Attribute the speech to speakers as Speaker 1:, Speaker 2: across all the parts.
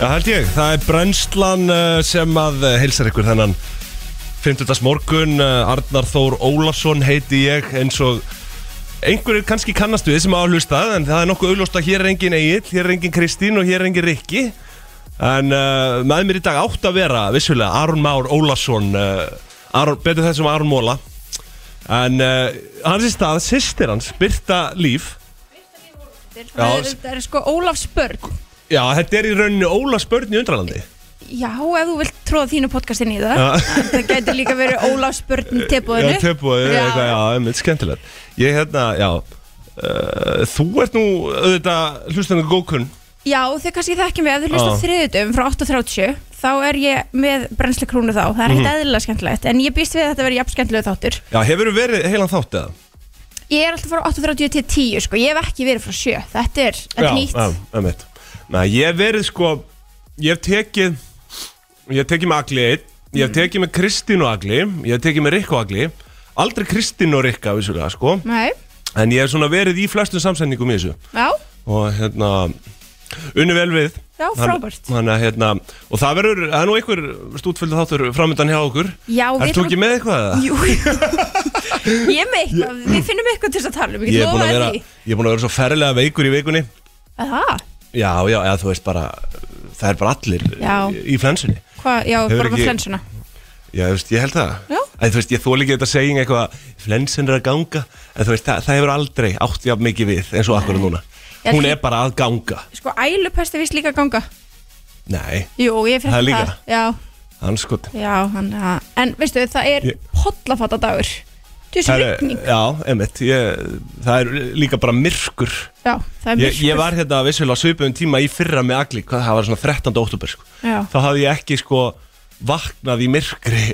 Speaker 1: Já, held ég, það er brennslan eh, sem að eh, heilsar ykkur þennan 50. morgun, Arnar Þór Ólafsson heiti ég eins og einhverju kannski kannast við sem áhlustað en það er nokkuð augljóst að hér er engin Egil, hér er engin Kristín og hér er engin Rikki en uh, með mér í dag átt að vera vissulega Aron Már Ólafsson uh, Aron, betur þessum Aron Móla en uh, hans í stað, sýstir hans, Birta Líf
Speaker 2: Það er, það er sko Ólafs börn
Speaker 1: Já, þetta er í rauninni Ólafs börn í undralandi
Speaker 2: Já, ef þú vilt tróða þínu podcastin í það
Speaker 1: Já.
Speaker 2: Það gæti líka verið Ólafs börn tilbúðinu
Speaker 1: Já, tilbúið,
Speaker 2: Já.
Speaker 1: eitthvað, já, einmitt, skemmtilegt Ég, hérna, já uh, Þú ert nú, auðvitað, hlustandi gókun
Speaker 2: Já, þau kannski þekkjum við ef þau hlusta
Speaker 1: Já.
Speaker 2: þriðutum frá 8.30 þá er ég með brennslikrúnu þá það er ekkert
Speaker 1: Mhm.
Speaker 2: eðlilega skemmtilegt en ég býst við að þetta verið jafn skemmtilegu þáttur
Speaker 1: Já, hefur verið heilan þátt eða?
Speaker 2: Ég er alltaf frá 8.30 til 10 sko, ég hef ekki verið frá 7 Þetta er, þetta
Speaker 1: já,
Speaker 2: er nýtt
Speaker 1: Já, einmitt Næ, ég hef verið, sko, ég hef tekið Ég hef tekið með Agli einn Ég
Speaker 2: Mm.
Speaker 1: hef tekið með Kristín og Agli Ég hef tekið með Rikku og Agli Aldrei Kristín og Rikka, vissulega, sko
Speaker 2: Nei,
Speaker 1: En ég hef svona verið í flestum samsendingum í þessu
Speaker 2: já,
Speaker 1: og hérna unni vel við
Speaker 2: Já,
Speaker 1: Þann-
Speaker 2: frábært.
Speaker 1: þannig að hérna, og það verður, það er nú einhver stútfylgð þáttur framöndan hjá okkur
Speaker 2: Já, við
Speaker 1: Ertu
Speaker 2: ætlum-
Speaker 1: ekki með eitthvað? eða?
Speaker 2: jú, jú. Ég er með eitthvað, við finnum eitthvað til þess að tala um
Speaker 1: ég er búin að
Speaker 2: lofaði
Speaker 1: vera,
Speaker 2: því.
Speaker 1: ég er búin að vera svo ferlega veikur í vikunni
Speaker 2: Aha,
Speaker 1: Já, já, eða þú veist bara það er bara allir
Speaker 2: Já.
Speaker 1: í- í flensunni
Speaker 2: hva, já,
Speaker 1: Hefur
Speaker 2: bara með
Speaker 1: ekki-
Speaker 2: flensuna
Speaker 1: Já, þú veist, ég held það
Speaker 2: Já.
Speaker 1: En þú veist, ég þóli ekki þetta seging eitthvað flensin er að ganga, en þú veist, það, það hefur aldrei átt jafn mikið við eins og akkur núna
Speaker 2: Ég
Speaker 1: Hún
Speaker 2: held-
Speaker 1: er bara að ganga
Speaker 2: Sko, ælupest er vist líka að ganga
Speaker 1: Nei,
Speaker 2: Jú, ég fyrir
Speaker 1: Það líka?
Speaker 2: Já,
Speaker 1: hann sko
Speaker 2: já, hann að En veistu, það er
Speaker 1: Ég-
Speaker 2: ég... pollafata dagur Þú veist,
Speaker 1: Það er-
Speaker 2: rigning
Speaker 1: Já, einmitt, ég, það er líka bara myrkur
Speaker 2: Já, það er
Speaker 1: Ég,
Speaker 2: myrkur
Speaker 1: ég var hérna vissulega svipuðum tíma í fyrra með agli, hvað það var svona 13. óttúber sko.
Speaker 2: Já,
Speaker 1: Þá hafði ég ekki sko vaknað í myrkri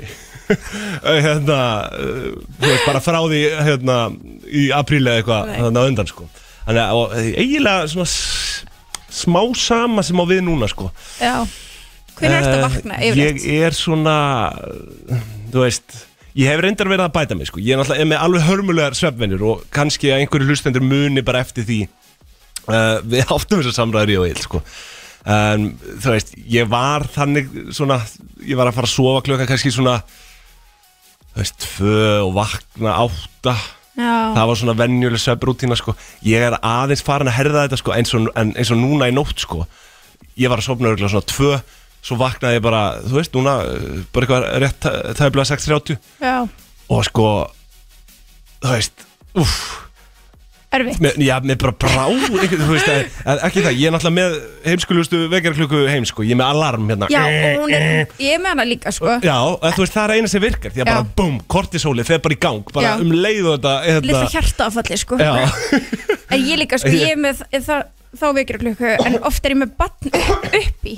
Speaker 1: hérna, uh, þú veist, bara frá því hérna í apríli eða eitthvað
Speaker 2: Nei.
Speaker 1: þannig að undan sko. Þannig að og eh, eiginlega svona s- smá sama sem á við núna sko.
Speaker 2: já Hvernig ertu að vakna
Speaker 1: Eh,
Speaker 2: yfirleitt?
Speaker 1: Ég er svona, uh, þú veist, ég hef reyndar verið að bæta mig sko. Ég er náttúrulega með alveg hörmulegar svefnvenjur og kannski að einhverju hlustendur muni bara eftir því uh, við áttum þessar samræður í og eil sko. um, þú veist, ég var þannig svona, ég var að fara að sofa klukka kannski svona þú veist, tvö og vakna átta
Speaker 2: Já,
Speaker 1: það var svona venjuleg svefbrútína sko. ég er aðeins farin að herða þetta sko, eins, og, en, eins og núna í nótt sko. ég var að sofna örgulega svona tvö svo vaknaði ég bara, þú veist, núna uh, bara eitthvað rétt, tæ- tæplega 6.30
Speaker 2: já,
Speaker 1: og sko þú veist, uff
Speaker 2: erfitt
Speaker 1: Mér, já, mér bara brá ekki, þú veist, en, en ekki það, ég er náttúrulega með heimskulustu vekjarklukku heims, sko, ég er með alarm hérna
Speaker 2: Já, og hún er, ég er með hana líka, sko
Speaker 1: Já, en, þú veist, það er eina sem virkar því að
Speaker 2: Já.
Speaker 1: bara, búm, kortisólið, þeir bara í gang bara
Speaker 2: Já.
Speaker 1: um leið og þetta
Speaker 2: Litla
Speaker 1: hérna,
Speaker 2: hjarta affalli, sko
Speaker 1: Já,
Speaker 2: En ég líka, sko, ég er með það, þá vekir klukku En oft er ég með batn uppi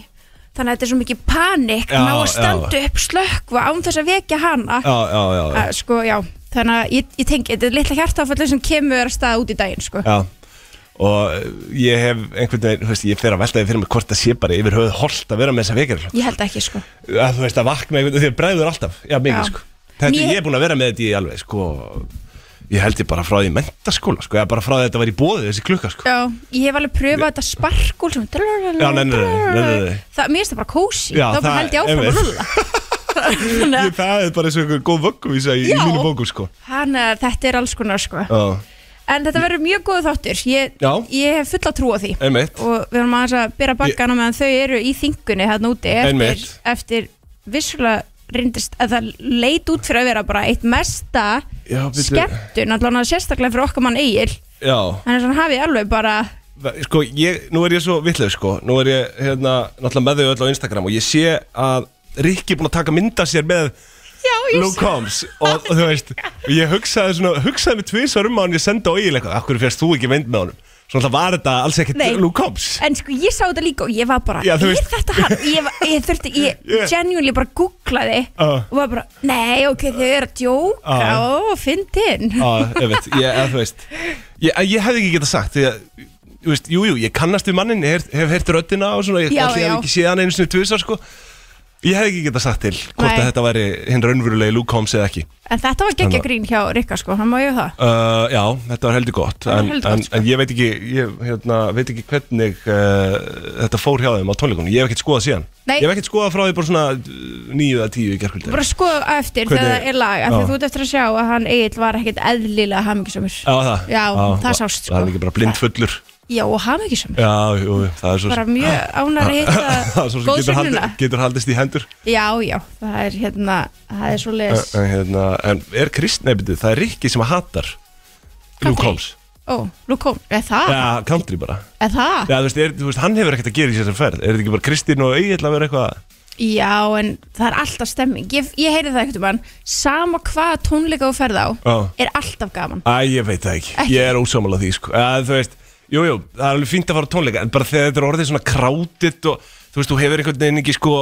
Speaker 2: Þannig að þetta er svo mikið panik
Speaker 1: Já,
Speaker 2: Ná að
Speaker 1: já.
Speaker 2: standa upp slökva án þess að vekja hana
Speaker 1: já, já, já, já.
Speaker 2: að, sko, já, þannig að ég, ég tengi þetta er litla hjartafallu sem kemur að staða út í daginn sko.
Speaker 1: Já Og eh, ég hef einhvern veginn, þú veist, ég fer að veltaði fyrir mig hvort það sé bara yfir höfuð holt að vera með þessa vekjar
Speaker 2: ég held ekki sko.
Speaker 1: að Þú veist, að vakna einhvern veginn, því að bregður alltaf Já, mikið,
Speaker 2: Já.
Speaker 1: sko Þetta,
Speaker 2: Mér-
Speaker 1: Ég er búin að vera með þetta í alveg, sko Ég held ég bara frá því í mentaskóla, sko Ég bara frá því að þetta var í bóði þessi klukka, sko
Speaker 2: já, ég hef alveg pröfað þetta sparkul sem
Speaker 1: Já, nei, nei, nei, nei, nei.
Speaker 2: það, mér finnst það bara kósi
Speaker 1: Já,
Speaker 2: þá bara
Speaker 1: það-
Speaker 2: held ég áfram að
Speaker 1: einmitt.
Speaker 2: rúlla þannig
Speaker 1: ég,
Speaker 2: að-
Speaker 1: Það er bara eins og einhver góð vögguvísa í, í
Speaker 2: Já.
Speaker 1: mínu bóku, sko
Speaker 2: þannig að eh, þetta er alls konar sko.
Speaker 1: Já,
Speaker 2: en þetta verður mjög góð þáttur ég,
Speaker 1: Já.
Speaker 2: ég hef fulla trú á því
Speaker 1: einmitt
Speaker 2: og við erum aðeins að byrja bakkana meðan þau eru í þingunni hérna úti eftir,
Speaker 1: Einmitt.
Speaker 2: eftir vissulega reyndist að það leit út fyrir að vera bara eitt mesta
Speaker 1: Já, bíddu.
Speaker 2: skemmtun, allan að sérstaklega fyrir okkar mann Egil
Speaker 1: Já,
Speaker 2: þannig að hann hafi alveg bara
Speaker 1: sko, ég, nú er ég svo vitlegur, sko Nú er ég, hérna, náttúrulega með þau öll á Instagram Og ég sé að Rikki er búin að taka mynda sér með
Speaker 2: já,
Speaker 1: Nú koms og, og þú veist og Ég hugsaði svona, hugsaði mig tvisar um á hann Ég sendi á eiginlega, akkur fyrst þú ekki mynd með honum Svo alltaf var þetta alls ekkert
Speaker 2: Nei.
Speaker 1: Nú koms
Speaker 2: en sko ég sá þetta líka og ég var bara
Speaker 1: Já, þú
Speaker 2: er
Speaker 1: veist.
Speaker 2: þetta hann? Ég, var- ég þurfti, ég
Speaker 1: Yeah.
Speaker 2: genuinely bara googlaði
Speaker 1: Ah.
Speaker 2: og var bara, nei ok, þau eru að djóka
Speaker 1: Ah.
Speaker 2: og fyndin
Speaker 1: Á, Ah, ég veit, ég, eða, þú veist Ég, að ég hefði ekki getað sagt því að þú veist, Jú, jú, ég kannast við mannin, ég hef, hef heyrt röddina og svona, ég
Speaker 2: Já,
Speaker 1: allir
Speaker 2: já.
Speaker 1: hef ekki séð hann einu sinni tvisar sko Ég hef ekki getað sagt til hvort
Speaker 2: Nei.
Speaker 1: að þetta væri hinn raunverulegi Luke Holmes eða ekki
Speaker 2: En þetta var geggja grín hjá Rikka sko, hann má ég það
Speaker 1: Uh, já, þetta var heldur gott
Speaker 2: var
Speaker 1: en,
Speaker 2: heldur
Speaker 1: en,
Speaker 2: gott, sko.
Speaker 1: en ég veit ekki, ég, hérna, veit ekki hvernig uh, þetta fór hjá þeim á tónleikunum Ég hef ekkert skoðað síðan
Speaker 2: Nei.
Speaker 1: Ég hef ekkert skoðað frá því bara svona nýju að tíu í gerkvöldi
Speaker 2: Bara sko. skoðu á eftir
Speaker 1: Hvernig- Ah.
Speaker 2: þegar það er lag af
Speaker 1: Já.
Speaker 2: Því þú ert eftir að sjá að hann Egil var ekkit eðlilega hamingisamur
Speaker 1: Já, Ah, það,
Speaker 2: Já, það sást, sko.
Speaker 1: Það er ekki bara blindfullur
Speaker 2: Já, og hamingisamur
Speaker 1: Já, jú, jú, það er svo Ah.
Speaker 2: Bara mjög ánar að
Speaker 1: það
Speaker 2: hitta
Speaker 1: er svo sem getur,
Speaker 2: góðsögnuna
Speaker 1: haldi, getur haldist í hendur
Speaker 2: Já, já, það er hérna, það er svo
Speaker 1: en,
Speaker 2: les
Speaker 1: en, hérna, en er Kristn, nei, byrju, það er Rikki sem hattar
Speaker 2: Country.
Speaker 1: Luke
Speaker 2: Ah.
Speaker 1: Holmes
Speaker 2: Ó, nú kom, er það?
Speaker 1: Ah. Já, country bara
Speaker 2: Er það?
Speaker 1: Já, þú veist, er, þú veist, hann hefur ekkert að gera í þessari ferð Er þetta ekki bara Kristinn og Egil að vera eitthvað
Speaker 2: Já, en það er alltaf stemming Ég, ég heyri það ekkert um hann Sama hvað tónleika þú ferð á
Speaker 1: Já.
Speaker 2: Er alltaf gaman
Speaker 1: Æ, ég veit það ekki,
Speaker 2: Ekki?
Speaker 1: ég er ósámála því sko. að, Þú veist, jú, jú, það er alveg fínt að fara á tónleika En bara þegar þetta er orðið svona krátitt og Þú veist, þú hefur einhvern veginn ekki sko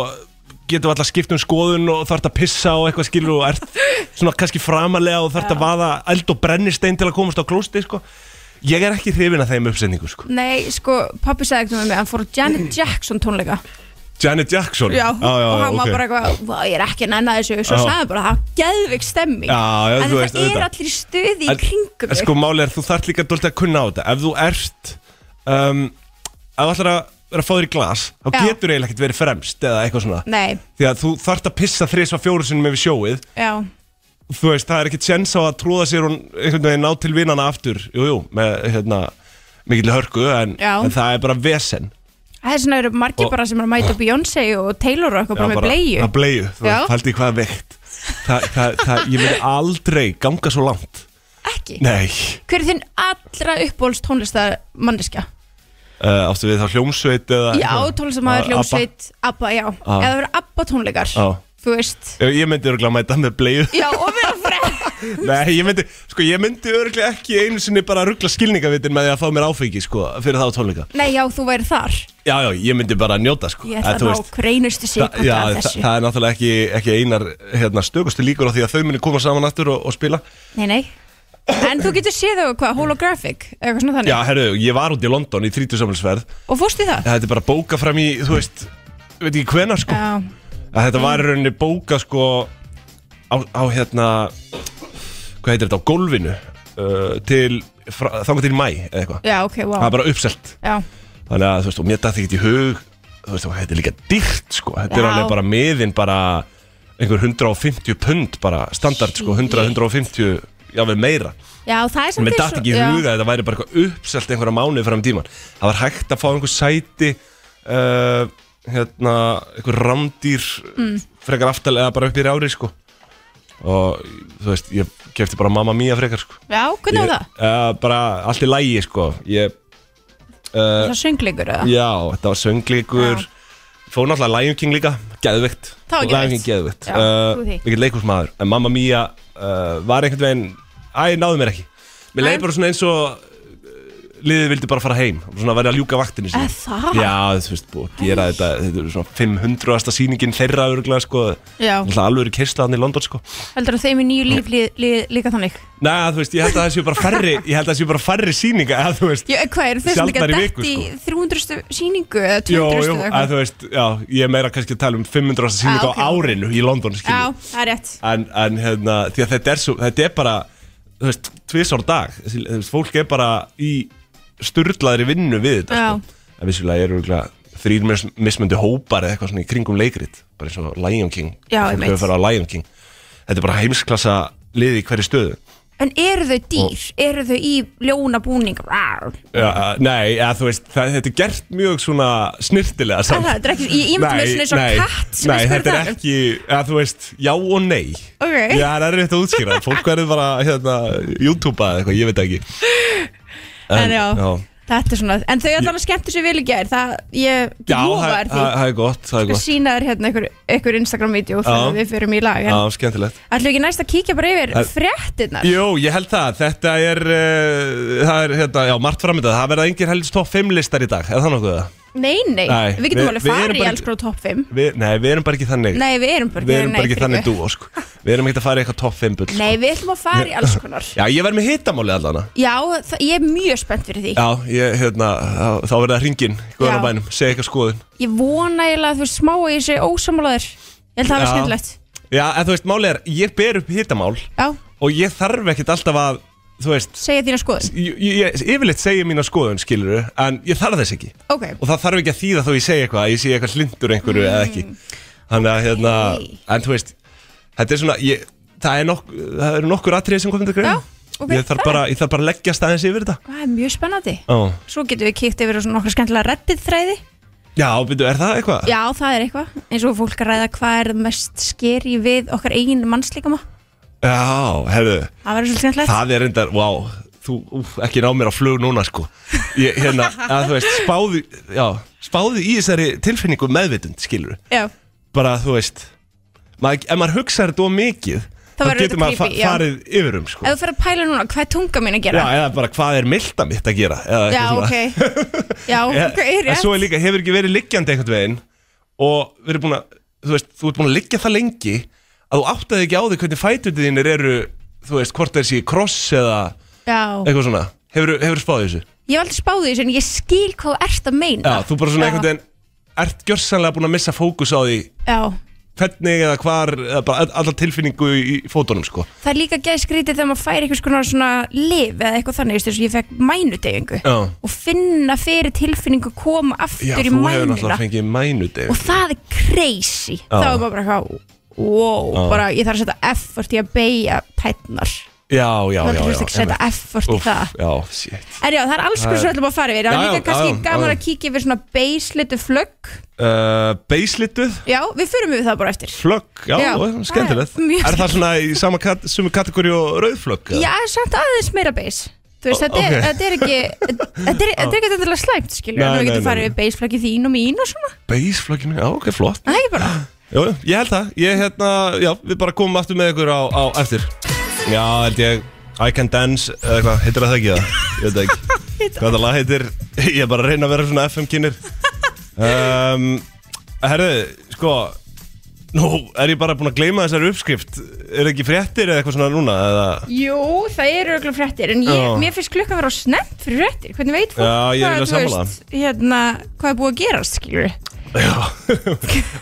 Speaker 1: Getur alltaf skipt um skoðun og þarft að pissa og eitthvað skilur Og ert svona kannski framalega og þarft að vaða eld og brennistein til að komast á klósti sko Ég er ekki hrifin að þeim uppsetningu sko
Speaker 2: Nei, sko, pappi sagði ekkert um mig Hann fór á Janet Jackson tónleika
Speaker 1: Janet Jackson
Speaker 2: Já,
Speaker 1: já, já,
Speaker 2: og hann var
Speaker 1: ok.
Speaker 2: bara eitthvað "Vá, Ég er ekki að nenna þessu Svo
Speaker 1: Já.
Speaker 2: sagði hann bara, það er geðvik stemming
Speaker 1: Já, já,
Speaker 2: En
Speaker 1: þú
Speaker 2: það
Speaker 1: veist,
Speaker 2: er
Speaker 1: auðvitað.
Speaker 2: allir í stuði í kringum
Speaker 1: en,
Speaker 2: þig
Speaker 1: sko málið er þú þarf líka dóltið að kunna á þetta ef þú ert um, ef þú ætlar að vera að fá þér í glas þá
Speaker 2: Já.
Speaker 1: getur eiginlega ekkert verið fremst eða eitthvað svona
Speaker 2: Nei,
Speaker 1: því að þú þarf að pissa þrís á fjóru sinni með sjóið
Speaker 2: já,
Speaker 1: þú veist það er ekkert sjens á að trúða sér og einhvern veginn ná til vinnana aftur jújú jú, með hérna mikill hörku en,
Speaker 2: Já.
Speaker 1: en það er bara vesen
Speaker 2: það er svona eru margir
Speaker 1: Og-
Speaker 2: bara sem er að mæta Beyoncé og Taylor og eitthvað bara
Speaker 1: Já,
Speaker 2: með bleiu
Speaker 1: að bleju
Speaker 2: Já.
Speaker 1: þú veist haldið hvað er veikt það, það, það, ég myndi aldrei ganga svo langt
Speaker 2: Ekki
Speaker 1: nei
Speaker 2: Hver er þinn allra uppbólst tónlistar
Speaker 1: uh, áttu við þá hljómsveit eða
Speaker 2: Já,
Speaker 1: eitthvað? Ah,
Speaker 2: tónlistamæður,
Speaker 1: Abba?
Speaker 2: hljómsveit, ABBA, já
Speaker 1: Ah.
Speaker 2: Eða það verður ABBA tónleikar
Speaker 1: Já.
Speaker 2: Þú veist
Speaker 1: Ég ég myndi örgulega mæta með bleiðu
Speaker 2: Já, og vera frekk
Speaker 1: Nei, ég myndi, sko, ég myndi örgulega ekki einu sinni bara ruggla skilningavitin með því að fá mér áfengi, sko, fyrir þá tónleika
Speaker 2: Nei, já, þú væri þar
Speaker 1: Já, já, ég myndi bara njóta, sko
Speaker 2: Ég ætla að ná kreinustu
Speaker 1: það,
Speaker 2: síkvönda
Speaker 1: já,
Speaker 2: af
Speaker 1: það,
Speaker 2: þessu
Speaker 1: það er náttúrulega ekki, ekki einar hérna, stökustu líkur á því að þau muni koma saman aftur og, og spila
Speaker 2: Nei, nei En þú getur séð þau hvað, holographic Eitthvað svona
Speaker 1: Já,
Speaker 2: þannig
Speaker 1: herru, ég var út í London í 30 samlisverð
Speaker 2: Og fórst í það?
Speaker 1: Þetta er bara bóka fram í, þú veist, veit ekki hvenar, sko
Speaker 2: Já,
Speaker 1: að þetta var í rauninni bóka sko á, á hérna hvað heitir þetta, á gólfinu uh, til, frá, þangað til mæ eða eitthvað,
Speaker 2: já, ok,
Speaker 1: það
Speaker 2: wow
Speaker 1: var bara uppselt
Speaker 2: Já,
Speaker 1: þannig að þú veist, og mér dætti ekkert í hug þú veist, og þetta er líka dýrt sko þetta er
Speaker 2: Já.
Speaker 1: alveg bara miðin bara einhver 150 pund bara standard sko, 100-150 jáfnveg meira,
Speaker 2: já það er samt
Speaker 1: mér
Speaker 2: eins
Speaker 1: dætti
Speaker 2: og-
Speaker 1: ekki í
Speaker 2: já.
Speaker 1: hug að þetta væri bara eitthvað uppselt einhverja mánuði fram í tíman, það var hægt að fá einhver sæti uh, hérna, einhver ramdýr
Speaker 2: Mm.
Speaker 1: frekar aftalega bara upp í rjári sko og þú veist, ég kefti bara mamma mía frekar sko
Speaker 2: Já, hvernig
Speaker 1: Ég-
Speaker 2: var það?
Speaker 1: Eh, bara allt í lægi sko ég uh,
Speaker 2: Var Það söngleikur eða?
Speaker 1: Já, þetta var sönglíkur
Speaker 2: Já.
Speaker 1: Fór náttúrulega Lion King líka, geðvikt
Speaker 2: Það var
Speaker 1: Lion King
Speaker 2: geðveikt.
Speaker 1: geðvikt
Speaker 2: Já, trúi því.
Speaker 1: Mikið leikhúsmaður En Mamma Mia uh, var einhvern veginn Æ, náðu mér ekki
Speaker 2: Nei.
Speaker 1: Mér leiði bara svona eins og uh, Liðið vildi bara fara heim og Svona verið að ljúka vaktinu sinni.
Speaker 2: Eh, það?
Speaker 1: Já, þú veist, búið að gera þetta Þetta er svona 500. sýningin þeirra örgulega sko
Speaker 2: Já.
Speaker 1: Náttúrulega alveg eru kyrsta hann í London sko
Speaker 2: Heldur að þeim í nýju líf lí, lí, líka þannig?
Speaker 1: Næ, þú veist, ég held að það séu bara færri Ég held að það séu bara færri sýninga eða, þú veist,
Speaker 2: Já, hvað, eru þess ekki að
Speaker 1: Sjaldnar í
Speaker 2: dætt
Speaker 1: viku,
Speaker 2: í
Speaker 1: sko.
Speaker 2: 300 síningu eða
Speaker 1: Jú,
Speaker 2: 200 eða
Speaker 1: jú, að
Speaker 2: eitthvað?
Speaker 1: þú veist, já, ég er meira kannski að tala um 500. sýning
Speaker 2: Ah, ok. Ah.
Speaker 1: á árinu í London,
Speaker 2: Já,
Speaker 1: skilju
Speaker 2: það er rétt
Speaker 1: en, en hérna, því að þetta er, svo, þetta er bara, þú veist, tvisar dag Þessi- þú veist, fólk er bara í sturlaðri vinnu við þetta,
Speaker 2: Já.
Speaker 1: sko en vissulega eru örugglega þrír mis, mismöndi hópar eða eitthvað svona í kringum leikrit bara eins og Lion King,
Speaker 2: Já,
Speaker 1: fólk
Speaker 2: einmitt.
Speaker 1: hefur farið á Lion King þetta er bara heimsklassa liði í hverju stöðu
Speaker 2: En eru þau dýr? Eru þau í ljónabúning? Rár.
Speaker 1: Já, nei, eða, þú veist, það, þetta er gert mjög svona snirtilega samt.
Speaker 2: það- þetta er ekki- ég ímynda mér svona eins og
Speaker 1: nei,
Speaker 2: katt sem
Speaker 1: Nei,
Speaker 2: er
Speaker 1: þetta er
Speaker 2: spurður.
Speaker 1: ekki, eða, þú veist, já og nei
Speaker 2: Ok.
Speaker 1: Já, það er rétt að útskýra Fólk verður bara, hérna, YouTube eða eitthvað, ég veit það ekki
Speaker 2: En já, þetta er svona En þau allavega skemmtu sér vel í gær Það, ég
Speaker 1: Já, það
Speaker 2: lofa
Speaker 1: það-
Speaker 2: er því
Speaker 1: það er gott, það er
Speaker 2: Ég
Speaker 1: gott
Speaker 2: sína þér hérna einhver, einhver Instagram-vídeó Þannig að
Speaker 1: Já.
Speaker 2: við förum í lag
Speaker 1: Já,
Speaker 2: En
Speaker 1: skemmtilegt
Speaker 2: ætlum við ekki næst að kíkja bara yfir
Speaker 1: Það-
Speaker 2: fréttinnar
Speaker 1: Jú, ég held það, þetta er, uh, það er, hérna, já, margt framönda Það verða engir helst topp 5 listar í dag, er það nokkuð það?
Speaker 2: Nei, nei,
Speaker 1: Nei,
Speaker 2: við getum
Speaker 1: við-
Speaker 2: alveg
Speaker 1: við erum
Speaker 2: farið í
Speaker 1: bara-
Speaker 2: alls gráð top 5
Speaker 1: Við, nei, við erum bara ekki þannig
Speaker 2: Nei, við erum bara
Speaker 1: Við erum
Speaker 2: nei,
Speaker 1: bara ekki
Speaker 2: fyrir
Speaker 1: þannig
Speaker 2: guð.
Speaker 1: dúo, sko Við erum ekki að fara í eitthvað topp 5 bull, sko.
Speaker 2: Nei, við ætlum að fara í alls konar
Speaker 1: Já, ég verð með hitamáli allana
Speaker 2: Já, það, ég er mjög spennt fyrir því
Speaker 1: Já, ég, hérna, þá- þá verður það hringin
Speaker 2: Já.
Speaker 1: Góðan bænum, segja eitthvað skoðun
Speaker 2: Ég vona eiginlega að þú veist, smá að ég sé ósamálaður Ég held það að vera
Speaker 1: Já.
Speaker 2: skemmtilegt
Speaker 1: Já, en þú veist, máli er, ég ber upp hittamál
Speaker 2: Já,
Speaker 1: og ég þarf ekkert alltaf að, þú veist,
Speaker 2: segja þína skoðun
Speaker 1: ég, ég- ég yfirleitt segja mína skoðun, skilur en ég þarf þess ekki.
Speaker 2: Ok,
Speaker 1: Og það þarf ekki að þýða þó ég segja eitthvað, að ég sé eitthvað hlindur einhverju eða ekki. Þannig að, hérna,
Speaker 2: Mm. Ok.
Speaker 1: en þú veist, þetta er svona, ég, það, er nokk, það eru nokkur atriði sem komum til greina.
Speaker 2: Já, ok,
Speaker 1: Ég þarf
Speaker 2: það er-
Speaker 1: bara, ég þarf bara að leggja staðins yfir þetta.
Speaker 2: það er mjög spennandi
Speaker 1: Ó.
Speaker 2: Svo getum við kíkt yfir á svona nokkra skemmtilega reddið þræði
Speaker 1: Já, byrju, er það eitthvað?
Speaker 2: Já, það er eitthvað eins og fólk að ræða hvað er mest skeri við okkar eigin mannslíkama
Speaker 1: Já, herðu,
Speaker 2: Það verður svolítið skemmtilegt
Speaker 1: Það er reyndar, wow, þú úf, ekki ná mér á flug núna sko ég, Hérna, að þú veist, spáðu, já, spáðu í þessari tilfinningu meðvitund, skilur
Speaker 2: Já,
Speaker 1: Bara, þú veist, maður, ef maður hugsaður þetta of mikið
Speaker 2: Það
Speaker 1: Þá
Speaker 2: verður
Speaker 1: getur
Speaker 2: þetta
Speaker 1: maður fa
Speaker 2: creepy, já.
Speaker 1: farið yfir um
Speaker 2: ef
Speaker 1: sko
Speaker 2: þú fer að pæla núna hvað er tunga mín að
Speaker 1: Já,
Speaker 2: gera
Speaker 1: eða bara hvað er milda mitt að gera eða
Speaker 2: Já,
Speaker 1: eitthvað
Speaker 2: ok
Speaker 1: svona.
Speaker 2: Já,
Speaker 1: Eða-
Speaker 2: ok, er
Speaker 1: En svo
Speaker 2: rétt
Speaker 1: er líka, hefur ekki verið liggjandi einhvern veginn Og verið búin að, þú veist, þú ert búin að liggja það lengi Að þú áttaði ekki á því hvernig fætur þínir eru Þú veist, hvort þessi kross eða
Speaker 2: Já,
Speaker 1: eitthvað svona Hefur, hefur spáðið þessu?
Speaker 2: ég hef aldrei spáðið þessu en ég skil hvað þú ert að meina
Speaker 1: Já, þú bara svona
Speaker 2: Já.
Speaker 1: einhvern veginn Ert gjörsanlega búin að missa fókus á því
Speaker 2: Já,
Speaker 1: Hvernig eða hvar eða bara all- Alla tilfinningu í í fótunum sko
Speaker 2: það er líka gæði skrítið þegar maður fær einhvers konar svona liv eða eitthvað þannig, þú veist, ég fekk mænudegingu
Speaker 1: Já.
Speaker 2: og finna fyrir tilfinningu koma aftur
Speaker 1: Já,
Speaker 2: í
Speaker 1: þú hefur
Speaker 2: mænuna
Speaker 1: náttúrulega fengið mænut
Speaker 2: og það er crazy
Speaker 1: Já.
Speaker 2: þá er maður bara eitthvað wow,
Speaker 1: Já.
Speaker 2: bara ég þarf að setja effort í að beigja tætnar,
Speaker 1: Já, já,
Speaker 2: það
Speaker 1: já,
Speaker 2: er
Speaker 1: já,
Speaker 2: ekki að setja
Speaker 1: einmitt.
Speaker 2: effort í
Speaker 1: Úff,
Speaker 2: það
Speaker 1: Já, shit
Speaker 2: en já, það er alls
Speaker 1: Það er-
Speaker 2: hvernig sem við ætlum að fara yfir það
Speaker 1: Já,
Speaker 2: er
Speaker 1: já,
Speaker 2: líka kannski
Speaker 1: já, já.
Speaker 2: gaman að kíkja yfir svona beislitu flögg
Speaker 1: uh, Beislituð,
Speaker 2: já, við förum yfir það bara eftir
Speaker 1: flögg, já,
Speaker 2: Já,
Speaker 1: já skemmtilegt
Speaker 2: það er mjög
Speaker 1: Er það svona í sama kat, sumu kategóri og rauðflögg?
Speaker 2: já, samt aðeins meira beis þú veist,
Speaker 1: Ó,
Speaker 2: þetta er-
Speaker 1: ok.
Speaker 2: þetta er ekki þetta er þetta er ekki þetta slæmt, skilur
Speaker 1: Nei,
Speaker 2: við
Speaker 1: nei,
Speaker 2: getum
Speaker 1: nei,
Speaker 2: farið
Speaker 1: nei.
Speaker 2: yfir beisflöggi þín og mín og svona
Speaker 1: Beisflögginu, já, ok, flott
Speaker 2: það er bara,
Speaker 1: Jú, jú, ég held það, ég hérna, já, við bara komum aftur með ykkur á, á eftir Já, held ég, I Can Dance, eða eitthvað, heitir það ekki það? Ég veit það ekki, hvað það lag heitir, ég er bara að reyna að vera svona FM-kynir um, Herðu, sko, nú er ég bara búin að gleyma þessari uppskrift, er ekki fréttir eða eitthvað svona núna, eða
Speaker 2: jú, það eru örugglega fréttir en ég,
Speaker 1: Já.
Speaker 2: mér finnst klukkan vera á snemt fyrir fréttir hvernig veit fólk
Speaker 1: Já, ég er eiginlega
Speaker 2: þú veist, hérna, hvað er búið að gerast, skilur við
Speaker 1: Já,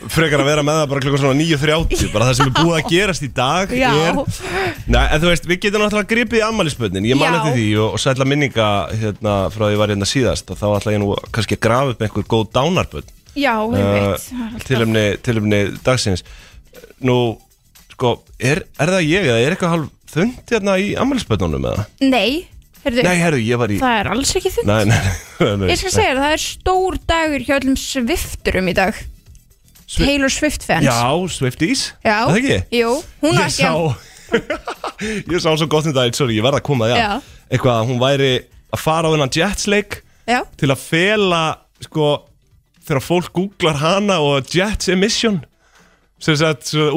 Speaker 1: frekar að vera með það bara klukkan svona 9.30, bara það sem er búið að gerast í dag
Speaker 2: Já.
Speaker 1: er, Nei, en þú veist, við getum náttúrulega gripið í ammælisbönnin, ég man
Speaker 2: Já.
Speaker 1: eftir því og, og sætla minninga hérna, frá því ég var hérna síðast og þá ætla ég nú kannski að grafa upp einhver góð dánarbönn
Speaker 2: já, ég
Speaker 1: Eh,
Speaker 2: veit það er alltaf-
Speaker 1: tilumni, tilumni dagsins Nú, sko, er, er það ég eða er eitthvað hálf þund hérna í ammælisbönnunum eða?
Speaker 2: nei, heyrðu,
Speaker 1: Nei, herru, ég var í
Speaker 2: það er alls ekki þund
Speaker 1: Nei, nei, nei, nei
Speaker 2: ég skal segja þér, það er stór dagur hjá öllum svifturum í dag
Speaker 1: Swi-
Speaker 2: Taylor Swift fans
Speaker 1: Já, Swifties,
Speaker 2: já.
Speaker 1: Er það ekki?
Speaker 2: jú, hún á
Speaker 1: Ég
Speaker 2: ekki
Speaker 1: sá
Speaker 2: að-
Speaker 1: Ég sá svo gott um daginn, sorry, ég verð að koma það
Speaker 2: Já.
Speaker 1: Eitthvað að hún væri að fara á hennan jetsleik
Speaker 2: já,
Speaker 1: Til að fela, sko Þegar fólk googlar hana og jets emission Sem sagt, svona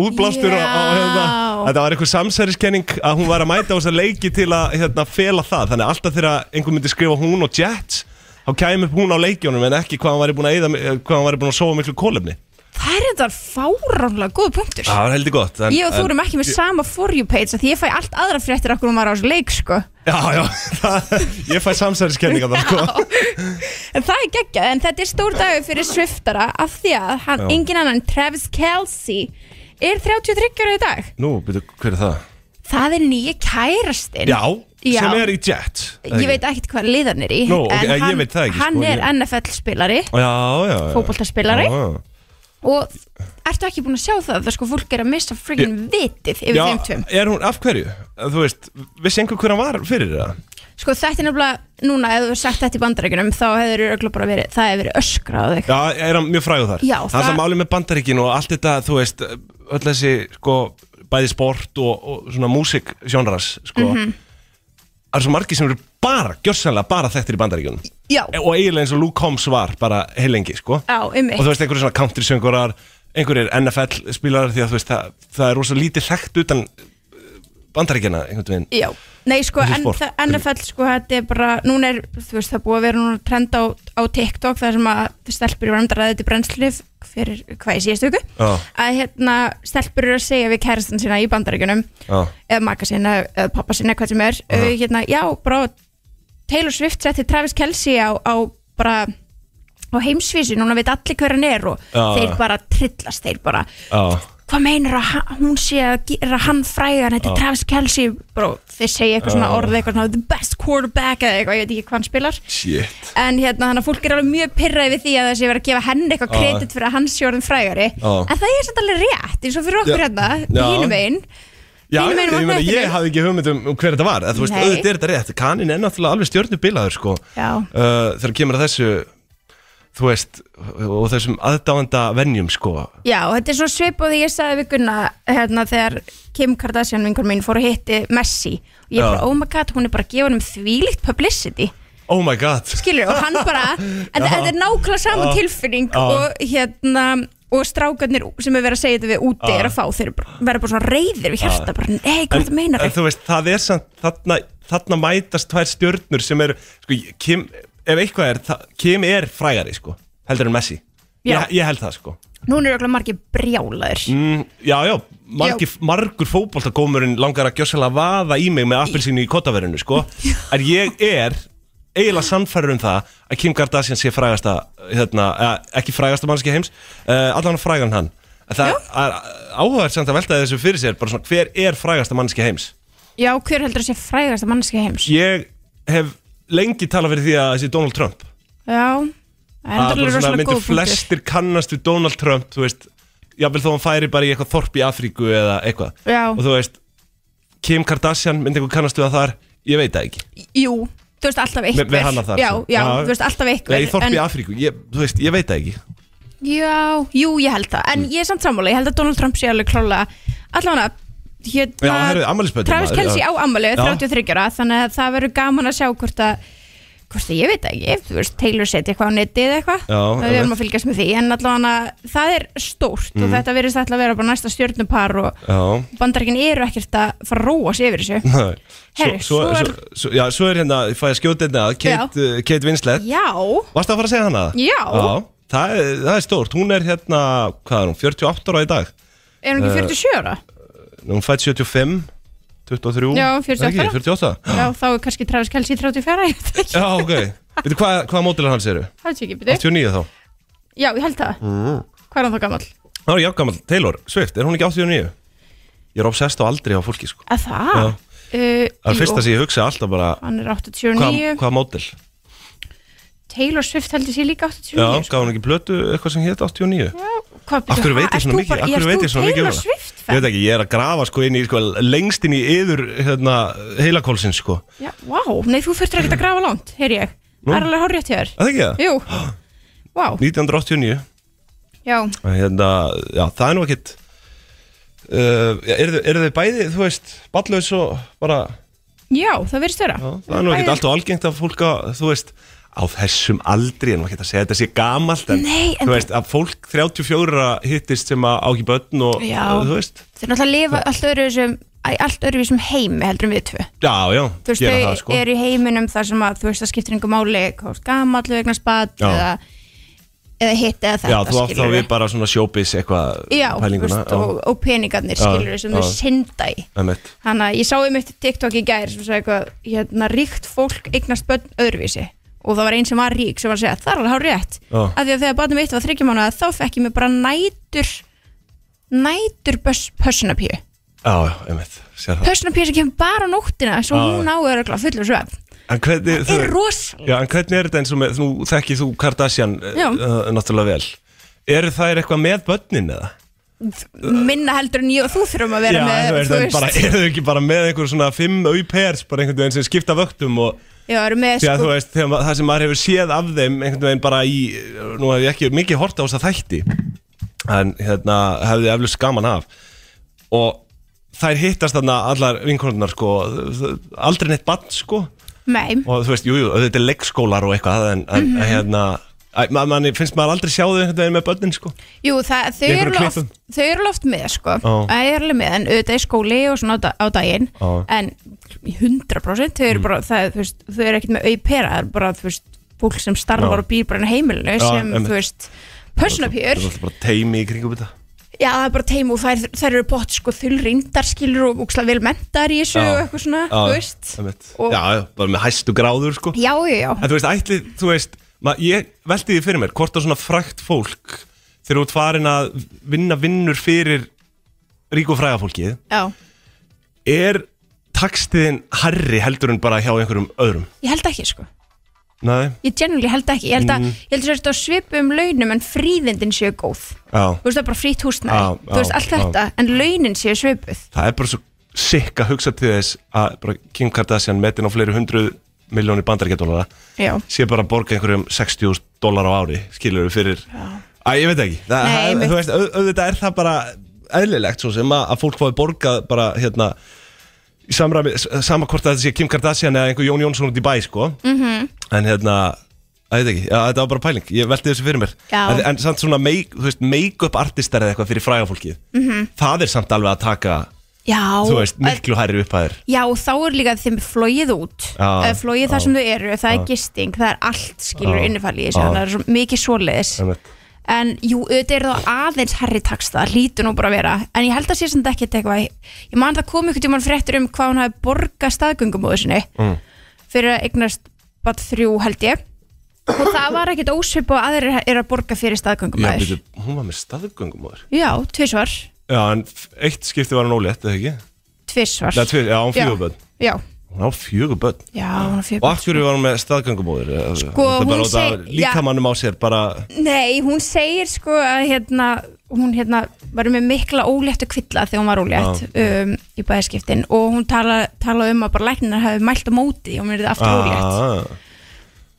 Speaker 2: Já.
Speaker 1: útblástur á, á, hérna, Þetta var einhver samsæriskenning Að hún væri að mæta á þessa leiki til að hérna, fela það Þannig að alltaf þegar einhver myndi skrifa hún og jets Þá kæmi upp hún á leikjónum en ekki hvað hann væri búin að, eyða, eh, hvað hann væri búin að sofa miklu kólefni
Speaker 2: það er þetta fáránlega góð punktur
Speaker 1: Það var heldur gott Ah, en,
Speaker 2: Ég og þú erum ekki með sama for you page af Því ég fæ allt aðra fréttir okkur um maður á þessu leik sko.
Speaker 1: Já, já, það, ég fæ samsæriskenninga þar sko
Speaker 2: En það er geggjað En þetta er stór dagur fyrir Swiftara Af því að hann,
Speaker 1: Já.
Speaker 2: engin annan en Travis Kelsey Er 33 ára í dag
Speaker 1: Nú, byrju, hver er það?
Speaker 2: Það er nýja kærastinn
Speaker 1: Já,
Speaker 2: Já.
Speaker 1: sem er í Jet
Speaker 2: Ég veit ekkert hvað liðan er í
Speaker 1: Nú, ok,
Speaker 2: en
Speaker 1: ég
Speaker 2: hann,
Speaker 1: veit það ekki,
Speaker 2: Hann
Speaker 1: sko,
Speaker 2: er
Speaker 1: ég-
Speaker 2: NFL spilari
Speaker 1: Já, já, já
Speaker 2: Fótboltaspilari
Speaker 1: Já, já.
Speaker 2: Og ertu ekki búin að sjá það Það sko fólk er að missa friggin vitið Yfir þeim tveim
Speaker 1: er hún af hverju? Þú veist, vissi einhver hver hann var fyrir það?
Speaker 2: Sko þetta er nefnilega Núna ef þú hefur sagt þetta í bandarækjunum Þá hefur bara verið Það hefur verið öskrað á þig
Speaker 1: Já, er hann mjög frægur þar?
Speaker 2: Já,
Speaker 1: það Það
Speaker 2: það-
Speaker 1: er málið með bandaríkin og allt þetta, þú veist öll þessi, sko, bæði sport og, og svona músik sjónras sko,
Speaker 2: Mhm.
Speaker 1: það er svo margir sem eru bara, gjörsanlega bara þekktir í bandaríkjunum
Speaker 2: Já,
Speaker 1: og eiginlega eins og Luke Combs var bara heilengi, sko
Speaker 2: já,
Speaker 1: og þú
Speaker 2: ummi
Speaker 1: veist einhverju svona country söngurar einhverjir NFL spilarar því að þú veist það, það er rosa lítið þekkt utan uh, bandaríkjana einhvern veginn
Speaker 2: Já, nei sko,
Speaker 1: Þessi
Speaker 2: en,
Speaker 1: sport.
Speaker 2: það- NFL sko, þetta er bara, núna er, þú veist, það er búið að vera núna trend á, á TikTok þar sem að stelpur eru að ræða þetta í brennslif fyrir hvað ég síðast auku
Speaker 1: Já.
Speaker 2: að hérna, stelpur eru að segja við kærastan sína í bandaríkjunum
Speaker 1: Já.
Speaker 2: eða maka sína, eða pappa sína, hvað sem er uh, hérna, já, bara Taylor Swift setti Travis Kelsey á, á bara á heimsvísu, núna veit allir hver hann er og
Speaker 1: Já.
Speaker 2: þeir bara trillast, þeir bara
Speaker 1: Já.
Speaker 2: Hva- hvað meinar að ha- hún sé að gera hann frægan þetta er
Speaker 1: Já.
Speaker 2: Travis Kelce, bró, þeir segja eitthvað svona
Speaker 1: Já.
Speaker 2: orð, eitthvað svona the best quarterback eða eitthvað, ég veit ekki hvað hann spilar
Speaker 1: Shit
Speaker 2: en hérna þannig að fólk er alveg mjög pirraði við því að þessi verið að gefa henni eitthvað
Speaker 1: Já.
Speaker 2: kredit fyrir að hann sé orðin frægari
Speaker 1: Já.
Speaker 2: en það er samt alveg rétt, eins og fyrir okkur
Speaker 1: Já.
Speaker 2: hérna
Speaker 1: Já.
Speaker 2: hínum einn,
Speaker 1: Já,
Speaker 2: Hinum
Speaker 1: ég,
Speaker 2: megin
Speaker 1: meina,
Speaker 2: vatnaættinni.
Speaker 1: ég hafði ekki hugmynd um um hver þetta var eða, Þú veist,
Speaker 2: Nei.
Speaker 1: auðvitað er þetta rétt Kanin er náttúrulega alveg stjórnubilaður sko.
Speaker 2: Já.
Speaker 1: uh, Þegar kemur að þessu Þú veist, og þessum aðdáanda venjum sko.
Speaker 2: já, og þetta er svo svip og því ég sagði við Gunna hérna þegar Kim Kardashian vingur mín fór að hitti Messi og ég
Speaker 1: Já.
Speaker 2: bara, oh my god, hún er bara að gefa hann um þvílíkt publicity
Speaker 1: Oh my god
Speaker 2: skilur, og hann bara en þetta er nákvæmlega sama
Speaker 1: Já.
Speaker 2: tilfinning
Speaker 1: Já.
Speaker 2: og hérna og strákarnir sem er verið að segja þetta við úti
Speaker 1: Já.
Speaker 2: er að fá þeir eru bara- verða bara svona reyðir við hjarta bara, ei, hvað þetta meinar
Speaker 1: en þú veist, það er samt þarna, þarna mætast tvær stjörnur sem eru sko, Kim, ef eitthvað er það, Kim er frægari, sko, heldur en Messi
Speaker 2: Já.
Speaker 1: ég, ég held það, sko
Speaker 2: Núna eru okkur margir brjálaður
Speaker 1: mm, Já, já, margi, margur fótboltagómurinn langar að gjössalega vaða í mig með appelsínu í kottaverinu, sko en ég er eiginlega sannfærður um það að Kim Kardashian sé frægasta hérna, eh, ekki frægasta mannski heims uh, allan frægan hann En Það er áhugavert samt að velta þessu fyrir sér bara svona, hver er frægasta mannski heims?
Speaker 2: Já, hver heldur að sé frægasta mannski heims?
Speaker 1: ég hef lengi talað fyrir því að þessi Donald Trump
Speaker 2: Já, það er endurlega
Speaker 1: að bara Ah, svona
Speaker 2: rosalega
Speaker 1: myndu
Speaker 2: góð punktur
Speaker 1: flestir kannast við Donald Trump þú veist, jáfnvel þó hann færi bara í eitthvað þorp í Afríku eða eitthvað
Speaker 2: Já.
Speaker 1: og þú veist, Kim Kardashian myndi einhver kannast við að þar, ég veit það ekki
Speaker 2: Jú, þú veist alltaf einhver
Speaker 1: með, með hana þar
Speaker 2: Já,
Speaker 1: sko.
Speaker 2: já, þú veist alltaf einhver
Speaker 1: Nei, í þorp
Speaker 2: en-
Speaker 1: í Afríku, ég, þú veist, ég veit það ekki
Speaker 2: Já, jú, ég held það
Speaker 1: Mm.
Speaker 2: En ég er samt sammála, ég held að Donald Trump sé alveg klála Allavega hérna,
Speaker 1: Já, herru, afmælisbörnin,
Speaker 2: Travis
Speaker 1: maður,
Speaker 2: Kelce
Speaker 1: já.
Speaker 2: á ammali,
Speaker 1: Já.
Speaker 2: 33 ára Þannig að það verður gaman að sjá hvort að Hvort að ég veit það ekki, þú veist, Taylor setja eitthvað á netið eða eitthvað
Speaker 1: Já,
Speaker 2: Það
Speaker 1: einmitt. Mm.
Speaker 2: verðum að fylgjast með því En allavega það er stórt Og þetta verðist alltaf að vera bara næsta stjórnupar Og
Speaker 1: Já
Speaker 2: bandarkin eru ekkert að fara að róa sig yfir þessu
Speaker 1: Nei.
Speaker 2: Herru,
Speaker 1: svo,
Speaker 2: svo
Speaker 1: svo,
Speaker 2: er-
Speaker 1: svo, svo, já, svo er hérna, fæ ég skjóti hérna að Kate, uh, Kate Winslet
Speaker 2: Já,
Speaker 1: Varstu að fara að segja hana? það?
Speaker 2: Já.
Speaker 1: það, er- það er stórt, hún er hérna, hvað er hún, 48 ára í dag
Speaker 2: er
Speaker 1: Eh.
Speaker 2: hún ekki 47 ára?
Speaker 1: Hún fætt 75, 23
Speaker 2: Já,
Speaker 1: Er ekki,
Speaker 2: 48.
Speaker 1: 48
Speaker 2: Já, þá er kannski Travis Kelce 34 Ég veit ekki,
Speaker 1: Já, ok Veitu hvað, hvaða mótilar hans eru?
Speaker 2: það sé ekki byrju
Speaker 1: 89 þá
Speaker 2: Já, ég held það Hvað er hann þá gamall?
Speaker 1: Það er jáfngammal Taylor Swift, er hún ekki 89? Ég er obsessed á aldri á fólki sko
Speaker 2: Að það? Uh,
Speaker 1: Það er
Speaker 2: jú,
Speaker 1: fyrsta sem ég hugsa alltaf bara
Speaker 2: Hann er
Speaker 1: Hvað
Speaker 2: 89
Speaker 1: hva mótil?
Speaker 2: Taylor Swift heldur sér líka 89
Speaker 1: Já,
Speaker 2: sko.
Speaker 1: gaf hún ekki plötu eitthvað sem hétt 89?
Speaker 2: Hvað,
Speaker 1: Akkur
Speaker 2: ha,
Speaker 1: veit ég
Speaker 2: ert
Speaker 1: svona
Speaker 2: þú
Speaker 1: mikið?
Speaker 2: bara-
Speaker 1: Akkur
Speaker 2: ert
Speaker 1: veit
Speaker 2: þú
Speaker 1: ég svona mikið um
Speaker 2: Taylor
Speaker 1: það?
Speaker 2: Swift
Speaker 1: Ég
Speaker 2: fan?
Speaker 1: veit ekki, ég er að grafa sko inn í sko lengst inn í yður hérna heilakólsins sko
Speaker 2: Já, vá, nei þú fyrir ekki að grafa langt, heyr ég
Speaker 1: Mm. Nú?
Speaker 2: Það er alveg hár rétt hjá þér
Speaker 1: Er Það ekki það?
Speaker 2: Jú, vá,
Speaker 1: 1989
Speaker 2: já
Speaker 1: Að hérna, já, það er nú ekkit uh, eru, þau- eru þau bæði, þú veist, ballaus og bara,
Speaker 2: Já, það verðist vera
Speaker 1: já, það er nú ekkit allt og algengt að fólk að, þú veist, á þessum aldri, en maður geta að segja að þetta sé gamalt en,
Speaker 2: Nei, en
Speaker 1: þú veist, að fólk 34 hittist sem að á ekki börn og,
Speaker 2: Já.
Speaker 1: og þú veist,
Speaker 2: Þeir náttúrulega lifa allt öðru sem allt öðru sem heimi heldur en við tvö
Speaker 1: já, já,
Speaker 2: þú veist,
Speaker 1: gera
Speaker 2: þau
Speaker 1: það, sko
Speaker 2: eru í heiminum þar sem að þú veist, það skiptir einhver máli hvort gamall vegna spatt
Speaker 1: Já.
Speaker 2: eða, eða hitt eða þetta
Speaker 1: Já, þú átt þá
Speaker 2: skilurðu.
Speaker 1: við bara svona sjópis eitthvað
Speaker 2: Já, þú
Speaker 1: pælinguna,
Speaker 2: veist, og, og peningarnir
Speaker 1: Já,
Speaker 2: skilur sem
Speaker 1: já.
Speaker 2: þau synda í
Speaker 1: emmitt
Speaker 2: þannig að ég sá um eitt TikTok í gær sem sagði eitthvað, hérna, ríkt fólk eignast börn öðruvísi og það var einn sem var rík sem var að segja, það er alveg hár rétt
Speaker 1: Já.
Speaker 2: af því að þegar barnum eitt var þryggja mánuða þá fekk ég mig bara nætur nætur pössunapíu
Speaker 1: Já, já, emmitt, sér það
Speaker 2: pössunapíu sem kemur bara á nóttina svo
Speaker 1: Já.
Speaker 2: hún á er fullur svefn
Speaker 1: En hvernig, þú
Speaker 2: er rosalega
Speaker 1: Já, en hvernig er þetta eins og með, nú þekkið þú Kardashian
Speaker 2: Já.
Speaker 1: uh, uh, náttúrulega vel Eru þær eitthvað með börnin eða?
Speaker 2: minna heldur en ég og þú þurfum að vera með
Speaker 1: þú veist, en bara, eru þau ekki bara með einhver svona fimm au pairs, bara einhvern veginn sem skipta vögtum og
Speaker 2: já, erum með
Speaker 1: því að þú
Speaker 2: sko,
Speaker 1: veist, þegar, ma- það sem maður hefur séð af þeim einhvern veginn bara í, eh, nú hef ég ekki mikið hort á þess að þætti en hérna hefði eflust gaman af og þær hittast þarna allar vinkonurnar sko þ- þ- aldrei neitt bann sko
Speaker 2: nei,
Speaker 1: og þú veist, jújú, jú, þetta er leggskólar og eitthvað en, en
Speaker 2: Mhm.
Speaker 1: hérna, að, man, man, finnst maður aldrei sjá þau einhvern veginn með börnin sko
Speaker 2: jú, það, þau
Speaker 1: Í einhverjum
Speaker 2: eru
Speaker 1: klippum.
Speaker 2: loft þau eru loft með, sko
Speaker 1: Já.
Speaker 2: það er alveg með, en auðvitað í skóli og svona á, da- á daginn,
Speaker 1: Já.
Speaker 2: en í 100%
Speaker 1: Mm.
Speaker 2: þau eru bara, það, þú veist þau eru ekkert með auðpera, það er bara, þú veist fólk sem starfar
Speaker 1: Já.
Speaker 2: og býr bara inn á heimilinu sem,
Speaker 1: einmitt.
Speaker 2: þú veist,
Speaker 1: Þetta er
Speaker 2: pössunapjör
Speaker 1: alltaf bara teimi í kringum þetta
Speaker 2: já, það er bara teim og þær, þær eru bótt, sko, þulrindar skilur og úkslega vel mentar í þessu og eitthvað svona, Ah, þú veist
Speaker 1: einmitt.
Speaker 2: Og-
Speaker 1: Já, já, bara með hæstu gráður sko
Speaker 2: já, já, já,
Speaker 1: En þú veist, ætli, þú veist, ma, ég velti því fyrir mér hvort að svona frækt fólk þegar þú ert farin að vinna vinnur fyrir ríku og fræga fólkið
Speaker 2: já
Speaker 1: Er takstiðin herri heldur en bara hjá einhverjum öðrum?
Speaker 2: Ég held ekki sko
Speaker 1: Nei,
Speaker 2: Ég generally held ekki, ég held að,
Speaker 1: Mm.
Speaker 2: ég held að þetta svipa um launum en fríðindin séu góð
Speaker 1: já
Speaker 2: Þú veist það er bara frýtt
Speaker 1: Já,
Speaker 2: húsnæði, þú veist
Speaker 1: já,
Speaker 2: allt þetta en launin séu svipuð
Speaker 1: Það er bara svo sikk að hugsa til þess að bara Kim Kardashian metin á fleiri hundruð miljónir bandaríkjadólara
Speaker 2: Já,
Speaker 1: sé bara að borga einhverjum 60.000 dólar á ári skilur við fyrir Æ, ég veit ekki, það,
Speaker 2: Nei,
Speaker 1: það,
Speaker 2: einmitt.
Speaker 1: þú veist, au- auðvitað er það bara eðlilegt svo sem að, að fólk fái borgað bara hérna í samræmi, s- sama hvort að þetta sé Kim Kardashian eða einhver Jón Jónsson út í bæ sko
Speaker 2: Mhm.
Speaker 1: en hérna að þetta ekki, já, þetta var bara pæling, ég velti þessu fyrir mér
Speaker 2: Já.
Speaker 1: en, en samt svona make- þú veist, make-up artistar eða eitthvað fyrir fræga fólkið
Speaker 2: Mhm.
Speaker 1: það er samt alveg að taka
Speaker 2: já
Speaker 1: þú veist,
Speaker 2: að-
Speaker 1: miklu hærri upphæðir
Speaker 2: Já, þá er líka þeim flóið út
Speaker 1: Já,
Speaker 2: já, flóið
Speaker 1: já.
Speaker 2: það sem þau eru, það
Speaker 1: Já.
Speaker 2: er gisting það er allt skilur
Speaker 1: Já,
Speaker 2: innifalið í þessu
Speaker 1: já.
Speaker 2: þannig að það er svo mikið svoleiðis en jú, auðvitað er það aðeins herri taksta hlýtu nú bara að vera, en ég held að sé sem þetta ekki eitthvað, ég man það kom ykkur tímann fréttur um hvað hún hafi borgað staðgöngumóðu sinni
Speaker 3: Mm.
Speaker 2: fyrir að eignast bara þrjú held ég og það var ekkit ósvip og aðrir er að borga fyrir
Speaker 1: já,
Speaker 2: staðgöngumóður
Speaker 1: byrju, hún var með staðgöngumóður
Speaker 2: já, tvisvar,
Speaker 1: já, en f- eitt skipti var hún ólétt, eða ekki?
Speaker 2: tvisvar
Speaker 1: Nei, tvið, já, hún
Speaker 2: Já.
Speaker 1: fjögur börn
Speaker 2: já,
Speaker 1: hún á fjögur börn
Speaker 2: já, hún er
Speaker 1: og
Speaker 2: fyrir
Speaker 1: af hverju var hún með staðgöngumóður
Speaker 2: Sko, hún seg- já.
Speaker 1: líkamannum á sér bara
Speaker 2: Nei, hún segir sko að hérna, hún hérna var með mikla óléttu kvilla þegar hún var ólétt um, í bæðiskiptin og hún tala, tala um að bara læknar hafi mælt á móti og mér er það aftur ólétt.
Speaker 1: Ah,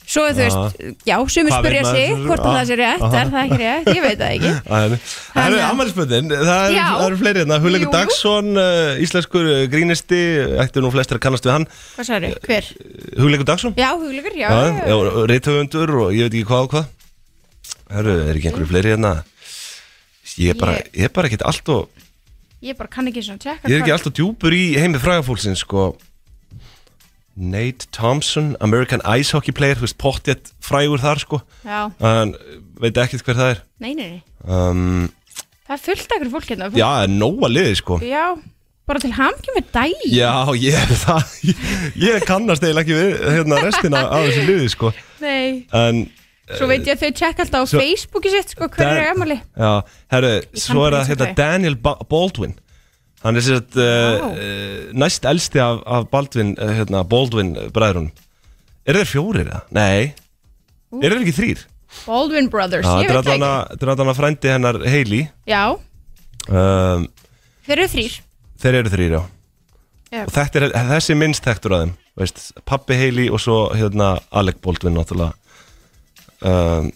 Speaker 2: Svo þú
Speaker 1: Já.
Speaker 2: veist, já, sumir
Speaker 1: Hvað veit
Speaker 2: spyrja
Speaker 1: maður
Speaker 2: sig
Speaker 1: svo-
Speaker 2: hvort að
Speaker 1: Ah.
Speaker 2: það sé rétt,
Speaker 1: Aha.
Speaker 2: er það ekki rétt, ég veit það ekki.
Speaker 1: Það eru
Speaker 2: Þannig að-
Speaker 1: afmælisböndin, það eru
Speaker 2: Já.
Speaker 1: það eru fleiri hérna Hulegur
Speaker 2: Jú, jú.
Speaker 1: Dagsson, uh, íslenskur uh, grínisti ættu nú flestir að kannast við hann
Speaker 2: Hvað sagði, hver?
Speaker 1: Hulegur Dagsson
Speaker 2: Já, hugleikur, já.
Speaker 1: já, og rithöfundur og ég veit ekki hvað og hvað Herru, er ekki einhverju fleiri hérna Ég er bara, ég er bara ekkert allt og
Speaker 2: Ég bara kann ekki svona tjekka.
Speaker 1: Ég er ekki
Speaker 2: hvað-
Speaker 1: allt og djúpur í heimi frægafólksins sko Nate Thompson, American Ice Hockey player Þú veist, pottjett frægur þar sko
Speaker 2: Já.
Speaker 1: En veit ekkert hver það er
Speaker 2: Nei, nei, nei.
Speaker 1: um,
Speaker 2: Það er fullt akkur fólk hérna.
Speaker 1: Já, það er nóga liði sko
Speaker 2: Já, bara til hamngjum með dæg.
Speaker 1: Já, ég, það, ég, ég kannast eiginlega ekki við hérna restina af þessu liði sko
Speaker 2: Nei.
Speaker 1: En
Speaker 2: Svo veit ég að þau tjekka alltaf á
Speaker 1: Svo-
Speaker 2: Facebooki sitt, sko, hver
Speaker 1: Dan-
Speaker 2: er Emily?
Speaker 1: Já, herru, svo er
Speaker 2: bara
Speaker 1: það
Speaker 2: þessu
Speaker 1: hérna
Speaker 2: gaur.
Speaker 1: Daniel ba Baldwin Hann er sér að uh, uh, næst elsti af, af Baldwin, uh, hérna, Baldwin bræðrunum Er þeir fjórir það? Nei
Speaker 2: Ú.
Speaker 1: Er þeir ekki þrýr?
Speaker 2: Baldwin Brothers, ég veit það ekki
Speaker 1: Þetta er allan að frændi hennar Hailey
Speaker 2: Já,
Speaker 1: um,
Speaker 2: þeir eru þrýr
Speaker 1: Þeir eru þrýr, já
Speaker 2: Já.
Speaker 1: Og þetta er, þessi er minnst hektur að þeim veist, Pappi Hailey og svo hérna, Alec Baldwin náttúrulega um,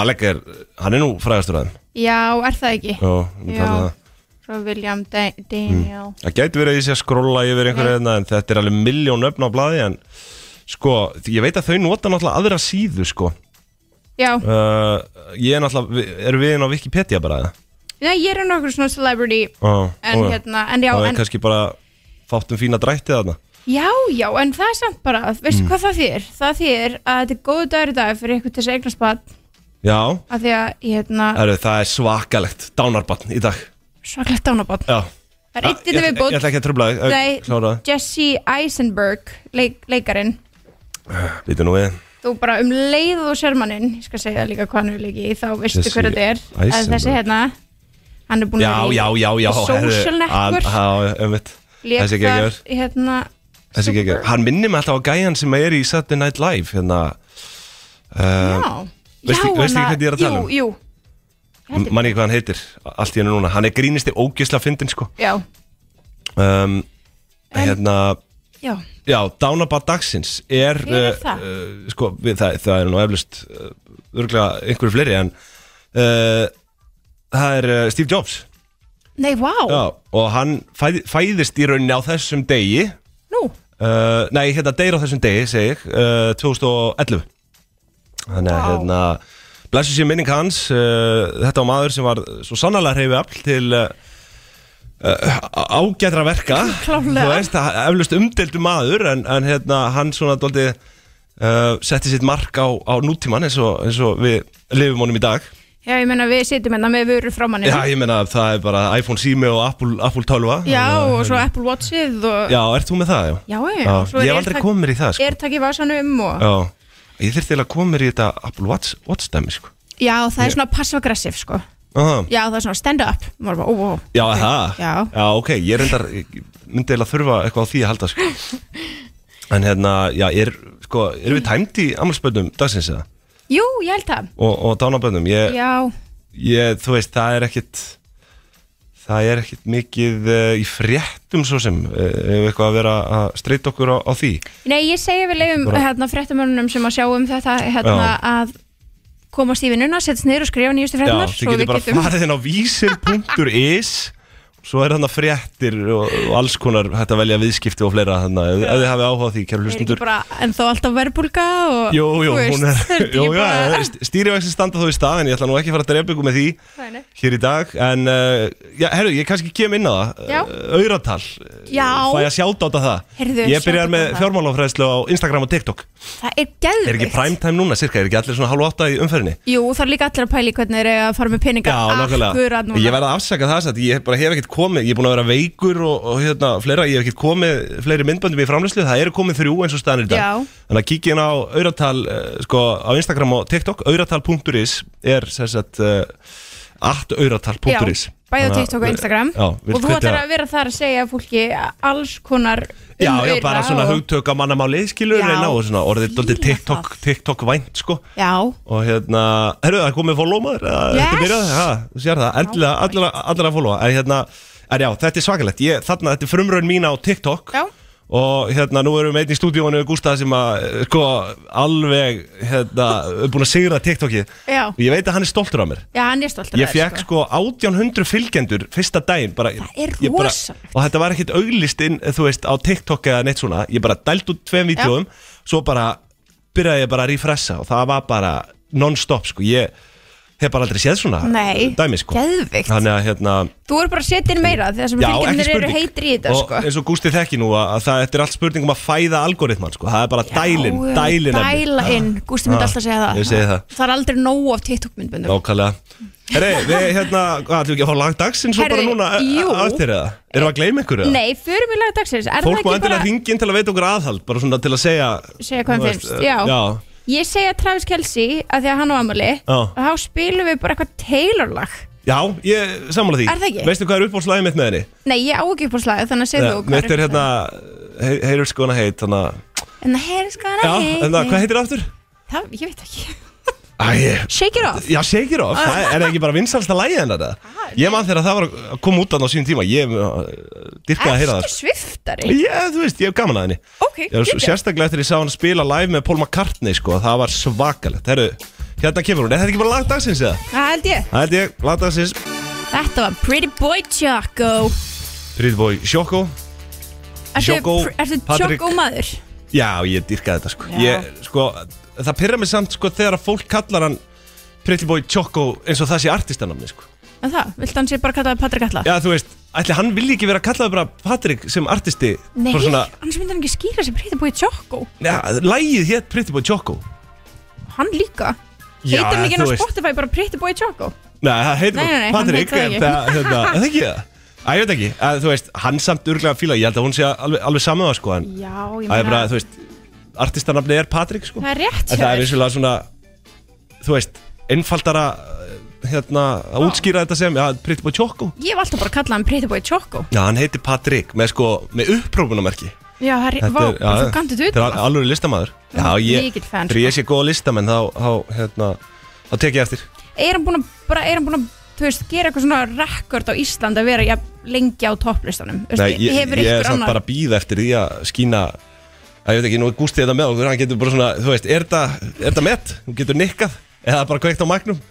Speaker 1: Alec er, hann er nú frægastur að þeim
Speaker 2: Já, er það ekki
Speaker 1: Já, ég
Speaker 2: Já.
Speaker 1: tala um það Hmm.
Speaker 2: Svo William Da- Daniel
Speaker 1: Mm. Það gæti verið að ég sé að skrolla yfir einhverja hérna en þetta er alveg miljón öfn á blaði en sko, ég veit að þau nota náttúrulega aðra síðu sko
Speaker 2: Já,
Speaker 1: uh, Ég er náttúrulega, vi- erum við inn á Wikipedia bara eða?
Speaker 2: Nei, ég er nokkur svona celebrity
Speaker 1: Ó,
Speaker 2: En
Speaker 1: ó, já.
Speaker 2: hérna, en já,
Speaker 1: Það
Speaker 2: en-
Speaker 1: er kannski bara fátt um fína drætti þarna
Speaker 2: Já, já, en það er samt bara Veistu
Speaker 1: Mm.
Speaker 2: hvað það þýr? Það þýr að þetta er góðu dagur í dag fyrir ykkur til þess eignarspann
Speaker 1: Já,
Speaker 2: af því að, hérna,
Speaker 1: Heru, það er svakalegt, dánarbarn í dag
Speaker 2: svaklegt dánabot
Speaker 1: Já
Speaker 2: Það er eitt í þetta
Speaker 1: Ég-
Speaker 2: viðbót.
Speaker 1: Ég ætla ekki að tröfla
Speaker 2: Nei.
Speaker 1: þig
Speaker 2: Jesse Eisenberg, leik, leikarinn
Speaker 1: Vítu nú við
Speaker 2: Þú bara um leið og sérmanninn Ég skal segja líka hvað hann er leiki í, Þá veistu
Speaker 1: Jesse
Speaker 2: hver þetta er
Speaker 1: Eisenberg.
Speaker 2: En þessi hérna, hann er búin
Speaker 1: Já, já, já, já
Speaker 2: í Social
Speaker 1: heyrðu,
Speaker 2: Network
Speaker 1: að- Já, um veit
Speaker 2: Lék
Speaker 1: Þessi
Speaker 2: þar,
Speaker 1: geggjör
Speaker 2: hérna,
Speaker 1: Þessi ekki, hann minnir mig alltaf á gæjan sem er í Saturday Night Live hérna
Speaker 2: Já,
Speaker 1: uh, Veistu
Speaker 2: já,
Speaker 1: veistu ekki
Speaker 2: hana-
Speaker 1: hvað ég er að tala um?
Speaker 2: Jú, jú,
Speaker 1: Manni ekki hvað hann heitir, allt í hennu núna Hann er grínisti ógisla fyndin sko
Speaker 2: já,
Speaker 1: um, Hérna
Speaker 2: já
Speaker 1: Já, Dánabad dagsins er,
Speaker 2: Hver er
Speaker 1: uh,
Speaker 2: það?
Speaker 1: uh, sko, við, það, það er nú eflust uh, örglega einhverju fleiri en uh, það er uh, Steve Jobs
Speaker 2: Nei, vá,
Speaker 1: Já, og hann fæð, fæðist í rauninni á þessum degi
Speaker 2: Nú?
Speaker 1: Uh, nei, hérna deyr á þessum degi, segi ég, uh, 2011 Þannig að hérna Blessu sér minning hans uh, Þetta var maður sem var svo sannarlega hreyfi afl til uh, uh, ágætra verka
Speaker 2: Klárlega.
Speaker 1: Þú veist, það er eflaust umdeldu maður en, en hérna, hann svona dóldi uh, setti sitt mark á, á nútíman eins og, eins og við lifum honum í dag
Speaker 2: já, ég meina við sitjum hérna með vörur frá manni
Speaker 1: Já, ég meina það er bara iPhone 7 og Apple, Apple 12
Speaker 2: og svo Apple Watchið og
Speaker 1: hérna- Já, ert þú með það? Já,
Speaker 2: já,
Speaker 1: já Ég hef aldrei komið mér í það sko.
Speaker 2: Er takk í vasanum og
Speaker 1: Já, ég þurfti eiginlega að koma mér í þetta Apple Watch, Watch dæmi sko
Speaker 2: Já, það
Speaker 1: Ég-
Speaker 2: er svona passiv-aggressiv, sko
Speaker 1: Aha.
Speaker 2: Já, það er svona stand up Maður bara, ó, ó,
Speaker 1: Já, það
Speaker 2: Já.
Speaker 1: ok, ég reyndar ég myndi eða þurfa eitthvað á því að halda sko. En hérna, já, er, sko, erum við tæmt í ammálspöndum dagsins eða?
Speaker 2: Jú, ég held það
Speaker 1: Og, og dánaböndum ég,
Speaker 2: Já,
Speaker 1: ég, þú veist, það er ekkit það er ekkit mikið uh, í fréttum svo sem uh, ef eitthvað að vera að streyta okkur á, á því
Speaker 2: nei, ég segi við leifum
Speaker 1: Bara-
Speaker 2: hérna, fréttamönnum sem að sjá um þetta hérna,
Speaker 1: Já.
Speaker 2: að komast í vinnuna, setjast niður og skrifa nýjustu
Speaker 1: Já,
Speaker 2: fréttamönn
Speaker 1: þið getur bara farið hérna inn á vísir.is Svo er þarna fréttir og, og alls konar hægt að velja viðskipti og fleira þannig að ef þið hafið áhuga á því, kæru
Speaker 2: Er ekki
Speaker 1: hlustundur
Speaker 2: bara ennþá alltaf verbulga og
Speaker 1: Jú, jú,
Speaker 2: þú veist,
Speaker 1: hún
Speaker 2: það
Speaker 1: er
Speaker 2: ekki
Speaker 1: jú, já,
Speaker 2: bara-
Speaker 1: Stýrivexin standa þó í stað en ég ætla nú ekki að fara að drepa ykkur með því
Speaker 2: Nei, nei.
Speaker 1: hér í dag en uh, já, herru, ég kannski kem inn á það
Speaker 2: Já.
Speaker 1: Uh, Auratal
Speaker 2: Já.
Speaker 1: Fæ ég að sjáta á það
Speaker 2: Heyrðu,
Speaker 1: Ég
Speaker 2: shout out
Speaker 1: byrjar
Speaker 2: á
Speaker 1: með
Speaker 2: það.
Speaker 1: fjármálafræðslu á Instagram og TikTok
Speaker 2: Það er geðvikt
Speaker 1: Er ekki primetime núna, cirka, er ekki allir svona hálf átta í umferðinni?
Speaker 2: Jú, það er líka allir að pæli hvernig þeir eiga að fara með peninga
Speaker 1: Já, nákvæmlega
Speaker 2: akkurat núna.
Speaker 1: Ég verði að afsaka það satt, ég bara hef ekkert komið Ég er búin að vera veikur og, og hérna, fleira Ég hef ekkert komið fleiri myndböndum í framlýslu Það eru komið þrjú eins og staðan í dag
Speaker 2: Já.
Speaker 1: Þannig að kíkja inn á Auratal uh, sko, á Instagram og TikTok Auratal.is er sem sagt uh, at Auratal.is
Speaker 2: Já, bæði á TikTok og Instagram
Speaker 1: Já, vil
Speaker 2: Og þú
Speaker 1: hvetja-
Speaker 2: ætlar að vera þar að segja fólki alls konar um
Speaker 1: Já, já,
Speaker 2: aura
Speaker 1: bara svona
Speaker 2: og-
Speaker 1: hugtök að mannamáli skilur
Speaker 2: Já.
Speaker 1: en á og svona orðið dóldi
Speaker 2: Fíla
Speaker 1: TikTok,
Speaker 2: það.
Speaker 1: TikTok vænt sko
Speaker 2: Já,
Speaker 1: og hérna, herru það er komið follow maður yes. þetta
Speaker 2: Yes.
Speaker 1: byrjaði, já, þú sér það endilega, allir að- allir að followa en hérna, en já, þetta er svakalegt ég, þarna, þetta er frumraun mín á TikTok
Speaker 2: Já.
Speaker 1: og hérna, nú erum við einn í stúdíónu Gústa sem að, eh, sko, alveg hérna, er búin að sigra TikTokið
Speaker 2: Já.
Speaker 1: og ég veit að hann er stoltur af mér
Speaker 2: já, hann er stoltur
Speaker 1: Ég fekk sko 1800 fylgjendur fyrsta daginn bara, Það
Speaker 2: er rosalegt.
Speaker 1: Og þetta var ekkit auglist inn, þú veist, á TikTok eða neitt svona Ég bara dælt út tveim vídjóum Svo bara byrjaði ég bara að refressa Og það var bara non-stop sko Ég hef bara aldrei séð svona
Speaker 2: Nei,
Speaker 1: dæmi sko
Speaker 2: geðvikt.
Speaker 1: Þannig að hérna
Speaker 2: Þú er bara að setja inn meira þegar sem
Speaker 1: Já, ekki
Speaker 2: fylgjumnir eru
Speaker 1: spurning
Speaker 2: heitir í þetta
Speaker 1: Og
Speaker 2: sko
Speaker 1: eins og Gústi þekki nú að að það þetta er allt spurning um að fæða algoritman sko Það er bara dælin,
Speaker 2: Já,
Speaker 1: dælin af mér.
Speaker 2: Dæla inn, Gústi myndi
Speaker 1: Ah,
Speaker 2: alltaf segja það
Speaker 1: ég segi það.
Speaker 2: Það er aldrei nóg af TikTok myndböndum
Speaker 1: Nákvæmlega Herri, við hérna, hvað, ætlum við ekki að fá langt dagsinn svo bara
Speaker 2: Herri,
Speaker 1: núna
Speaker 2: jú.
Speaker 1: aftur eða? Erum við að gleyma ykkur eða?
Speaker 2: Nei, fyrir mig laga dagsins Er
Speaker 1: Fólk má
Speaker 2: það ekki
Speaker 1: endilega
Speaker 2: bara
Speaker 1: bara... inn til að veita okkur aðhald, bara svona til að segja
Speaker 2: segja hvað
Speaker 1: þú
Speaker 2: hann
Speaker 1: veist,
Speaker 2: finnst
Speaker 1: eh,
Speaker 2: já.
Speaker 1: já.
Speaker 2: Ég segja Travis Kelsey að því að hann á amali
Speaker 1: Já.
Speaker 2: og þá spilum við bara eitthvað Taylor-lag
Speaker 1: Já, ég samála því
Speaker 2: Er það ekki?
Speaker 1: Veistu hvað er uppbólslagið mitt með henni?
Speaker 2: Nei, ég á ekki upp á slagið, þannig að segja þú hvað
Speaker 1: Mitt er hérna, hey- heyrur sko hana heit þannig að-
Speaker 2: En það heyrðis hvað
Speaker 1: Já,
Speaker 2: hann
Speaker 1: en það, hvað heitir það aftur?
Speaker 2: Það, ég veit ekki
Speaker 1: Æ, ég-
Speaker 2: Shake it off Ah,
Speaker 1: já, shake it off, það er það ekki bara vinsalsta lagið hennar það? Ég man þegar það var að koma út af á sínum tíma, ég uh, dyrkaði að heyra
Speaker 2: Ertu
Speaker 1: það
Speaker 2: sviftari?
Speaker 1: Já, þú veist, ég hef gaman að henni
Speaker 2: Ok,
Speaker 1: Já, s-
Speaker 2: geggjað.
Speaker 1: Sérstaklega eftir ég sá hann spila live með Paul McCartney sko, það var svakalegt Herru, hérna kemur hún, er þetta ekki bara lagdagsins eða?
Speaker 2: Það held ég
Speaker 1: Það held ég, lagdagsins
Speaker 2: Þetta var Pretty Boy Choco
Speaker 1: Pretty Boy Sjokko
Speaker 2: Ertu-
Speaker 1: Choco,
Speaker 2: pr- Ertu
Speaker 1: Patrick.
Speaker 2: Choco maður?
Speaker 1: Já, ég dyrkaði þetta sko.
Speaker 2: Já.
Speaker 1: ég, sko Það pyrra mig samt sko, þegar að fólk kallar hann Pretty Boy Choco eins og það sé artistanamni sko.
Speaker 2: En það, viltu hann sé bara kallaði Patrick Alla?
Speaker 1: Já, þú veist, ætli hann vilji ekki vera kallaði bara Patrick sem artisti
Speaker 2: Nei,
Speaker 1: bara svona,
Speaker 2: annars myndi hann ekki skýra sem Pretty Boy Choco
Speaker 1: ja, Lægið hétt Pretty Boy Choco
Speaker 2: Hann líka
Speaker 1: Já,
Speaker 2: Heitir hann ekki
Speaker 1: þú
Speaker 2: inn á
Speaker 1: veist.
Speaker 2: Spotify bara Pretty Boy Choco?
Speaker 1: Nei, það heitir
Speaker 2: Nei, nei,
Speaker 1: bara
Speaker 2: nei, hann heitir
Speaker 1: Patrick
Speaker 2: það
Speaker 1: en
Speaker 2: ekki.
Speaker 1: það hérna, er það ekki það? Æ, ég veit ekki, að, þú veist, hann samt örglega fíla Ég held að hún sé alveg, alveg saman það sko en,
Speaker 2: Já, ég
Speaker 1: Það er bara,
Speaker 2: meina
Speaker 1: þú veist, artistanafni er Patrick sko
Speaker 2: Það er rétt
Speaker 1: En það er
Speaker 2: hjá þér.
Speaker 1: vissulega svona Þú veist, einfaldara uh, Hérna, að útskýra þetta sem Já, Pretty Boy Choco
Speaker 2: Ég hef alltaf bara kallað hann Pretty Boy Choco
Speaker 1: Já, hann heitir Patrick Með sko, með upprópunamerki
Speaker 2: Já, það er, vá, þú kanntu þetta
Speaker 1: Þetta er
Speaker 2: utan að.
Speaker 1: alveg listamæður Já, ég,
Speaker 2: Mikill fan, sko.
Speaker 1: þegar ég sé góða listamenn Þá, þá, hérna, þá tek ég eftir
Speaker 2: Er hann búin að, bara, er hann búin að, þú veist, gera eitthvað svona rekord á Ísland að vera ja, lengi á topplistanum? Þú veist,
Speaker 1: Nei, ég,
Speaker 2: hefur
Speaker 1: ég er
Speaker 2: ykkur
Speaker 1: samt
Speaker 2: annar-
Speaker 1: bara að býða eftir því að skína að ég veit ekki, nú er Gústi þetta með okkur hann getur bara svona, þú veist, er þetta er þetta met? Hún getur nikkað eða bara kveikt á magnum?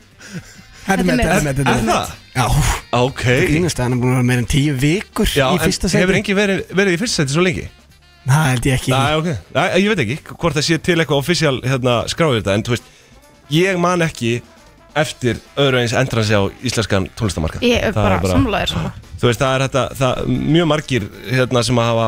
Speaker 3: Þetta er með, þetta er með, þetta
Speaker 1: Er
Speaker 3: er með
Speaker 1: það?
Speaker 3: Já,
Speaker 1: Ok
Speaker 3: grínast að hann er búin að vera meira en tíu vikur
Speaker 1: Já,
Speaker 3: í
Speaker 1: en
Speaker 3: fyrsta seti
Speaker 1: hefur engi verið, verið í fyrsta seti svo lengi?
Speaker 3: Það held ég ekki
Speaker 1: Næ, ok, Næ, ég veit ekki hvort það sé til eitthvað offisjál hérna, skráður þetta en þú veist, ég man ekki eftir öðru eins endransi á íslenskan tónlistamarka
Speaker 2: Ég er bara, samlaðir sko.
Speaker 1: þú veist það er þetta það, mjög margir hérna, sem að hafa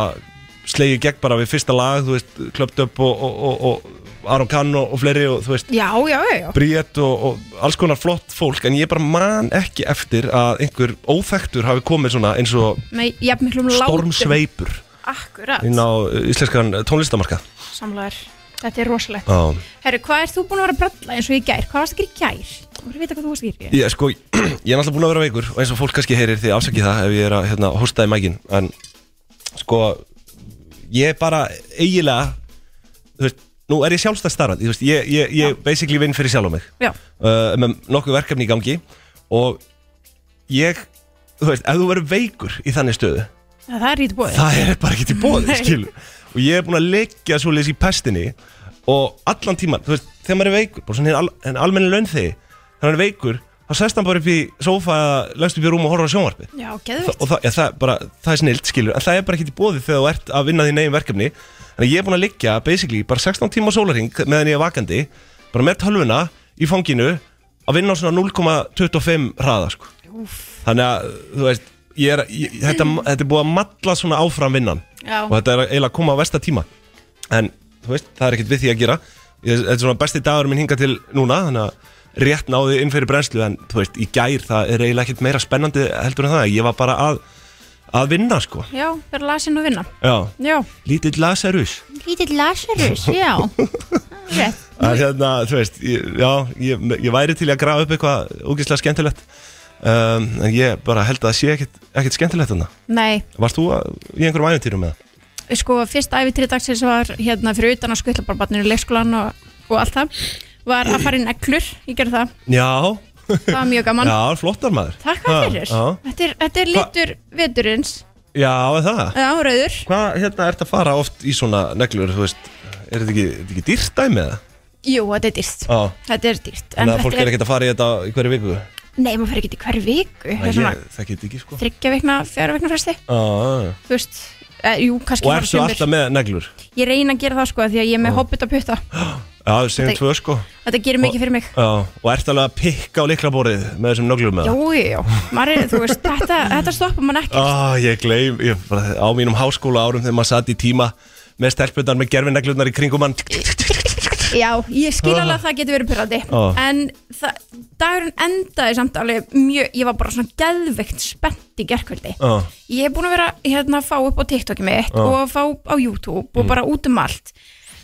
Speaker 1: slegið gegn bara við fyrsta lag þú veist, klöpt upp og, og, og, og Aron Kahn og, og fleiri og þú veist
Speaker 2: Já, já, já, já.
Speaker 1: Bríett og, og alls konar flott fólk en ég bara man ekki eftir að einhver óþektur hafi komið svona eins og
Speaker 2: Með jafn miklum látum.
Speaker 1: stormsveipur
Speaker 2: Akkurat,
Speaker 1: inn á uh, íslenskan tónlistamarka
Speaker 2: samlaðir. Þetta er rosalegt.
Speaker 1: Já,
Speaker 2: Herru, hvað er þú búin að vera að bralla eins og í gær? Hvað varst ekki í gær? Þú verður að vita hvað þú varst ekki
Speaker 1: Ég, sko, ég er náttúrulega búin að vera veikur og eins og fólk kannski heyrir því afsakið það ef ég er að hérna, hosta í mækin en sko ég er bara eiginlega þú veist, nú er ég sjálfstæð starrand ég, ég, ég, ég basically vinn fyrir sjálf á mig
Speaker 2: Já,
Speaker 1: uh, með nokkuð verkefni í gangi og ég þú veist, ef þú verður veikur í þannig stöðu
Speaker 2: það það er ít bóðið
Speaker 1: það er bara ekki til bóði
Speaker 2: Nei.
Speaker 1: skilu. og ég er búin að leggja svo í pestinni og allan tíman þú veist, þegar maður er veikur, bara svona hinn al, en almenni laun þegi, þegar maður er veikur þá sest hann bara upp í sófa eða lögst upp í rúm og horfa á sjónvarpi
Speaker 2: Já,
Speaker 1: Þa-
Speaker 2: geðvikt
Speaker 1: og það, ja, það, er bara, það er snilt skilur en það er bara ekki til bóði þegar þú ert að vinna þín eigin verkefni en ég er búin að liggja basically bara 16 tíma sólarhing meðan ég er vakandi bara með tölvuna í fanginu að vinna á svona 0,25 hraða sko. þannig að þú veist ég er, ég, þetta, þetta er búið að matla svona áfram vinnan
Speaker 2: Já.
Speaker 1: og þetta er eiginlega að koma á versta tíma en þú veist, það er ekkert við því að gera ég, þetta er svona besti dagur minn hinga til núna þannig að rétt náði inn fyrir brennslu en þú veist, í gær það er eiginlega ekkert meira spennandi heldur en það, ég var bara að að vinna sko,
Speaker 2: Já, vera lasin og vinna
Speaker 1: já,
Speaker 2: Já,
Speaker 1: lítill laserus
Speaker 2: lítill Lazarus, já Rétt
Speaker 1: en hérna, þú veist, ég, já ég, ég væri til í að grafa upp eitthvað ógeðslega skemmtilegt um, en ég bara held að það sé ekkert, ekkert skemmtilegt þarna
Speaker 2: Nei,
Speaker 1: varst þú að, í einhverjum æfintýrum með það?
Speaker 2: sko, fyrst æfitrið dagsins var hérna fyrir utan á skvillabarbarnir í leikskólan og, og allt það var að fara inn eglur, ég gerði það,
Speaker 1: Já,
Speaker 2: það var mjög gaman
Speaker 1: já, flottar maður
Speaker 2: Takk að
Speaker 1: Ha,
Speaker 2: fyrir,
Speaker 1: já.
Speaker 2: þetta er, þetta er
Speaker 1: Hva-
Speaker 2: litur veturins,
Speaker 1: Já, er það
Speaker 2: já, rauður
Speaker 1: Hvað hérna ert að fara oft í svona neglur, þú veist, er þetta ekki, er þetta ekki dýrt dæmi eða?
Speaker 2: Jú, þetta er dýrt,
Speaker 1: Já.
Speaker 2: þetta er dýrt
Speaker 1: Þannig að
Speaker 2: þetta
Speaker 1: fólk er ekkert að fara í þetta í hverju viku?
Speaker 2: Nei, maður fer ekki til hverju viku Það er
Speaker 1: Nei,
Speaker 2: svona
Speaker 1: ég, það get ekki sko.
Speaker 2: þryggja vikna, fjara vikna fresti
Speaker 1: Já, já, já.
Speaker 2: Þú veist, e, jú, kannski
Speaker 1: Og
Speaker 2: bara
Speaker 1: ertu
Speaker 2: sumir.
Speaker 1: alltaf með neglur?
Speaker 2: Ég reyna að gera það sko, því að ég er með hobbit að putta
Speaker 1: Já, við segjum
Speaker 2: Þetta-
Speaker 1: tvö sko.
Speaker 2: Þetta gerir mikið fyrir mig
Speaker 1: Já, og ertu alveg að pikka á liklaborið með þessum neglum með
Speaker 2: Jú,
Speaker 1: það?
Speaker 2: jú, jú, maður er, þú veist, þetta, þetta stoppar mann ekki
Speaker 1: Á, ég gleym, ég bara á mínum háskóla árum þegar maður satt í tíma með stelpunar með gerfinneglurnar í kringum hann.
Speaker 2: Já, ég skil alveg að það getur verið pyrrandi
Speaker 1: Ah.
Speaker 2: En það, dagurinn endaði samt alveg mjög Ég var bara svona geðveikt spennt í gerkvöldi
Speaker 1: Já,
Speaker 2: Ég er búin að vera hérna að fá upp á TikTokið mitt
Speaker 1: Ah.
Speaker 2: Og að fá á YouTube
Speaker 1: Mm.
Speaker 2: og bara út um allt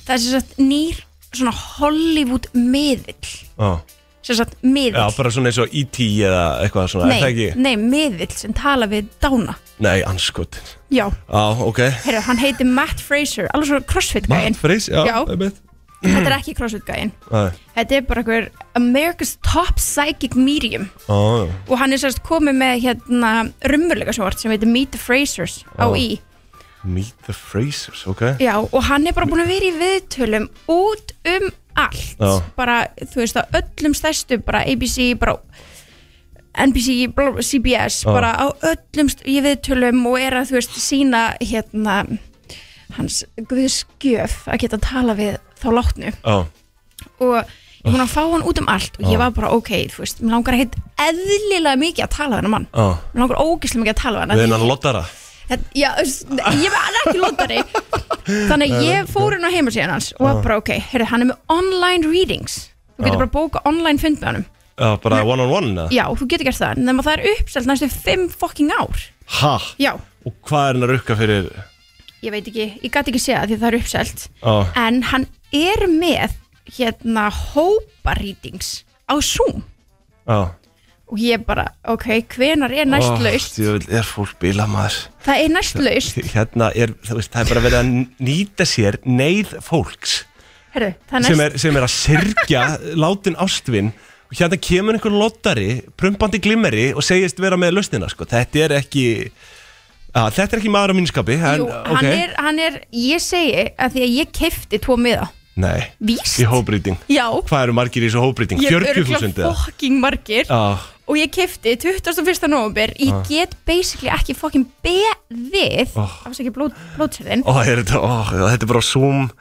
Speaker 2: Það er sem sagt nýr svona Hollywood miðill
Speaker 1: já.
Speaker 2: Sem sagt
Speaker 1: Já,
Speaker 2: miðill
Speaker 1: bara svona eins og E.T. eða eitthvað svona, er það
Speaker 2: Nei,
Speaker 1: ekki?
Speaker 2: nei, miðill sem tala við dána
Speaker 1: Nei, anskotin.
Speaker 2: Já,
Speaker 1: Já, ok.
Speaker 2: heyrðu, hann heiti Matt Fraser Alveg svona crossfit-gæin
Speaker 1: Matt Freys, já,
Speaker 2: Já.
Speaker 1: einmitt.
Speaker 2: Þetta er ekki crossfit-gæin
Speaker 1: Nei.
Speaker 2: Þetta er bara einhver America's Top Psychic Medium
Speaker 1: Ó,
Speaker 2: og hann er sérst komið með hérna rummulega svort sem heitir Meet the Frasers á
Speaker 1: Ó.
Speaker 2: í
Speaker 1: meet the Frasers, ok
Speaker 2: Já, og hann er bara búin að vera í viðtölum út um allt
Speaker 1: Já.
Speaker 2: bara, þú veist, á öllum stærstu bara ABC, bara NBC, bla, bla, CBS
Speaker 1: Já.
Speaker 2: bara á öllum st- í viðtölum og er að, þú veist, sína hérna hans guðskjöf að geta tala við þá látnu
Speaker 1: Já,
Speaker 2: og ég hún að fá hann út um allt og ég
Speaker 1: Já.
Speaker 2: var bara ok, þú veist, mér langar að heit eðlilega mikið að tala við hann mann
Speaker 1: já
Speaker 2: mér langar ógeðslega mikið að tala við hann
Speaker 1: Við
Speaker 2: af því-
Speaker 1: hennan lottara
Speaker 2: Þetta- já, þú veist, ég var ekki lotari þannig að ég fór hann á heimasíðan hans og var bara ok, heyrðu, hann er með online readings þú
Speaker 1: Já.
Speaker 2: getur bara bóka online fund með hann
Speaker 1: Já, bara one on one eða?
Speaker 2: já, þú getur gert það, nema það er uppselt næstu fimm fucking ár
Speaker 1: Ha,
Speaker 2: já,
Speaker 1: og hvað er hann að rukka fyrir
Speaker 2: ég veit ekki, ég gæti ekki segja það því að það er uppselt
Speaker 1: Já,
Speaker 2: en hann er með hérna hópa readings á Zoom
Speaker 1: já
Speaker 2: og ég bara, ok, hvenar er næst
Speaker 1: Ó,
Speaker 2: laust
Speaker 1: djöfull, er fólk bíla maður
Speaker 2: það er næst laust
Speaker 1: Hérna er, þú veist, það er bara verið að nýta sér neyð fólks
Speaker 2: Herru, það er
Speaker 1: sem
Speaker 2: næst
Speaker 1: er, sem er að syrgja látin ástvin og hérna kemur einhver lottari prumpandi glimmeri og segist vera með lausnina sko. þetta er ekki að, þetta er ekki maður á mínskapi en,
Speaker 2: Jú, hann,
Speaker 1: ok.
Speaker 2: er, hann er, ég segi að því að ég kefti tvo miða
Speaker 1: Nei,
Speaker 2: Víst?
Speaker 1: í hóbrýting
Speaker 2: Já,
Speaker 1: Hvað eru margir í þessu hóbrýting?
Speaker 2: ég er
Speaker 1: 40.000
Speaker 2: örgulega
Speaker 1: eða?
Speaker 2: fokking margir
Speaker 1: Já, Ah.
Speaker 2: og ég kefti 21. november ég get basically ekki fokking beðið
Speaker 1: Oh.
Speaker 2: afsækja blót, blótsirðin
Speaker 1: ó, er þetta, ó, þetta er bara á Zoom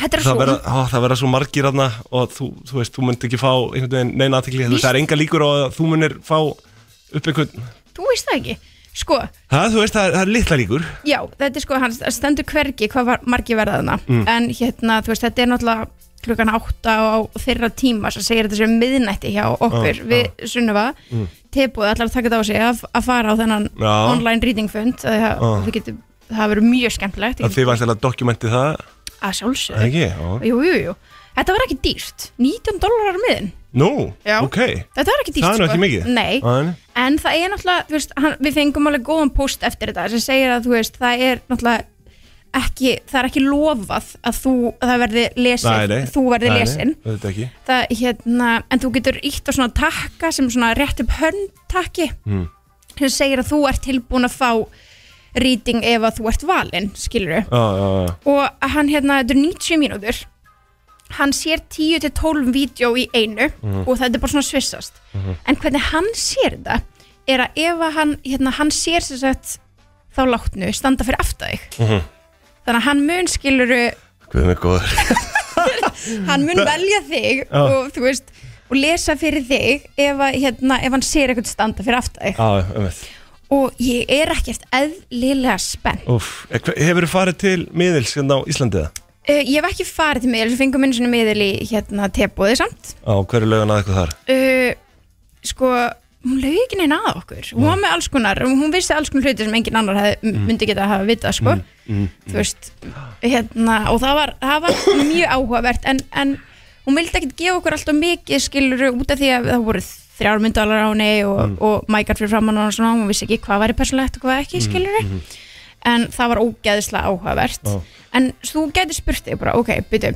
Speaker 2: Þetta er
Speaker 1: Það
Speaker 2: svo,
Speaker 1: verða, ó, það verða svo margir aðna og þú, þú veist, þú munt ekki fá einhvern veginn neina aðtekli, þú veist,
Speaker 2: Víst.
Speaker 1: það er enga líkur á að þú munir fá upp einhvern
Speaker 2: þú veist það ekki Sko,
Speaker 1: Hæ, þú veist, það er, það er litla líkur
Speaker 2: já, þetta er sko, hann stendur hvergi hvað var margir verðaðna mm. en hérna, þú veist, þetta er náttúrulega klukkan átta á þeirra tíma sem segir þetta sem miðnætti hjá okkur
Speaker 1: Já,
Speaker 2: við Sunnuva mm. tilbúið allar að taka þetta á sig að, að fara á þennan
Speaker 1: Já.
Speaker 2: online reading fund það,
Speaker 1: Já.
Speaker 2: það, getur, það verður mjög skemmtilegt
Speaker 1: Það þið vantilega dokumenti það,
Speaker 2: að
Speaker 1: það
Speaker 2: sjálfsög
Speaker 1: ekki? Ó.
Speaker 2: Jú, jú, jú. Þetta var ekki dýrt. 19 dólarar miðin.
Speaker 1: Nú,
Speaker 2: Já.
Speaker 1: ok
Speaker 2: Þetta var ekki dýrt sko.
Speaker 1: Það er nú ekki mikið.
Speaker 2: Nei,
Speaker 1: Aðeins.
Speaker 2: en það er náttúrulega, þú veist, hann, við fengum alveg góðan post eftir þetta sem segir að, þú veist, það er náttúrulega ekki, það er ekki lofað að þú, að það verði lesið, þú verði lesin
Speaker 1: Þetta ekki
Speaker 2: það, hérna, en þú getur ítt á svona takka sem svona rétt upp hönd takki
Speaker 1: Mm.
Speaker 2: sem segir að þú ert tilbúin að fá rýting ef að þú ert valinn, skilur við
Speaker 1: Já, já, já
Speaker 2: og hann hérna, þetta er 90 mínútur hann sér 10-12 vídeo í einu
Speaker 1: Mhm.
Speaker 2: og þetta er bara svona svissast en hvernig hann sér þetta er að ef að hann, hérna, hann sér sér sett þá látnu standa fyrir aftur þig
Speaker 1: Mhm.
Speaker 2: þannig að hann mun skiluru
Speaker 1: Guð mig góður
Speaker 2: hann mun velja þig
Speaker 1: Já.
Speaker 2: og þú veist og lesa fyrir þig ef, að, hérna, ef hann sér eitthvað standa fyrir aftur þig
Speaker 1: Já, um veit
Speaker 2: og ég er ekkert eðlilega spennt
Speaker 1: Úf, hefur þú e, farið til miðils hérna á Íslandið?
Speaker 2: uh, ég hef ekki farið til miðil, við fengum einu sinni miðil í hérna tebúði samt
Speaker 1: Á hverju löguna að eitthvað þar?
Speaker 2: uh, sko hún lög ekki neina að okkur hún var með alls konar, hún vissi alls konar hluti sem engin annar hef, myndi geta að hafa vitað sko.
Speaker 1: Mm.
Speaker 2: þú veist hérna, og það var, það var mjög áhugavert en, en hún vildi ekkert gefa okkur alltaf mikið skilur út af því að það voru þrjár myndalar á henni og, mm. og mækar fyrir framann og svona, hún vissi ekki hvað væri persónlegt og hvað ekki skilur en það var ógeðislega áhugavert
Speaker 1: Já.
Speaker 2: en þú getur spurt þig bara, ok, byrju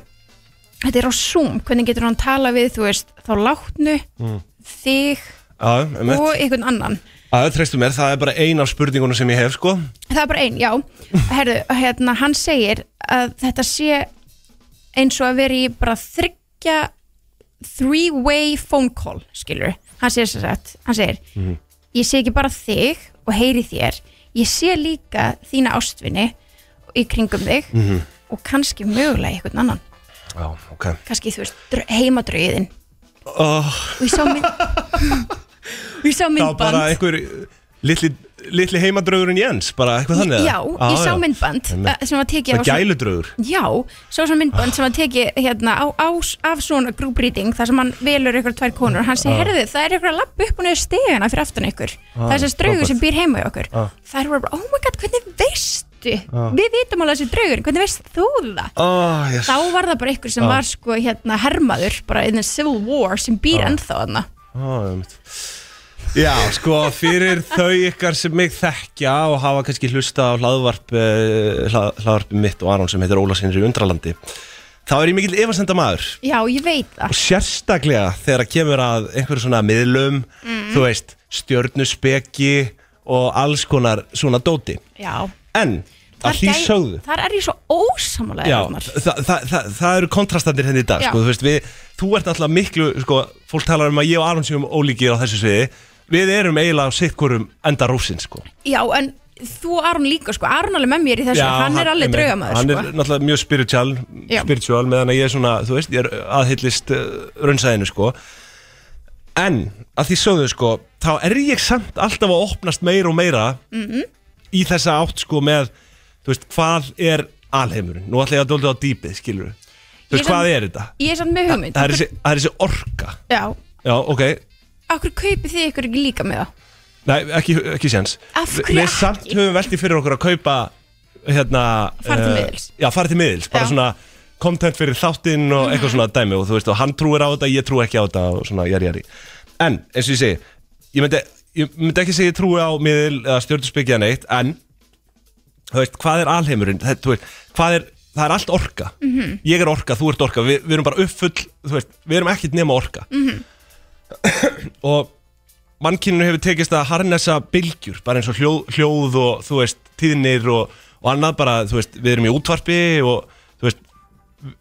Speaker 2: þetta er á Zoom, hvernig getur hann tala við þú veist, þá látnu
Speaker 1: Mm.
Speaker 2: þig
Speaker 1: Já, um veit
Speaker 2: og einhvern annan
Speaker 1: Það treystu mér, það er bara ein af spurningunum sem ég hef, sko
Speaker 2: það er bara ein, já Herðu, hérna, hann segir að þetta sé eins og að vera í bara þryggja three-way phone call skilur, hann segir sér satt hann segir,
Speaker 1: Mhm.
Speaker 2: ég sé ekki bara þig og heyri þér, ég sé líka þína ástvinni í kringum þig og kannski mögulega einhvern annan,
Speaker 1: Já, ok
Speaker 2: kannski þú veist dr- heimadrögiðin
Speaker 1: oh,
Speaker 2: og ég sá mynd og ég sá
Speaker 1: Þá
Speaker 2: myndband
Speaker 1: bara einhver litli, litli heimadraugurinn Jens, bara eitthvað þannig eða? Ah,
Speaker 2: já, ég sá
Speaker 1: já.
Speaker 2: myndband
Speaker 1: Einmitt.
Speaker 2: eh, sem var tekið
Speaker 1: Það
Speaker 2: á svona-
Speaker 1: gæludraugur
Speaker 2: Já, svo sem myndband sem að teki hérna á, á, af svona group reading þar sem hann velur ykkur tvær konur og hann segir,
Speaker 1: Ah.
Speaker 2: herðu, það er ykkur að lappa upp og niður stegana fyrir aftan ykkur það er þessi draugur sem býr heima í okkur
Speaker 1: Ah.
Speaker 2: þær voru bara, oh my god, hvernig veistu við vitum alveg þessi draugur, hvernig veist þú það
Speaker 1: oh, Ah. yes. Ah.
Speaker 2: þá var það bara ykkur sem var sko hérna hermaður, bara in the civil war sem
Speaker 1: Ah.
Speaker 2: býr ennþá þarna
Speaker 1: Ó, einmitt. Já, sko, fyrir þau ykkar sem mig þekkja og hafa kannski hlusta á hlaðvarp, eh, hlað, hlaðvarpi mitt og Aron sem heitir Ólasinir í Undralandi þá er ég mikill efasenda maður
Speaker 2: Já, ég veit
Speaker 1: og
Speaker 2: það
Speaker 1: sérstaklega þegar kemur að einhverju svona miðlum þú veist, stjörnuspeki og alls konar svona dóti
Speaker 2: Já,
Speaker 1: en
Speaker 2: Þar
Speaker 1: að því
Speaker 2: gæ-
Speaker 1: sögðu
Speaker 2: Þar er ég svo ósamalega
Speaker 1: Já, það, það, það, það eru kontrastandir henni í dag
Speaker 2: Já.
Speaker 1: sko, þú, veist, við, þú ert alltaf miklu sko, fólk talar um að ég og Aron séum ólíkir á þessu sviði við erum eiginlega á sitt hvorum enda rúsin sko.
Speaker 2: Já, en þú Aron líka sko, Aron alveg með mér í þessu, hann, er alveg
Speaker 1: einmitt,
Speaker 2: draugamæður
Speaker 1: hann
Speaker 2: sko.
Speaker 1: er náttúrulega mjög spiritual,
Speaker 2: Já.
Speaker 1: spiritual meðan að ég er svona, þú veist, ég er aðhyllist uh, raunsæðinu sko. en að því sögðu sko, þá er ég samt alltaf að opnast meira og meira í þessa átt sko með þú veist, hvað er alheimurinn nú ætla ég að dólda á dýpið, skilur þú veist,
Speaker 2: Ég
Speaker 1: hvað
Speaker 2: samt-
Speaker 1: er þetta?
Speaker 2: Ég er samt með hugmynd
Speaker 1: það er þessi, það er þessi orka
Speaker 2: Já,
Speaker 1: Já, ok,
Speaker 2: okkur kaupið þið ykkur ekki líka með það
Speaker 1: nei, ekki, ekki séns
Speaker 2: Af
Speaker 1: Vi-
Speaker 2: hverju
Speaker 1: Við samt
Speaker 2: ekki?
Speaker 1: höfum veltið fyrir okkur að kaupa hérna
Speaker 2: Fara til
Speaker 1: eh,
Speaker 2: miðils.
Speaker 1: Já, fara til miðils, bara
Speaker 2: Já.
Speaker 1: svona content fyrir þáttinn og eitthvað svona dæmi og þú veist, og hann trúir á þetta, ég trú ekki á þetta og svona, jari, jari En, eins og ég segi, ég myndi, ég myndi ekki segja ég trúi á miðil eða stjórnusbyggja neitt, en þú veist, hvað er alheimurinn það, þú veist, hvað er, það er allt orka
Speaker 2: Mhm.
Speaker 1: -hmm. ég er orka, þú ert orka, við, við erum bara uppfull þú veist, við erum ekkert nema orka -hmm. og mannkyninu hefur tekist að harnessa bylgjur, bara eins og hljóð, hljóð og þú veist, tíðnir og, og annað bara, þú veist, við erum í útvarpi og þú veist,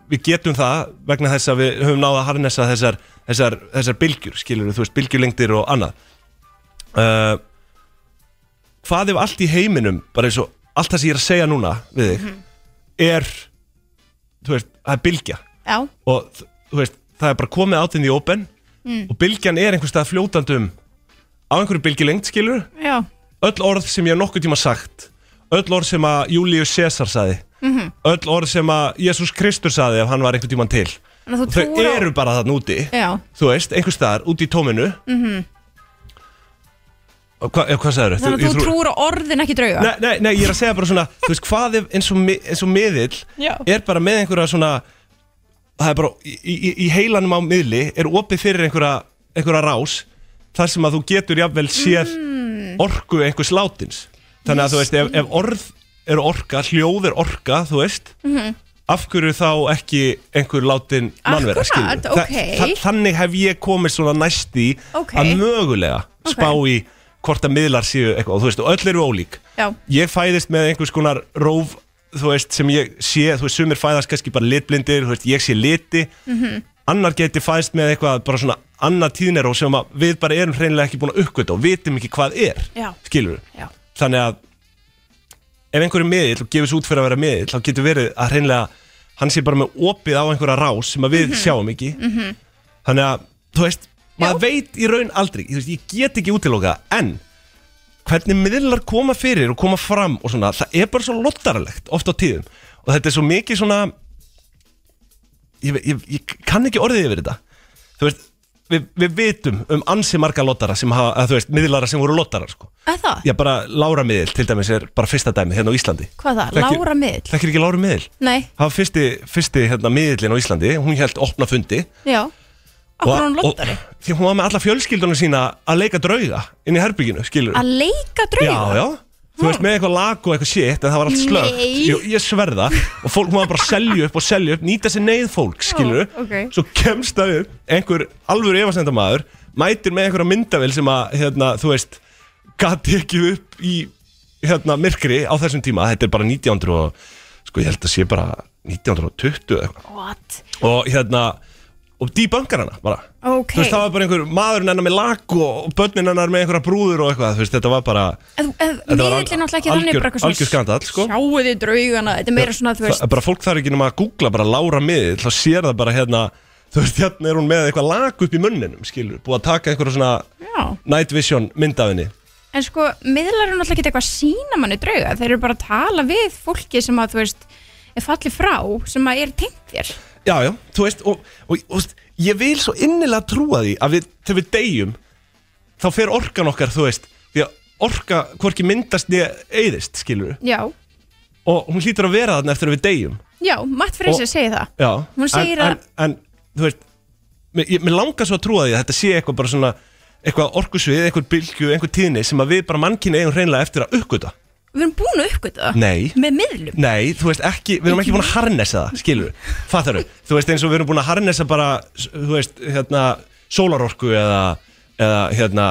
Speaker 1: við getum það vegna þess að við höfum náða að harnessa þessar, þessar, þessar bylgjur skilur þú veist, bylgjulengdir og annað uh, hvað ef allt í heiminum bara eins og allt það sem ég er að segja núna við þig
Speaker 2: Mhm.
Speaker 1: er þú veist, það er bylgja
Speaker 2: Já,
Speaker 1: og þ- þú veist, það er bara komið átinn í open
Speaker 2: Mm.
Speaker 1: og bylgjan er einhvers stað fljótandum á einhverju bylgjulengt skilur
Speaker 2: já,
Speaker 1: öll orð sem ég hef nokkuð tíma sagt öll orð sem að Július Caesar saði -hmm.
Speaker 2: Mhm.
Speaker 1: öll orð sem að Jésús Kristur saði ef hann var einhvern tíman til
Speaker 2: þannig að þú
Speaker 1: og þau
Speaker 2: trúir á
Speaker 1: eru bara þarna úti
Speaker 2: Já, Mhm.
Speaker 1: þú veist, einhvers staðar, úti í tóminu mm -hmm. Hva, já, hvað sagður?
Speaker 2: þannig að þú trúir á orðin ekki drauga
Speaker 1: Nei, nei, nei, ég er að segja bara svona Þú veist, hvað ef eins og, mi- eins og miðill
Speaker 2: Já.
Speaker 1: Er bara með einhverja svona það er bara í, í, í heilanum á miðli er opið fyrir einhverja, einhverja rás þar sem að þú getur jafnvel séð orku einhvers látins þannig að þú veist, ef, ef orð er orka, hljóð er orka, þú veist
Speaker 2: Mm. Mhm.
Speaker 1: af hverju þá ekki einhver látin mannverða,
Speaker 2: Akkurat,
Speaker 1: skilur við? Þa-
Speaker 2: ókei.
Speaker 1: þa- þannig hef ég komið svona næst í
Speaker 2: Ókei.
Speaker 1: að mögulega spá í hvort að miðlar séu eitthvað, og þú veist, og öll eru ólík
Speaker 2: Já.
Speaker 1: ég fæðist með einhvers konar róf þú veist, sem ég sé, þú veist, sumir fæðast kannski bara litblindir, þú veist, ég sé liti annar geti fæðist með eitthvað bara svona annar tíðniró sem að við bara erum hreinlega ekki búin að uppgöta og vitum ekki hvað er,
Speaker 2: Já.
Speaker 1: skilur
Speaker 2: Já.
Speaker 1: þannig að ef einhverju miðill og gefur svo út fyrir að vera miðill þá getur verið að hreinlega hann sé bara með opið á einhverja rás sem að við sjáum ekki
Speaker 4: Mhm.
Speaker 2: Mhm.
Speaker 1: -hmm. þannig að, þú veist, maður veit í raun aldrei, þú veist, ég get ekki útilokað en hvernig miðlar koma fyrir og koma fram og svona, það er bara svo lottarlegt oft á tíðum og þetta er svo mikið svona ég, ve- ég, ég kann ekki orðið yfir þetta þú veist, við, við vitum um ansi marga lottara sem hafa, að, þú veist, miðlara sem voru lottara sko.
Speaker 2: Að það?
Speaker 1: já, bara Lára miðil til dæmis er bara fyrsta dæmi hérna á Íslandi
Speaker 2: Hvað það?
Speaker 1: Þekkir-
Speaker 2: Lára miðill?
Speaker 1: Þekkir ekki Lára miðil?
Speaker 2: Nei,
Speaker 1: Það var fyrsti, fyrsti hérna, miðillin á Íslandi, hún held opna fundi
Speaker 2: já Akkur hún
Speaker 1: Og-
Speaker 2: lottari
Speaker 1: og- Því hún var með alla fjölskyldunum sína að leika drauga inn í herbygginu, skilur
Speaker 2: Að leika
Speaker 1: Já,
Speaker 2: drauga?
Speaker 1: já Þú veist, með eitthvað lag og eitthvað shit En það var allt slögt
Speaker 2: Nei.
Speaker 1: Jú, Ég sverða Og fólk maður bara að selja upp og selja upp Nýta sér neyð fólk, skilur
Speaker 2: Ó, ókei.
Speaker 1: Svo kemst það upp Einhver alvöru efasendamaður Mætir með einhverja myndavél sem að, hérna, þú veist Gati ekki upp í, hérna, myrkri á þessum tíma Þetta er bara 1900 og Sko, ég held að sé bara 1920 eða eitthvað
Speaker 2: What?
Speaker 1: Og hérna Og dýbankar hana, bara
Speaker 2: Ok
Speaker 1: Þú veist, það var bara einhver maðurinn hennar með lag og og börnin hennar með einhverja brúður og eitthvað, þú veist, þetta var bara
Speaker 2: Miðill
Speaker 1: Þetta var
Speaker 2: er náttúrulega ekki þannig
Speaker 1: algjör-
Speaker 2: bara eitthvað svona
Speaker 1: algjör skandall, sko.
Speaker 2: Sjáu þið draugana, þetta er meira svona þú veist
Speaker 1: Þa, bara fólk þarf ekki nema að googla bara Lára miðill þá sér það bara hérna þú veist hérna er hún með eitthvað lag upp í munninum skilur, búið að taka einhverja svona
Speaker 2: Já
Speaker 1: night vision mynd af henni
Speaker 2: En sko, miðlar eru náttúrulega ekki eitthvað að sína manni drauga Þeir eru bara að tala við fólki sem að, þú veist, er fallið frá sem að er tengt þér
Speaker 1: já já, þú veist og, og, og, og ég vil svo innilega trúa því að við, þegar við deyjum þá fer orkan okkar, þú veist því að orka hvorki myndast niður eyðist skilur,
Speaker 2: Já,
Speaker 1: og hún hlýtur að vera þarna eftir að við deyjum
Speaker 2: já, Matt Fraser segir það
Speaker 1: já,
Speaker 2: Hún segir
Speaker 1: en,
Speaker 2: að-
Speaker 1: en, en, þú veist mér, ég- mér langar svo að trúa því að þetta sé eitthvað bara svona eitthvað orkusvið, eitthvað bylgju, eitthvað tíðni sem að við bara mannkynni eigum hreinlega eftir að uppgöta
Speaker 2: Við erum búin að uppgöta það
Speaker 1: Nei.
Speaker 2: Með miðlum
Speaker 1: Nei, þú veist ekki, við erum ekki búin að harnessa það, skilur við Fattar við, þú veist eins og við erum búin að harnessa bara, s- þú veist, hérna sólarorku eða, eða hérna,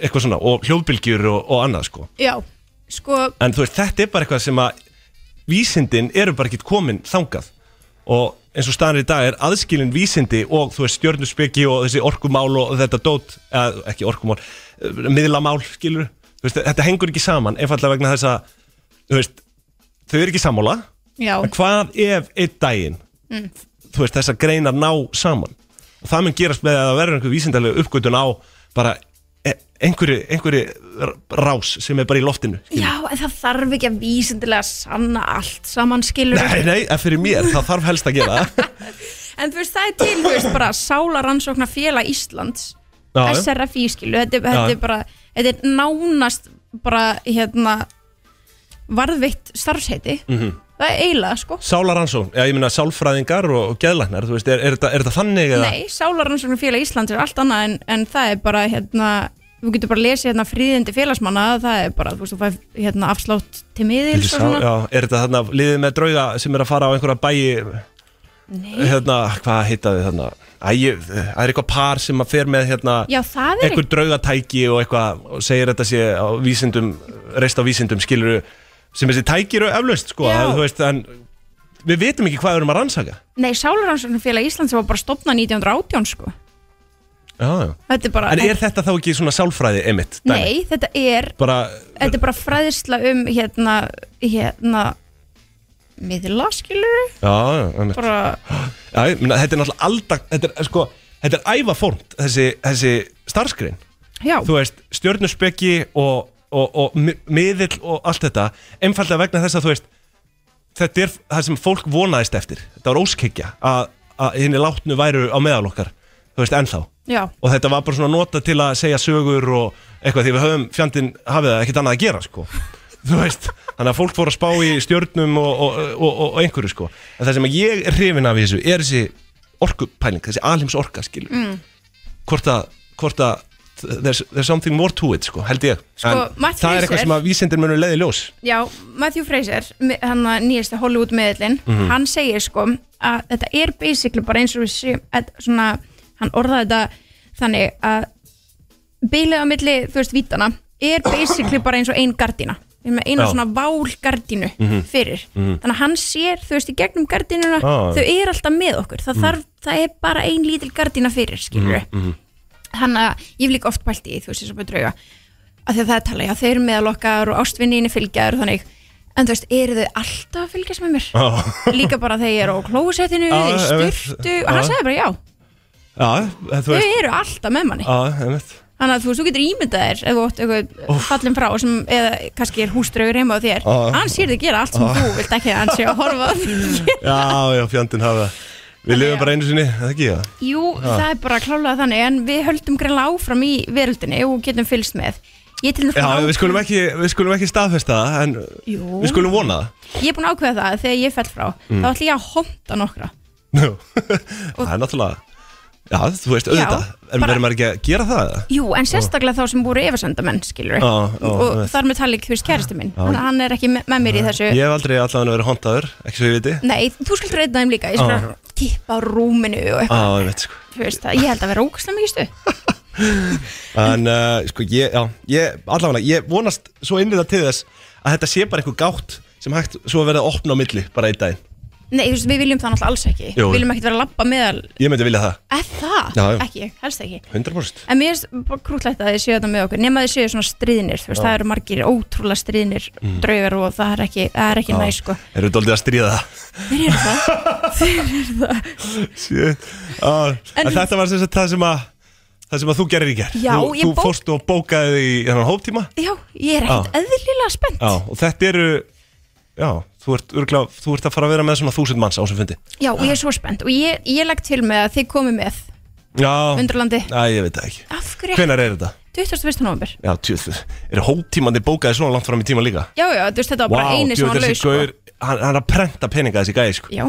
Speaker 1: eitthvað svona, og hljóðbylgjur og, og annað, sko
Speaker 2: Já, sko,
Speaker 1: En þú veist, þetta er bara eitthvað sem að vísindin eru bara ekki komin þangað og eins og staðan er í dag er aðskilin vísindi og þú veist stjörnuspeki og þessi orkumál og þetta dót, eða, ekki orkumál eh, miðlamál, skilur þú veist, þetta hengur ekki saman, einfallega vegna þess að þú veist, þau eru ekki sammála
Speaker 2: já Mm.
Speaker 1: en hvað ef einn daginn þú veist þessar greinar ná saman og það mun gerast með að það verður einhver vísindalega uppgötun á bara e- einhverju, einhverju rás sem er bara í loftinu skilur.
Speaker 2: Já, en það þarf ekki að vísindilega sanna allt saman skilur
Speaker 1: Nei, nei, en fyrir mér, það þarf helst að gera það
Speaker 2: En þú veist, það er til, þú veist, bara Sálarannsóknar félag Íslands
Speaker 1: Já, já.
Speaker 2: SRFI, skilu, þetta, er- þetta
Speaker 1: Já.
Speaker 2: er bara þetta er nánast bara, hérna varðveitt starfsheiti -hmm. það er eiginlega, sko
Speaker 1: Sálaransón, Mhm. já ég meina sálfræðingar og, og geðlæknar, þú veist, er, er, þetta, er þetta þannig eða?
Speaker 2: Nei, Sálarannsóknar félag Íslands er allt annað en, en það er bara, hérna þú getur bara lesið hérna fríðindi félagsmanna það er bara, þú veist, þú fæð hérna afslátt til miðils og
Speaker 1: Sá,
Speaker 2: svona
Speaker 1: já, er þetta þarna liðið með drauga sem er að fara á einhverja bæi
Speaker 2: Nei.
Speaker 1: hérna, hvað heita þau þarna Æ, ég- það er eitthvað par sem að fer með hérna,
Speaker 2: Já, það er
Speaker 1: einhver draugatæki og eitthvað og segir þetta sé á vísindum reist á vísindum skiluru sem þessi tæki eru eflaust sko,
Speaker 2: Já.
Speaker 1: að, þú veist, en við vitum ekki hvað við erum að rannsaka
Speaker 2: Nei, Sálarannsóknar félag Íslands var bara stopnað 1918, sko
Speaker 1: já, já.
Speaker 2: Þetta er bara,
Speaker 1: en er þetta þá ekki svona sálfræði emitt?
Speaker 2: nei, þetta er
Speaker 1: bara,
Speaker 2: þetta er bara fræðisla um hérna, hérna miðla skilur
Speaker 1: já, já, einmitt.
Speaker 2: bara,
Speaker 1: Já, ég meina, þetta er náttúrulega alltaf, þetta er sko, þetta er ævaformt, þessi, þessi starfskrein.
Speaker 2: já,
Speaker 1: Þú veist, stjörnuspeki og, og, og mi- miðill og allt þetta, einfallega vegna þess að þú veist, þetta er það sem fólk vonaðist eftir. Þetta var óskikja að, að henni látnu væru á meðal okkar, þú veist, ennþá.
Speaker 2: já,
Speaker 1: Og þetta var bara svona notað til að segja sögur og eitthvað, því við höfum fjandinn hafið það ekkert annað að gera, sko. Þú veist, þannig að fólk fór að spá í stjörnum og, og, og, og, og einhverju, sko. En það sem ég er hrifin af í þessu er þessi orkupæling, þessi alheims orka skilur
Speaker 2: Mm.
Speaker 5: Mm.
Speaker 1: hvort að, hvort að there's, there's something more to it sko, held ég
Speaker 2: Sko, Matthew
Speaker 1: það er eitthvað
Speaker 2: Fraser-
Speaker 1: sem að vísindir munur leiði ljós
Speaker 2: Já, Matthew Fraser, mi- hann að nýjasta Hollywood meðlinn, hann segir sko að þetta er basically bara eins og við séum, að svona, hann orðaði þetta þannig að bilið á milli, þú veist, vítana er basically bara eins og ein gardína Við erum með eina
Speaker 1: Já.
Speaker 2: svona válgardínu
Speaker 1: Mhm.
Speaker 5: Mhm.
Speaker 2: fyrir, þannig að hann sér þú veist, í gegnum gardínuna,
Speaker 1: Já.
Speaker 2: þau er alltaf með okkur, það, þarf, það er bara ein lítil gardína fyrir, skilur
Speaker 1: Mm.
Speaker 2: við
Speaker 5: Mm.
Speaker 2: hann að, ég hef líka oft pælt í þú veist, þess að bara drauga að því að það er tala, já, þeir eru meðal okkar og ástvinniðinni fylgjaður og þannig en þú veist, eru þau alltaf að fylgjast með mér?
Speaker 1: Já.
Speaker 2: Líka bara þegar ég er á klósettinu,
Speaker 1: Já,
Speaker 2: í
Speaker 1: einmitt.
Speaker 2: styrtu og hann
Speaker 1: Já.
Speaker 2: sagði bara já,
Speaker 1: já, þú
Speaker 2: þau
Speaker 1: veist
Speaker 2: eru alltaf með manni
Speaker 1: já, einmitt
Speaker 2: þannig að þú, veist, þú getur ímyndað þér ef þú ótt eitthvað fallin frá sem eða kannski er húsdraugur heima á þér
Speaker 1: Já.
Speaker 2: hann sér þig gera allt sem þú vilt ekki að hann sé að horfa á þig
Speaker 1: já, já, fjandinn hafa það. við lifum bara einu sinni, það ekki já
Speaker 2: Jú, það er bara klálega þannig en við höldum greinlega áfram í veröldinni og getum fylgst með Ég til dæmis
Speaker 1: Já,
Speaker 2: fór á-
Speaker 1: við skulum ekki, við skulum ekki staðfesta það, en
Speaker 2: Jú.
Speaker 1: við skulum vona það.
Speaker 2: Ég er búin að ákveða það að þegar ég fell frá
Speaker 1: Mm.
Speaker 2: þá ætla ég að honda nokkra
Speaker 1: Nú, það er náttúrulega, já, þú veist, auðvitað, en
Speaker 2: bara-
Speaker 1: verður maður ekki að gera það? eða?
Speaker 2: Jú, en sérstaklega þá sem voru efasendamenn, skilur
Speaker 1: Já, já,
Speaker 2: og
Speaker 1: einmitt.
Speaker 2: þar með tali ekki fyrst kæristu minn þannig að hann er ekki með, með mér í þessu
Speaker 1: Ég hef aldrei allavega verið hondaður, ekki svo ég viti.
Speaker 2: Nei, þú skuldur reyna þeim líka, ég skal
Speaker 1: Já.
Speaker 2: bara kippa á rúminu og
Speaker 1: Á,
Speaker 2: eitthvað,
Speaker 1: ég veit, sko.
Speaker 2: þú veist það, ég held að vera ógæslega mikið stuð
Speaker 1: En, uh, sko, ég, já, ég, allavega, ég vonast svo innlega til þess að þetta sé bara einhver gátt sem hægt svo að verða að opna á milli bara einn daginn.
Speaker 2: Nei, þú veist, við viljum það náttúrulega alls ekki
Speaker 1: Jú.
Speaker 2: Við viljum ekkert vera að labba meðal
Speaker 1: Ég myndi vilja það,
Speaker 2: Eða það,
Speaker 1: Já, já.
Speaker 2: ekki, helst ekki
Speaker 1: 100%.
Speaker 2: En mér er krútlegt að þið séu þetta með okkur nema þið séu svona stríðnir, þú veist, það eru margir ótrúlega stríðnir
Speaker 1: Mm.
Speaker 2: draugar og það er ekki, það er ekki næ, sko
Speaker 1: Erum við doldið að stríða það?
Speaker 2: Þeir eru það, þeir eru það
Speaker 1: Shit. Ah, en,
Speaker 2: En-
Speaker 1: þetta var sem sagt það sem að það sem að þú gerir í gerð
Speaker 2: Já,
Speaker 1: þú,
Speaker 2: ég
Speaker 1: þú
Speaker 2: bók-
Speaker 1: fórst og bókaði þig í þennan hóptíma
Speaker 2: Já, ég er ekkert
Speaker 1: Já.
Speaker 2: eðlilega spennt
Speaker 1: já, og þetta eru já, þú ert, örgla, þú ert að fara að vera með svona þúsund manns á þessum fundi
Speaker 2: Já, og ég er svo spennt og ég, ég legg til með að þið komið með
Speaker 1: já,
Speaker 2: Undralandi
Speaker 1: Æ, ég veit það ekki
Speaker 2: Af hverju?
Speaker 1: hvenær er þetta?
Speaker 2: 21. november
Speaker 1: já, tjóð, eru hóptímandi bókaði svona langt fram í tíma líka
Speaker 2: Já, já, þú veist, þetta var bara eini sem
Speaker 1: djöfull,
Speaker 2: var
Speaker 1: þessi
Speaker 2: laus sko.
Speaker 1: gaur, hann, hann er að prenta peninga þessi gæði sko.
Speaker 2: Já,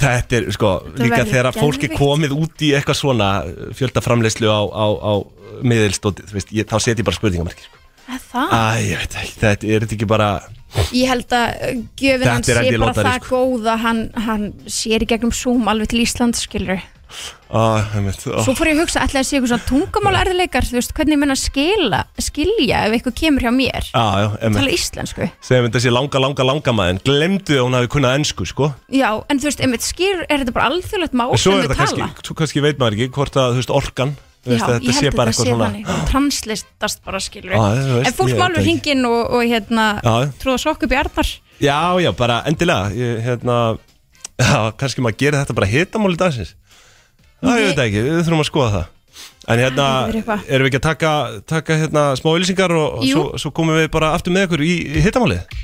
Speaker 1: þetta er sko, líka
Speaker 2: verður
Speaker 1: þegar fólk er
Speaker 2: geðveikt.
Speaker 1: komið út í eitthvað svona fjöldaframleyslu á, á, á miðilstóti, þú veist, ég, þá set ég bara spurningamarki sko.
Speaker 2: að það
Speaker 1: Æ, ég veit ekki, þetta er þetta ekki bara
Speaker 2: Ég held að uh, gjöfin
Speaker 1: Þetta
Speaker 2: hann
Speaker 1: er held
Speaker 2: sé
Speaker 1: ég
Speaker 2: bara
Speaker 1: lotari,
Speaker 2: það
Speaker 1: sko.
Speaker 2: góð að hann, hann sér í gegnum Zoom alveg til Íslands skilur
Speaker 1: Á, einmitt, ó.
Speaker 2: Svo fór ég að hugsa ætlaði að sé eitthvað svona tungumálarðileikar þú veist, hvernig ég mun að skila, skilja ef eitthvað kemur hjá mér
Speaker 1: Á, já, einmitt
Speaker 2: tala íslensku
Speaker 1: Segjum þetta sé langa, langa, langa maðurinn Glemdu að hún hafi kunnað ennsku, sko
Speaker 2: Já, en þú veist, einmitt skýr er þetta bara alþjóðlegt mál
Speaker 1: En
Speaker 2: sem
Speaker 1: Svo er
Speaker 2: þau
Speaker 1: þetta kannski,
Speaker 2: tala.
Speaker 1: svo kannski veit maður ekki hvort að, þú veist, orkan þú
Speaker 2: Já,
Speaker 1: veist,
Speaker 2: ég held að þetta sé þannig
Speaker 1: Já,
Speaker 2: Translistast bara skilur
Speaker 1: Já, þú veist,
Speaker 2: En fólk
Speaker 1: ég
Speaker 2: má
Speaker 1: veit
Speaker 2: alveg
Speaker 1: ekki.
Speaker 2: hringin og, og hérna
Speaker 1: Já.
Speaker 2: Tróða sokk upp í arnar
Speaker 1: já, já, bara endilega ég, hérna, já, kannski maður gerir þetta bara hitamóli dagsins Já, ég
Speaker 2: Ég-
Speaker 1: veit það ekki, við þurfum að skoða það En hérna,
Speaker 2: Það verður eitthvað.
Speaker 1: erum við ekki að taka, taka hérna, smá ylýsingar og, og
Speaker 2: Jú.
Speaker 1: svo, svo komum við bara aftur með ykkur í, í hitamálið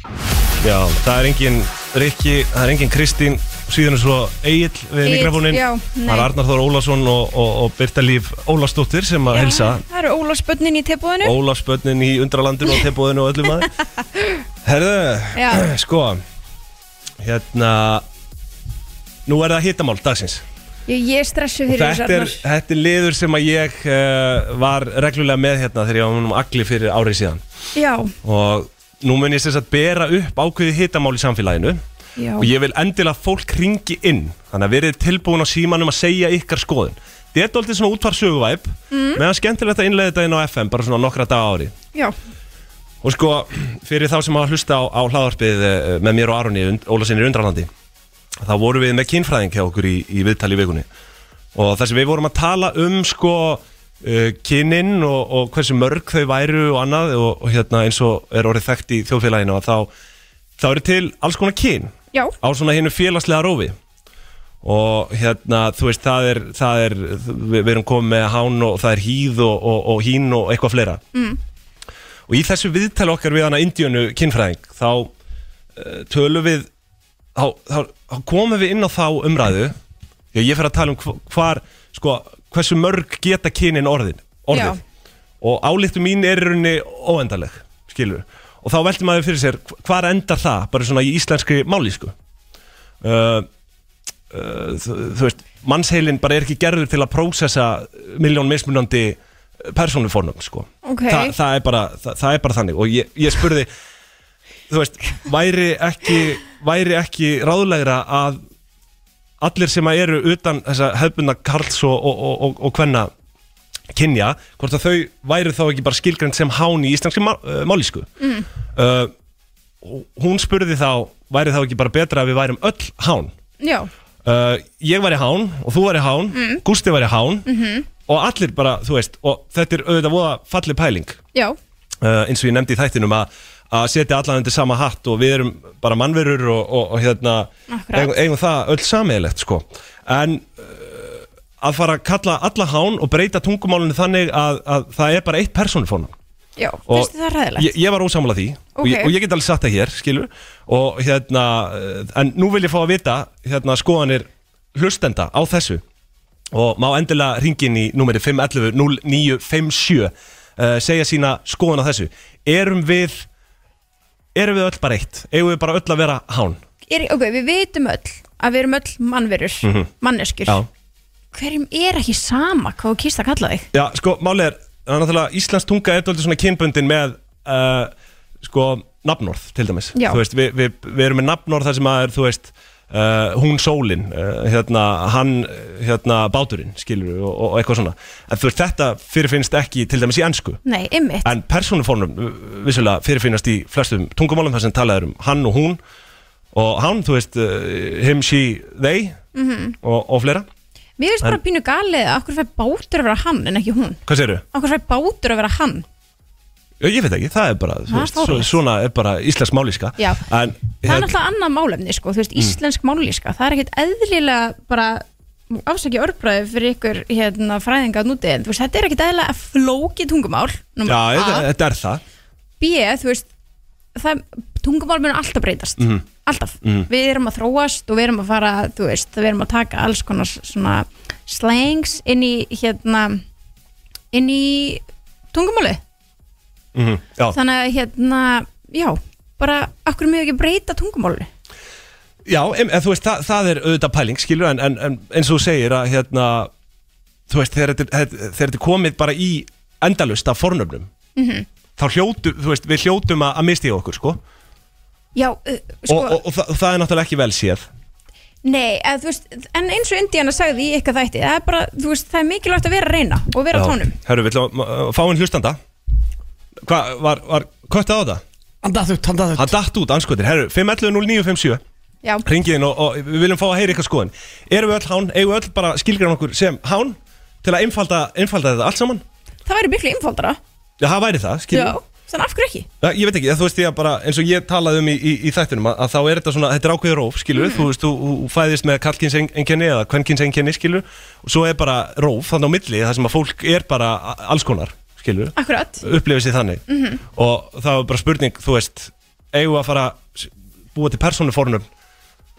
Speaker 1: Já, það er engin Rikki, það er engin Kristín síðan er svo Egil við
Speaker 2: Egill,
Speaker 1: mikrofónin
Speaker 2: já, nei.
Speaker 1: Það er Arnar Þór Ólafsson og, og, og Birta Líf Ólafsdóttir sem að helsa
Speaker 2: Það eru Ólafsbönnin í tilbúðinu
Speaker 1: Ólafsbönnin í undralandinu og tebóðinu og öllum að
Speaker 2: Já.
Speaker 1: Herðu, sko Hérna Nú er það hittamál dagsins
Speaker 2: Ég, ég er stressuð fyrir
Speaker 1: þetta er,
Speaker 2: þessu
Speaker 1: þetta er liður sem að ég uh, var reglulega með hérna þegar ég var munum agli fyrir árið síðan
Speaker 2: Arnar
Speaker 1: og nú mun ég sem sagt bera upp ákveðið hittamál í samfélaginu
Speaker 2: Já,
Speaker 1: og
Speaker 2: já
Speaker 1: ég vil endilega að fólk ringi inn þannig að verið tilbúin á símanum að segja ykkar skoðun þetta er alltaf svona útvarsöguvæp mm. meðan skemmtilegt að innlega þetta inn á FM bara svona nokkra dag ári
Speaker 2: Já,
Speaker 1: og sko fyrir þá sem að hlusta á, á hlaðarpið með mér og Aroni Ólasinni í Undralandi þá vorum við með kynfræðing hjá okkur í, í viðtali í vikunni og þar sem við vorum að tala um sko uh, kynin og, og hversu mörg þau væru og annað og, og hérna eins og er orðið þekkt í þjóðfélaginu að þá, þá eru til alls konar kyn
Speaker 2: já,
Speaker 1: á svona hennu félagslega rófi og hérna þú veist það er, það er við, við erum komið með hán og það er hýð og, og, og hín og eitthvað fleira mm. og í þessu viðtali okkar við hana indíunu kynfræðing þá uh, tölum við þá, þá, þá komum við inn á þá umræðu já ég fer að tala um hv- hvar sko hversu mörg geta kynin orðin orðið
Speaker 2: Já.
Speaker 1: og álíktu mín er í rauninni óendaleg skilur og þá veltum maður fyrir sér hvar endar það bara svona í íslenskri máli sko uh, uh, þú, þú veist, mannsheilin bara er ekki gerður til að prósessa miljón mismunandi persónufornum sko.
Speaker 2: Ok.
Speaker 1: Þa, það, er bara, það, það er bara þannig og ég, ég spurði þú veist, væri ekki væri ekki ráðlegra að allir sem að eru utan þessa hefbundna karls og, og, og, og, og hvenna kynja, hvort að þau væri þá ekki bara skilgrænt sem hán í íslenski má- eh, mállýsku mm. hún spurði þá væri þá ekki bara betra að við værum öll hán
Speaker 2: já,
Speaker 1: uh, ég væri hán og þú væri hán, Gústi væri hán
Speaker 2: mhm,
Speaker 1: og allir bara, þú veist og þetta er auðvitað voða fallið pæling
Speaker 2: já,
Speaker 1: uh, eins og ég nefndi í þættinum að að setja allan undir sama hatt og við erum bara mannverur og, og, og hérna
Speaker 2: Akkurat.
Speaker 1: eigum, eigum það öll sameiglegt sko en uh, að fara að kalla alla hán og breyta tungumálunni þannig að, að það er bara eitt persónufónum
Speaker 2: já,
Speaker 1: Og
Speaker 2: finnst þið það ræðilegt?
Speaker 1: ég, ég var ósamlega því og, ég,
Speaker 2: Ok.
Speaker 1: og ég get alveg satt það hér, skilur og hérna, eh, en nú vil ég fá að vita hérna skoðanir hlustenda á þessu og má endilega ringin í númeri 511 0957 uh, segja sína skoðan á þessu erum við erum við öll bara eitt, eigum við bara öll að vera hán
Speaker 2: Er, ok, við vitum öll að við erum öll mannverur, manneskjur
Speaker 1: Mm. Mhm. Já.
Speaker 2: Hverjum er ekki sama hvað þú kýrst að kalla þig?
Speaker 1: Já, sko, málið er, það er náttúrulega Íslands tunga er doldið svona kynbundin með uh, sko, nafnorð til dæmis
Speaker 2: Já.
Speaker 1: Þú veist, við, við, við erum með nafnorð þar sem að er, þú veist Uh, hún sólin, uh, hérna, hann eh, hérna, báturinn, skilur og, og og eitthvað svona, en þú veist þetta fyrirfinnst ekki til dæmis í ennsku
Speaker 2: Nei, ymmit
Speaker 1: en persónufornum eh, vissulega fyrirfinnast í flestum tungumálum þar sem talað er um hann og hún og hann, þú veist, uh, him, she, they og, og fleira,
Speaker 2: Mhm. Mér finnst bara pínu galið að okkur fær bátur að vera hann en ekki hún
Speaker 1: hvað segirðu?
Speaker 2: Okkur fær bátur að vera hann
Speaker 1: Já, ég veit ekki, það er bara, þú
Speaker 2: Það er
Speaker 1: veist, svo,
Speaker 2: stórkostlegt.
Speaker 1: svona er bara íslensk málíska
Speaker 2: Já.
Speaker 1: en,
Speaker 2: Það er náttúrulega annað málefni sko, þú veist,
Speaker 1: Mm.
Speaker 2: íslensk málíska Það er ekkert eðlilega bara afsækja orðbræði fyrir ykkur hérna, fræðinga að núti en þú veist, þetta er ekkert eðlilega flókið tungumál númer
Speaker 1: Já,
Speaker 2: A.
Speaker 1: þetta, þetta er það
Speaker 2: B, þú veist það, tungumál mun alltaf
Speaker 1: Mm.
Speaker 2: breytast
Speaker 1: Mhm.
Speaker 2: alltaf, við erum að þróast og við erum að fara, þú veist, við erum að taka alls konar svona slangs inn í hérna inn í tungumáli
Speaker 1: mm Já,
Speaker 2: þannig að hérna, já bara, okkur mjög ekki breyta tungumáli
Speaker 1: já em, en, þú veist, það, það er auðvitað pæling, skilur en, en, en eins og þú segir að, hérna þú veist, þegar þetta er- þegar þetta er komið bara í endalust af fornöfnum þá hljótu, þú veist, við hljótum að, að misti okkur, sko,
Speaker 2: já, uh, sko,
Speaker 1: og, og, og það, það er náttúrulega ekki vel séð
Speaker 2: nei eða, þú veist, en eins og Indiana sagði í eitthvað þætti það er bara, þú veist, það er mikilvægt að vera að reyna og vera á tónum
Speaker 1: Hörru, við ætlum að uh, fá inn hlustanda Hvað, var, var köttað á það?
Speaker 3: Hann datt út, hann datt
Speaker 1: Hann
Speaker 3: út
Speaker 1: datt út, anskotir, herru, 511
Speaker 2: já,
Speaker 1: ringiðin og, og við viljum fá að heyra ykkar skoðin erum við öll hán, eigum við öll bara skilgrann okkur sem hán til að einfalda, einfalda þetta allt saman
Speaker 2: það væri miklu einfaldara
Speaker 1: já, það væri það,
Speaker 2: já,
Speaker 1: skilur
Speaker 2: þannig af hverju ekki
Speaker 1: Já, ég veit ekki, þú veist ég að bara, eins og ég talaði um í, í, í þættinum að, að þá er þetta svona, þetta er ákveður róf, skilur
Speaker 2: Mhm.
Speaker 1: þú veist, þú, þú fæðist með kallkins enkenni eða kvenkins enkenni, skilur og svo er bara róf, þannig á milli, það sem að fólk er bara a- alls konar, skilur
Speaker 2: akkurat,
Speaker 1: upplifið sér þannig
Speaker 2: Mhm.
Speaker 1: og það var bara spurning, þú veist eigum við að fara að s- búa til persónufornum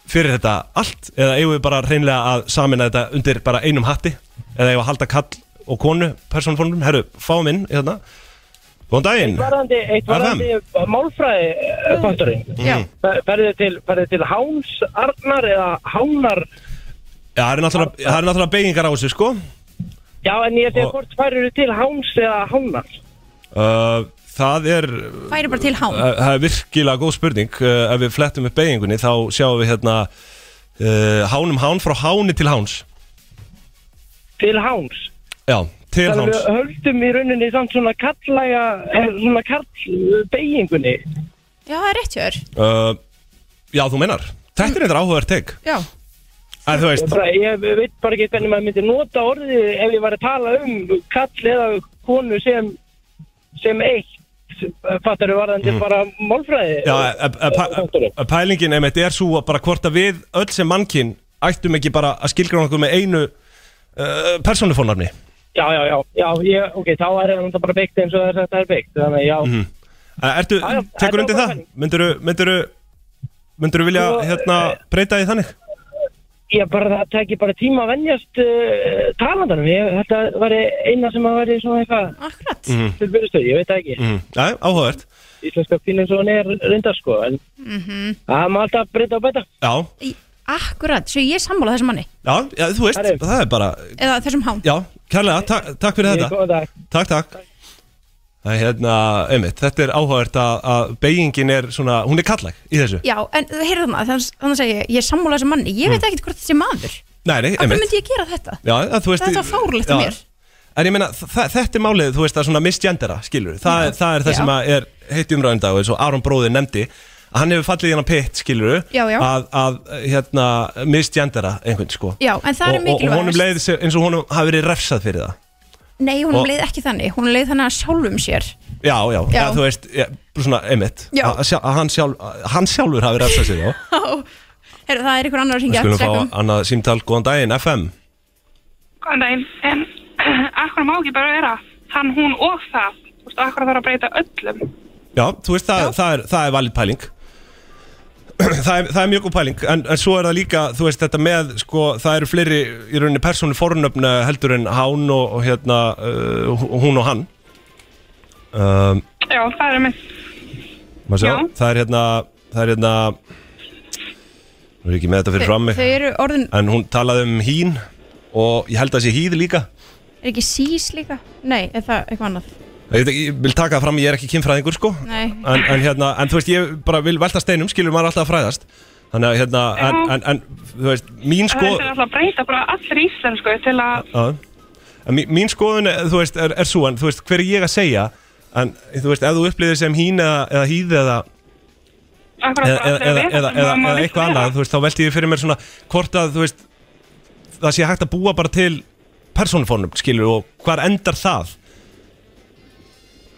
Speaker 1: fyrir þetta allt eða eigum við bara reynlega að samina þetta undir bara einum hatti eða eigum við að halda kall og konu persónufornum, herru, fáum inn hérna. góðan daginn
Speaker 5: varðandi, eitt varðandi málfræði eh, faktorinn
Speaker 2: já
Speaker 5: ferðið til, ferðið til Háns Arnar eða Hánar
Speaker 1: Já, það er náttúrulega, það er náttúrulega beigingar á þessu sko
Speaker 5: já en ég
Speaker 1: Og-
Speaker 5: segi hvort færður til Háns eða Hánar
Speaker 1: uh, það er
Speaker 2: færi bara til hán
Speaker 1: Eh, það það er virkilega góð spurning uh, ef við flettum upp beigingunni þá sjáum við hérna uh, hánum hán frá háni til háns
Speaker 5: til Háns
Speaker 1: já, til háns
Speaker 5: þannig við höldum í rauninni samt svona kallæga eh, svona kallbeigingunni
Speaker 2: Já, það er rétt hjá þér
Speaker 1: Uh, já, þú meinar Þetta er eitthvað áhugavert teg
Speaker 2: Já,
Speaker 1: En þú veist,
Speaker 5: ég, bara, ég veit bara ekki hvernig maður myndi nota orðið ef ég var að tala um kall eða konu sem sem eitt fattar við varðandi bara málfræði
Speaker 1: Mhm. já, e- e- pæ- e- pælingin einmitt er svo að bara hvort að við öll sem mannkinn ættum ekki bara að skilgrána okkur með einu uh, persónufónarni
Speaker 5: Já, já, já, já, ég, ok, þá er það náttúrulega bara byggt eins og þess að þetta er byggt, þannig já,
Speaker 1: Mhm. Ertu,
Speaker 5: Já, já, þetta
Speaker 1: tekur
Speaker 5: er
Speaker 1: undir
Speaker 5: bara
Speaker 1: það?
Speaker 5: pæling.
Speaker 1: Mynduru, mynduru, mynduru vilja
Speaker 5: Sko,
Speaker 1: hérna breyta því þannig?
Speaker 5: ég bara, það tekji bara tíma að venjast uh, talandanum, ég, þetta var eina sem að veri svona eitthvað,
Speaker 2: akkurat
Speaker 5: til byrjastöð, ég veit það ekki,
Speaker 1: Mm. Já, áhugavert
Speaker 2: Mhm.
Speaker 5: íslenska fín eins og hann er reyndar sko, en það mm. maður alltaf breyta og bæta,
Speaker 1: Já,
Speaker 2: Í- akkurat, svo ég er sammála þessum manni
Speaker 1: Já, já, þú veist,
Speaker 5: Herri.
Speaker 1: það er bara
Speaker 2: eða þessum hán
Speaker 1: Já, kærlega, takk, takk fyrir
Speaker 5: Ég
Speaker 1: þetta
Speaker 5: góðan dag
Speaker 1: Takk, takk Það er hérna, einmitt, þetta er áhugavert að, að beigingin er svona, hún er kallæg í þessu
Speaker 2: Já, en þú heyrðu það, þannig, þannig segi ég, ég er sammála þessum manni, ég veit ekkert hvort þessi maður
Speaker 1: Nei, nei,
Speaker 2: Af hverju
Speaker 1: Mm. einmitt
Speaker 2: myndi ég gera þetta?
Speaker 1: Já, að, þú veist,
Speaker 2: Þetta var fáránlegt af
Speaker 1: já.
Speaker 2: mér.
Speaker 1: En ég meina, þa- þetta er málið, þú veist, að svona misgendera, skilur Þa, Það er það
Speaker 2: já.
Speaker 1: sem að er heitt umræðum dag og eins og Aron bróðir nefndi að hann hefur fallið í hennar pitt, skilur
Speaker 2: Já, já.
Speaker 1: Að, að hérna, misgendera einhvern, sko
Speaker 2: Já, en það
Speaker 1: og,
Speaker 2: er
Speaker 1: og, og honum
Speaker 2: mikilvægast
Speaker 1: leið sem- eins og honum hafi verið refsað fyrir það
Speaker 2: Nei, honum
Speaker 1: og-
Speaker 2: leið ekki þannig, honum leið þannig að sjálfum sér
Speaker 1: Já, já,
Speaker 2: Já.
Speaker 1: Eða, þú veist, ég, svona einmitt
Speaker 2: Já.
Speaker 1: að, sjá- að hann, sjálf, að hann sjálfur hafi refsað sér, já
Speaker 2: Heyrðu, það er ykkur annar að
Speaker 1: Við
Speaker 2: hringja
Speaker 1: skulum
Speaker 2: sekum.
Speaker 1: fá annað símtal, góðan daginn, FM
Speaker 6: Góðan daginn, en akkur má ekki bara vera hann, hún og það, þú veist, akkur þarf að breyta öllum.
Speaker 1: Já, þú veist, það, það, er, það er valid pæling það, er, það er mjög góð pæling en, en svo er það líka, þú veist, þetta með sko, það eru fleiri í rauninni persónu fornöfna heldur en hán og, og hérna, uh, hún og hann um,
Speaker 6: Já, það er með,
Speaker 1: maður sjá,
Speaker 6: Já.
Speaker 1: það er hérna það er hérna nú er ég ekki með þetta fyrir fram mig
Speaker 2: Þau eru orðin,
Speaker 1: en hún talaði um hín og ég held að sé híð líka
Speaker 2: er ekki sís líka? Nei, er það eitthvað annað?
Speaker 1: Ég, veit ekki, ég vil taka það fram, ég er ekki kynfræðingur sko
Speaker 2: Nei.
Speaker 1: en, en, hérna, en þú veist, ég bara vil velta steinum skilur maður alltaf að fræðast Þannig að hérna, en,
Speaker 6: Já.
Speaker 1: en, en þú veist, mín
Speaker 6: það
Speaker 1: sko
Speaker 6: er alltaf að breyta bara allir íslensku til að,
Speaker 1: Já. En mín, mín skoðun, er, þú veist, er, er svo en þú veist, hver er ég að segja en þú veist, ef þú upplýðir sem hín eða, eða híð eða,
Speaker 6: akkur bara
Speaker 1: eða, eða,
Speaker 6: allir
Speaker 1: eða,
Speaker 6: að
Speaker 1: eða, eða, eða eitthvað annað þú veist, þá velti ég fyrir mér svona hvort að, þú veist, það sé hægt að búa bara til persónufónum, skilur og hvar endar það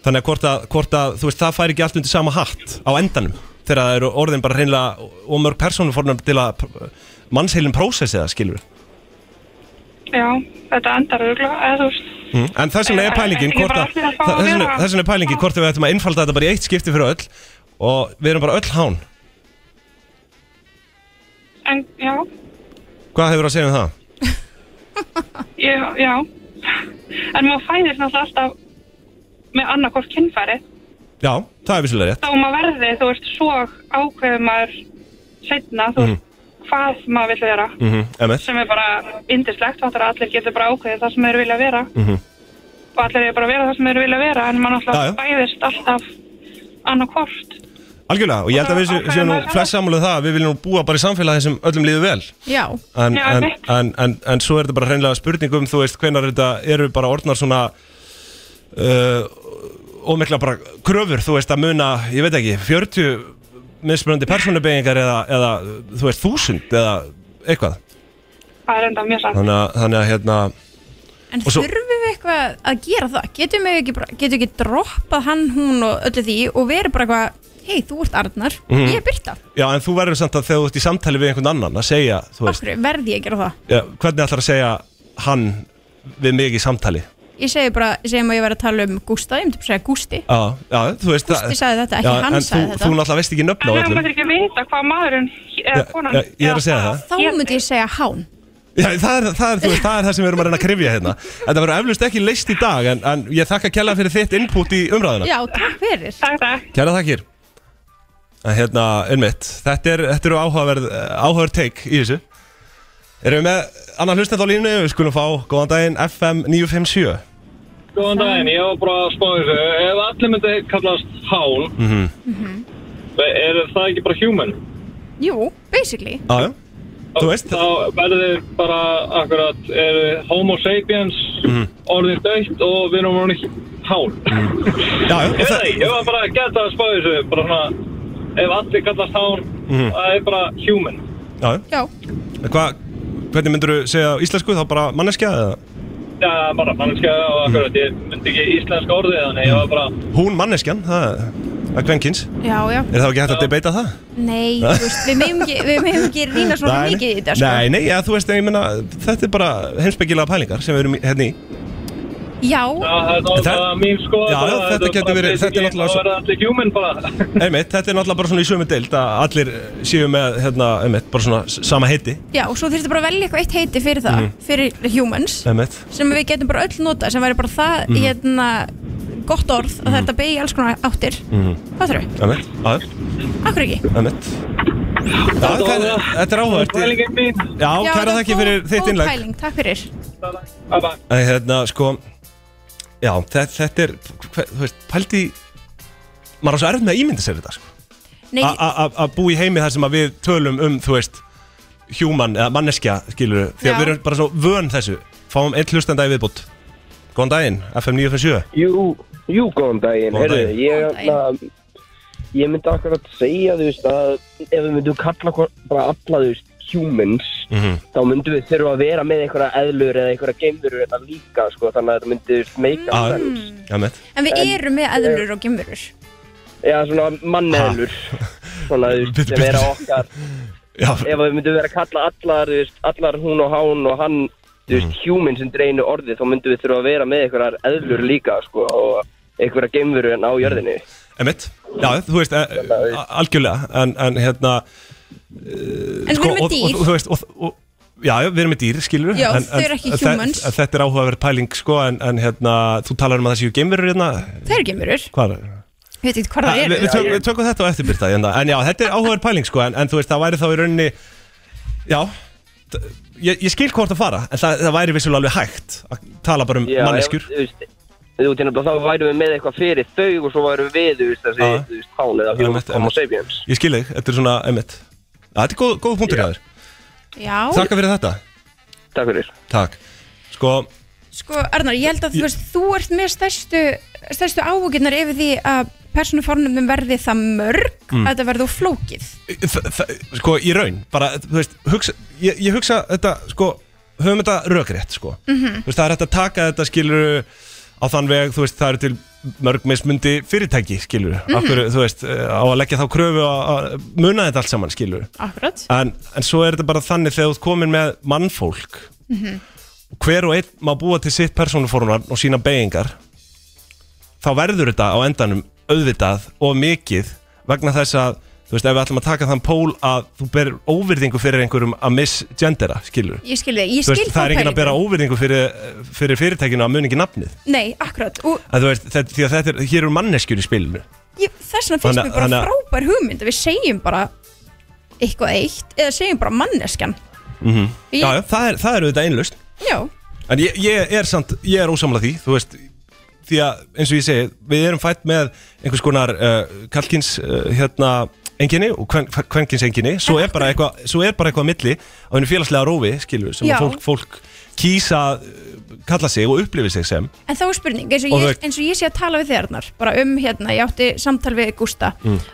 Speaker 1: þannig að hvort að, hvort að þú veist, það fær ekki allt undir sama hatt á endanum þegar það eru orðin bara hreinlega og mörg persónufónum til að mannsheilin prósessi það, skilur
Speaker 6: Já, þetta endar örgulega, eða þú veist,
Speaker 1: Mm. En þess vegna er pælingin
Speaker 6: Ég er
Speaker 1: hvort
Speaker 6: bara
Speaker 1: að
Speaker 6: allir að fá að
Speaker 1: þess vegna-
Speaker 6: vera.
Speaker 1: þess vegna er pælingin hvort að við ættum að innfalda þetta bara í eitt skipti fyrir öll og við erum bara öll hán
Speaker 6: en já,
Speaker 1: Hvað hefur að segja um það?
Speaker 6: ég, já, en maður fæðist náttúrulega alltaf með annarkort kynfæri,
Speaker 1: Já, það er vissulega rétt
Speaker 6: þá maður verði, þú veist, svo ákveður maður setna, þú veist,
Speaker 1: Mhm.
Speaker 6: hvað maður vil vera.
Speaker 1: mm -hmm.
Speaker 6: sem er bara indislegt og allir getur bara ákveðið það sem þeir vilja vera
Speaker 1: Mhm.
Speaker 6: og allir er bara að vera það sem þeir vilja vera en mann alltaf
Speaker 1: Já, já.
Speaker 6: bæðist alltaf annarkvort
Speaker 1: Algjörlega, og ég held að við séum- séum nú flest sammáluð það að við viljum nú búa bara í samfélagi sem öllum líður vel
Speaker 2: Já,
Speaker 1: en,
Speaker 6: Já,
Speaker 1: en,
Speaker 6: einmitt.
Speaker 1: en, en, en svo er þetta bara hreinlega spurning um þú veist hvenar þetta eru bara orðnar svona uh, ómikla bara kröfur þú veist að muna, ég veit ekki 40 mismunandi persónubeyingar eða, eða þú veist þúsund eða eitthvað
Speaker 6: það er enda mjög sann
Speaker 1: þannig að, þannig að hérna
Speaker 2: en
Speaker 1: Og svo-
Speaker 2: þurfum við eitthvað að gera það? Getum við ekki, bara- getum við ekki droppað hann, hún og öllu því og verið bara eitthvað, hei, þú ert Arnar,
Speaker 1: Mhm.
Speaker 2: ég er Birta,
Speaker 1: já en þú verður samt að þegar þú ert í samtali við einhvern annan að segja þú veist,
Speaker 2: okkur verði ég að gera það?
Speaker 1: ja, hvernig ætlar að segja hann við mig í samtali
Speaker 2: Ég segi bara, ég segi maður ég verið að tala um Gústa, ég myndi bara að segja Gústi
Speaker 1: já, já þú veist
Speaker 2: Gústi sagði þetta, ekki hann
Speaker 1: en þú,
Speaker 2: sagði þetta.
Speaker 1: þú náttúrulega veist ekki nöfn á
Speaker 6: en það
Speaker 1: öllum
Speaker 6: maður ekki vita hvað maðurinn
Speaker 1: Já,
Speaker 6: eða konan
Speaker 1: já, ég er að segja það.
Speaker 2: Þá myndi ég segja hán
Speaker 1: Já, það er það, er, þú veist, það er það sem við erum að reyna að krifja hérna Þetta verður eflust ekki leist í dag En, en ég þakka kjærlega fyrir þitt input í umræðuna
Speaker 2: Já, takk fyrir
Speaker 6: Takk, takk.
Speaker 1: Kjærlega þakkir En hérna, unnmitt, þetta, er, þetta eru áhugaverð, eh, áhugaverð take í þessu Erum við með annan hlustin þá línu Við skulum fá góðan daginn FM 957
Speaker 7: Góðan daginn, ég var bara að spá í þessu Ef allir myndi kallast hán mm
Speaker 1: Mhm,
Speaker 7: Er það ekki bara human?
Speaker 2: Mhm. Jú, basically
Speaker 1: Já, já, þú veist
Speaker 7: Þá verður þið bara akkurat er homo sapiens
Speaker 1: Mhm.
Speaker 7: orðin dögt og við erum orðin hán
Speaker 1: Já, já,
Speaker 7: Ég veit
Speaker 1: það,
Speaker 7: það ekki, ég var bara að geta að spá í þessu bara svona, ef allir kallast hán
Speaker 1: Mhm.
Speaker 7: það er bara human
Speaker 1: já, já.
Speaker 2: Já,
Speaker 1: Hva, Hvernig myndirðu segja á íslensku þá bara manneskja eða
Speaker 7: Já, bara mannskja
Speaker 1: Mhm.
Speaker 7: og akkurat ég myndi ekki íslenska orðið þannig ég var bara
Speaker 1: Hún manneskjan, það er- það er kvenkins
Speaker 2: já, já
Speaker 1: Er það ekki hægt að debata það?
Speaker 2: Nei, þú veist, við meðum ekki, við megum ekki rýna svona
Speaker 1: Nei,
Speaker 2: mikið í þetta sko.
Speaker 1: Nei, nei, ja, þú veist, ég menna, þetta er bara heimspekilega pælingar sem við erum í- hérna í
Speaker 2: Já,
Speaker 7: Já, það er náttúrulega mín skoða
Speaker 1: Já, þetta getur verið- þetta er náttúrulega
Speaker 7: Þá
Speaker 1: svo-
Speaker 7: verður allir human bara
Speaker 1: Einmitt, þetta er náttúrulega bara svona í sömu deild að allir séu með, hérna, einmitt, bara svona s- sama heiti
Speaker 2: já, og svo þurftu bara að velja eitthvað eitt heiti fyrir það
Speaker 1: Mhm.
Speaker 2: Fyrir humans
Speaker 1: Einmitt
Speaker 2: Sem við getum bara öll nota Sem væri bara það,
Speaker 1: Mhm.
Speaker 2: hérna, gott orð Að það er þetta beigja alls konar áttir Hvað þurfum við?
Speaker 1: Mhm. Einmitt, aðeim,
Speaker 2: Akkur ekki?
Speaker 1: einmitt Já, þetta er- þetta er áhvert
Speaker 7: Pælingin mín
Speaker 1: Já, kæra þakki fyrir þitt
Speaker 2: Góð
Speaker 1: innlag
Speaker 2: pæling, takk fyrir
Speaker 7: Bye bye
Speaker 1: Æ, Hérna, sko Já, þe- þetta er hve- Þú veist, pældi í- Maður á svo erfitt með að ímynda sér þetta sko.
Speaker 2: Nei,
Speaker 1: A- a- a- Að búa í heimi þar sem að við tölum um Þú veist, human eða manneskja Skilur við, því að
Speaker 2: Já.
Speaker 1: við erum bara svo vön þessu Fáum einn hlustanda í viðbútt Góðan daginn, FM 957
Speaker 8: Jú, jú, góðan daginn,
Speaker 1: Góðan
Speaker 8: heyrðu,
Speaker 1: daginn.
Speaker 8: ég,
Speaker 2: Góðan daginn.
Speaker 8: na, ég myndi akkurat segja, þú veist, að ef við myndum kalla hvor- bara alla, þú veist, humans,
Speaker 1: Mhm.
Speaker 8: þá myndum við þurfa að vera með einhverja eðlur eða einhverja geimurur þetta líka, sko, þannig að þetta myndi, þú veist, meika
Speaker 1: Já,
Speaker 8: mm.
Speaker 1: já, með
Speaker 2: en við erum með eðlur og gemurur
Speaker 8: Já, svona manneðlur, svona, þú veist,
Speaker 1: Bittu,
Speaker 8: sem vera
Speaker 1: bittu.
Speaker 8: okkar,
Speaker 1: Já,
Speaker 8: ef við myndum vera að kalla allar, þú veist, allar hún og hán og hann, þú veist,
Speaker 1: Mm.
Speaker 8: human sem dreinu orðið, þá myndum við þurfa að vera með einhverjar
Speaker 1: Mm.
Speaker 8: eðlur líka, sko, og einhverja geimurur á jörðinni.
Speaker 1: emitt Já, þú veist, eh, a- algjörlega En, en hérna, sko,
Speaker 2: En við erum með
Speaker 1: og, og,
Speaker 2: dýr
Speaker 1: þú veist, og, og, Já, já, við erum með dýr, skilur
Speaker 2: Já, þau eru ekki humans.
Speaker 1: Þetta er áhugaverð pæling, sko En, en hérna, þú talar um að það séu geimverur hérna
Speaker 2: Það eru gemurur,
Speaker 1: Hvað er
Speaker 2: við veitum ekki hvað það
Speaker 1: það? Ah, Við
Speaker 2: eru
Speaker 1: við tökum, við tökum þetta á eftirbyrta hérna. En já, þetta er áhugaverð pæling, sko en, en þú veist, það væri þá í rauninni Já t- Ég, ég skil hvort að fara En það, það væri vissulega alveg hægt Að tala bara um
Speaker 8: Já,
Speaker 1: manneskjur
Speaker 8: ef- Þú veist, þú veist, hérna, þá værum við með eitthvað fyrir þau og svo værum við, þú veist, þessi,
Speaker 1: Já.
Speaker 8: þú veist, hán eða
Speaker 1: Einmitt,
Speaker 8: hjá Homo
Speaker 1: einmitt.
Speaker 8: sapiens.
Speaker 1: Ég skil þig, þetta er svona, emitt Þetta er góð, góð punktur hjá þér
Speaker 2: Já,
Speaker 1: Þakka fyrir þetta
Speaker 8: Takk fyrir.
Speaker 1: Takk Sko,
Speaker 2: sko Arnar, ég held að þú veist Þú ert með stærstu, stærstu áhuginnar yfir því að persónufornumum verði það mörg
Speaker 1: Mm.
Speaker 2: að þetta verði of flókið
Speaker 1: þ- þ- sko í raun bara, þú veist, hugsa, ég, ég hugsa þetta, sko, höfum þetta rökrétt sko.
Speaker 7: Mm.
Speaker 2: Mhm.
Speaker 1: -hmm. þú veist, það er hægt að taka þetta skilur á þann veg, þú veist, það eru til mörg mismundi fyrirtæki skilur, mm -hmm. þú veist, eh, á að leggja þá kröfu að- að muna þetta allt saman skilur
Speaker 2: Akkurat
Speaker 1: en, en svo er þetta bara þannig þegar þú ert komin með mannfólk
Speaker 2: Mhm.
Speaker 1: hver og einn má búa til sitt persónuformunar og sína beigingar þá verður þetta á endanum auðvitað og mikið vegna þess að þú veist ef við ætlum að taka þann pól að þú ber óvirðingu fyrir einhverjum að misgendera skilur
Speaker 2: Ég skil þig, ég
Speaker 1: Þú
Speaker 2: skil
Speaker 1: veist, það er enginn að bera
Speaker 2: pælinguna.
Speaker 1: óvirðingu fyrir, fyrir fyrirtækinu að muni ekki nafnið
Speaker 2: Nei, akkurat, og
Speaker 1: að, þú veist, þetta, því að þetta er, hér eru manneskjur í spilinu
Speaker 2: ég, þess vegna finnst
Speaker 1: Þannig-
Speaker 2: mér bara
Speaker 1: þannig að-
Speaker 2: frábær hugmynd að við segjum bara eitthvað eitt eða segjum bara manneskjan Ég-
Speaker 1: já, já, það, er, það er auðvitað einlust
Speaker 2: Já,
Speaker 1: En ég, ég er samt, ég er ósamlega því, þú veist Því að, eins og ég segi, við erum fætt með einhvers konar uh, kallkins uh, hérna, enginni og kvenkins enginni Svo er bara eitthvað, svo er bara eitthvað á milli á henni félagslega rófi, skilur sem
Speaker 2: Já.
Speaker 1: að fólk, fólk kýsa uh, kalla sig og upplifi sig sem
Speaker 2: En þá er spurning, eins og,
Speaker 1: Og
Speaker 2: ég,
Speaker 1: það-
Speaker 2: eins og ég sé að tala við þérnar bara um hérna, ég átti samtal við
Speaker 1: Mm.
Speaker 2: Gústa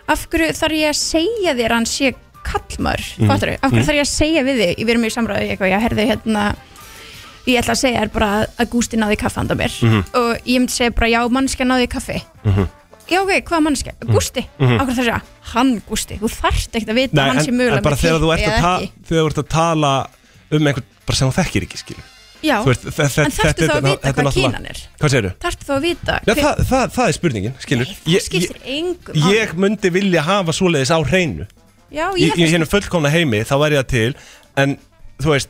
Speaker 2: af hverju þarf ég að segja þér að hann sé kallmar,
Speaker 1: Mhm.
Speaker 2: mm. fattur af hverju þarf ég að segja við þig, við erum í samræðu eitthvað, ég herði hérna ég ætla að segja þér bara að- að Gústi náði kaffe handa mér
Speaker 1: Mhm.
Speaker 2: og ég myndi segja bara já, mannskja náði kaffi
Speaker 9: Mhm.
Speaker 2: já ok, hvað mannskja,
Speaker 1: Mhm.
Speaker 2: Gústi af hverju þarf ég að, hann Gústi, þú þarft ekkert að vita að
Speaker 1: en,
Speaker 2: hann sé mögulega
Speaker 1: en bara þegar þú,
Speaker 2: klippi
Speaker 1: ert
Speaker 2: eða
Speaker 1: að ta-
Speaker 2: ekki.
Speaker 1: þegar þú ert að tala um einhvern bara sem þú þekkir ekki, skilur
Speaker 2: já,
Speaker 1: Þú veist, þe- þe-
Speaker 2: en þarftu
Speaker 1: þetta-
Speaker 2: þá að
Speaker 1: þetta
Speaker 2: vita
Speaker 1: er
Speaker 2: hvað
Speaker 1: náttúrulega-
Speaker 2: kínan er
Speaker 1: Hvað segirðu?
Speaker 2: þarftu þá að vita
Speaker 1: Já,
Speaker 2: hver-
Speaker 1: það, það, það er spurningin, skilur
Speaker 2: það skiptir engum máli.
Speaker 1: ég myndi vilja hafa svoleiðis á hreinu
Speaker 2: já,
Speaker 1: í,
Speaker 2: ég held
Speaker 1: í
Speaker 2: að
Speaker 1: hennu fullkomna heimi þá væri það til en þú veist,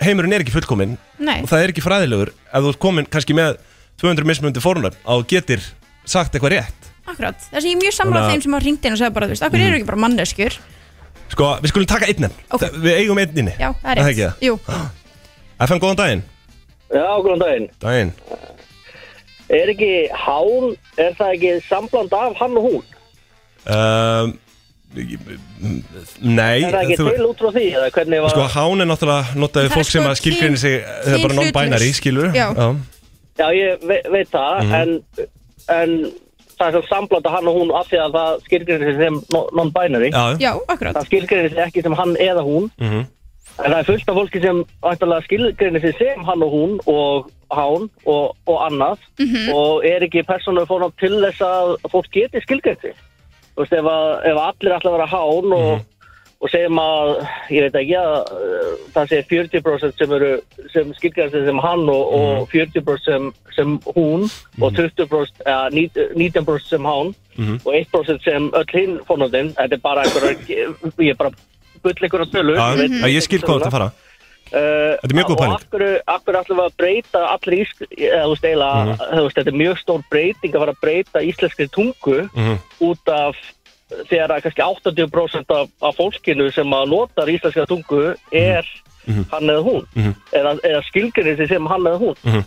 Speaker 1: heimurinn er ekki fullkominn
Speaker 2: Nei.
Speaker 1: og það er ekki fræðilegur að þú ert komin kannski með 200 mismunandi fórnum að þú getir sagt eitthvað rétt
Speaker 2: Akkurat, þess að ég er mjög samlað
Speaker 1: Þannig að-
Speaker 2: þeim sem hafa ringt inn og segja bara, þú veist, akkur
Speaker 1: Mhm.
Speaker 2: eru ekki bara manneskjur
Speaker 1: sko, við skulum taka einn enn
Speaker 2: Ok.
Speaker 1: Það- við eigum einn inni
Speaker 2: Já, það er
Speaker 1: það
Speaker 2: rétt
Speaker 1: ekki Ah, það?
Speaker 2: Jú,
Speaker 1: FM, góðan daginn
Speaker 5: Já, góðan daginn.
Speaker 1: daginn
Speaker 5: Er ekki hán, er það ekki sambland af hann og hún?
Speaker 1: um, nei
Speaker 5: Er það ekki
Speaker 1: þú-
Speaker 5: til út frá því? Eða hvernig var...
Speaker 1: sko, hán er náttúrulega notaði
Speaker 2: Það er
Speaker 1: fólk sem
Speaker 2: sko
Speaker 1: að skilgrinni sig það er bara
Speaker 2: kyn-
Speaker 1: non-binary,
Speaker 2: kynhlutlaust.
Speaker 1: skilur
Speaker 2: Já.
Speaker 5: Já, ég ve veit það,
Speaker 1: Mhm.
Speaker 5: en, en það er sem sambland af hann og hún af því að það skilgrinir sig sem no- non-binary.
Speaker 1: já, já.
Speaker 2: já, akkurat
Speaker 5: Það skilgrinir sig ekki sem hann eða hún.
Speaker 1: Mhm.
Speaker 5: En það er fullt af fólki sem ætlalega skilgrinir sig sem hann og hún og hán og, og annað og er ekki persónuleg fórnum til þess að fólk geti skilgrinir sig. Þú veist, ef, að, ef allir ætla að vera hán og, og segjum að, ég veit ekki að eh, það sé 40% sem, eru, sem skilgrinir sig sem hann og, og 40% sem, sem hún og 20% eða nít- 19% sem hán og 1% sem öll hinn fórnum þetta er bara einhverjar, ég er bara bull einhverjar tölu
Speaker 1: Já,
Speaker 5: veit-
Speaker 1: já, ég skil hvað þetta fara
Speaker 5: Þetta
Speaker 1: er mjög góð pæling.
Speaker 5: Eh, Og af hverju, af hverju ætlum við að breyta allir ísk... Eða, þú veist,
Speaker 1: Mhm.
Speaker 5: eiginlega, þú veist, þetta er mjög stór breyting að fara að breyta íslenskri tungu
Speaker 1: Mhm.
Speaker 5: út af þegar að kannski 80% af, af fólkinu sem að notar íslenska tungu
Speaker 1: Mhm.
Speaker 5: er hann eða hún eða, eða skilgrinni sem hann eða hún
Speaker 1: Mhm.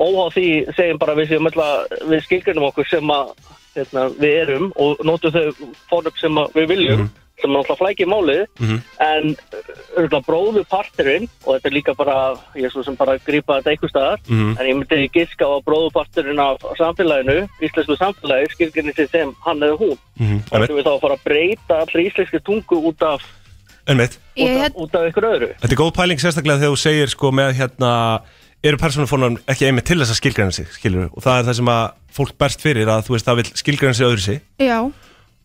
Speaker 5: óhá því segjum bara við, séum ætla, við skilgrinnum okkur sem að hérna, við erum og notum þau fórnum sem að við viljum
Speaker 1: Mhm.
Speaker 5: sem er náttúrulega flækið málið en örgulega bróðu parturinn og þetta er líka bara, ég er svo sem bara að grípa þetta einhver staðar,
Speaker 1: Mhm.
Speaker 5: en ég myndi giska á bróðu parturinn af samfélaginu íslensku samfélagi skilgrinni sem hann eða hún Það
Speaker 1: Mhm. Einmitt,
Speaker 5: sem við þá að fara að breyta allri íslenski tungu út af,
Speaker 1: einmitt
Speaker 5: út
Speaker 2: Ég,
Speaker 5: af, út af ykkur öðru.
Speaker 1: Þetta er góð pæling sérstaklega þegar þú segir sko með hérna eru persónufónan ekki einmitt til þess að skilgræna sig skilur og það er það sem að fólk berst fyrir að þú veist það vil skilgræna sig öðru sig
Speaker 2: já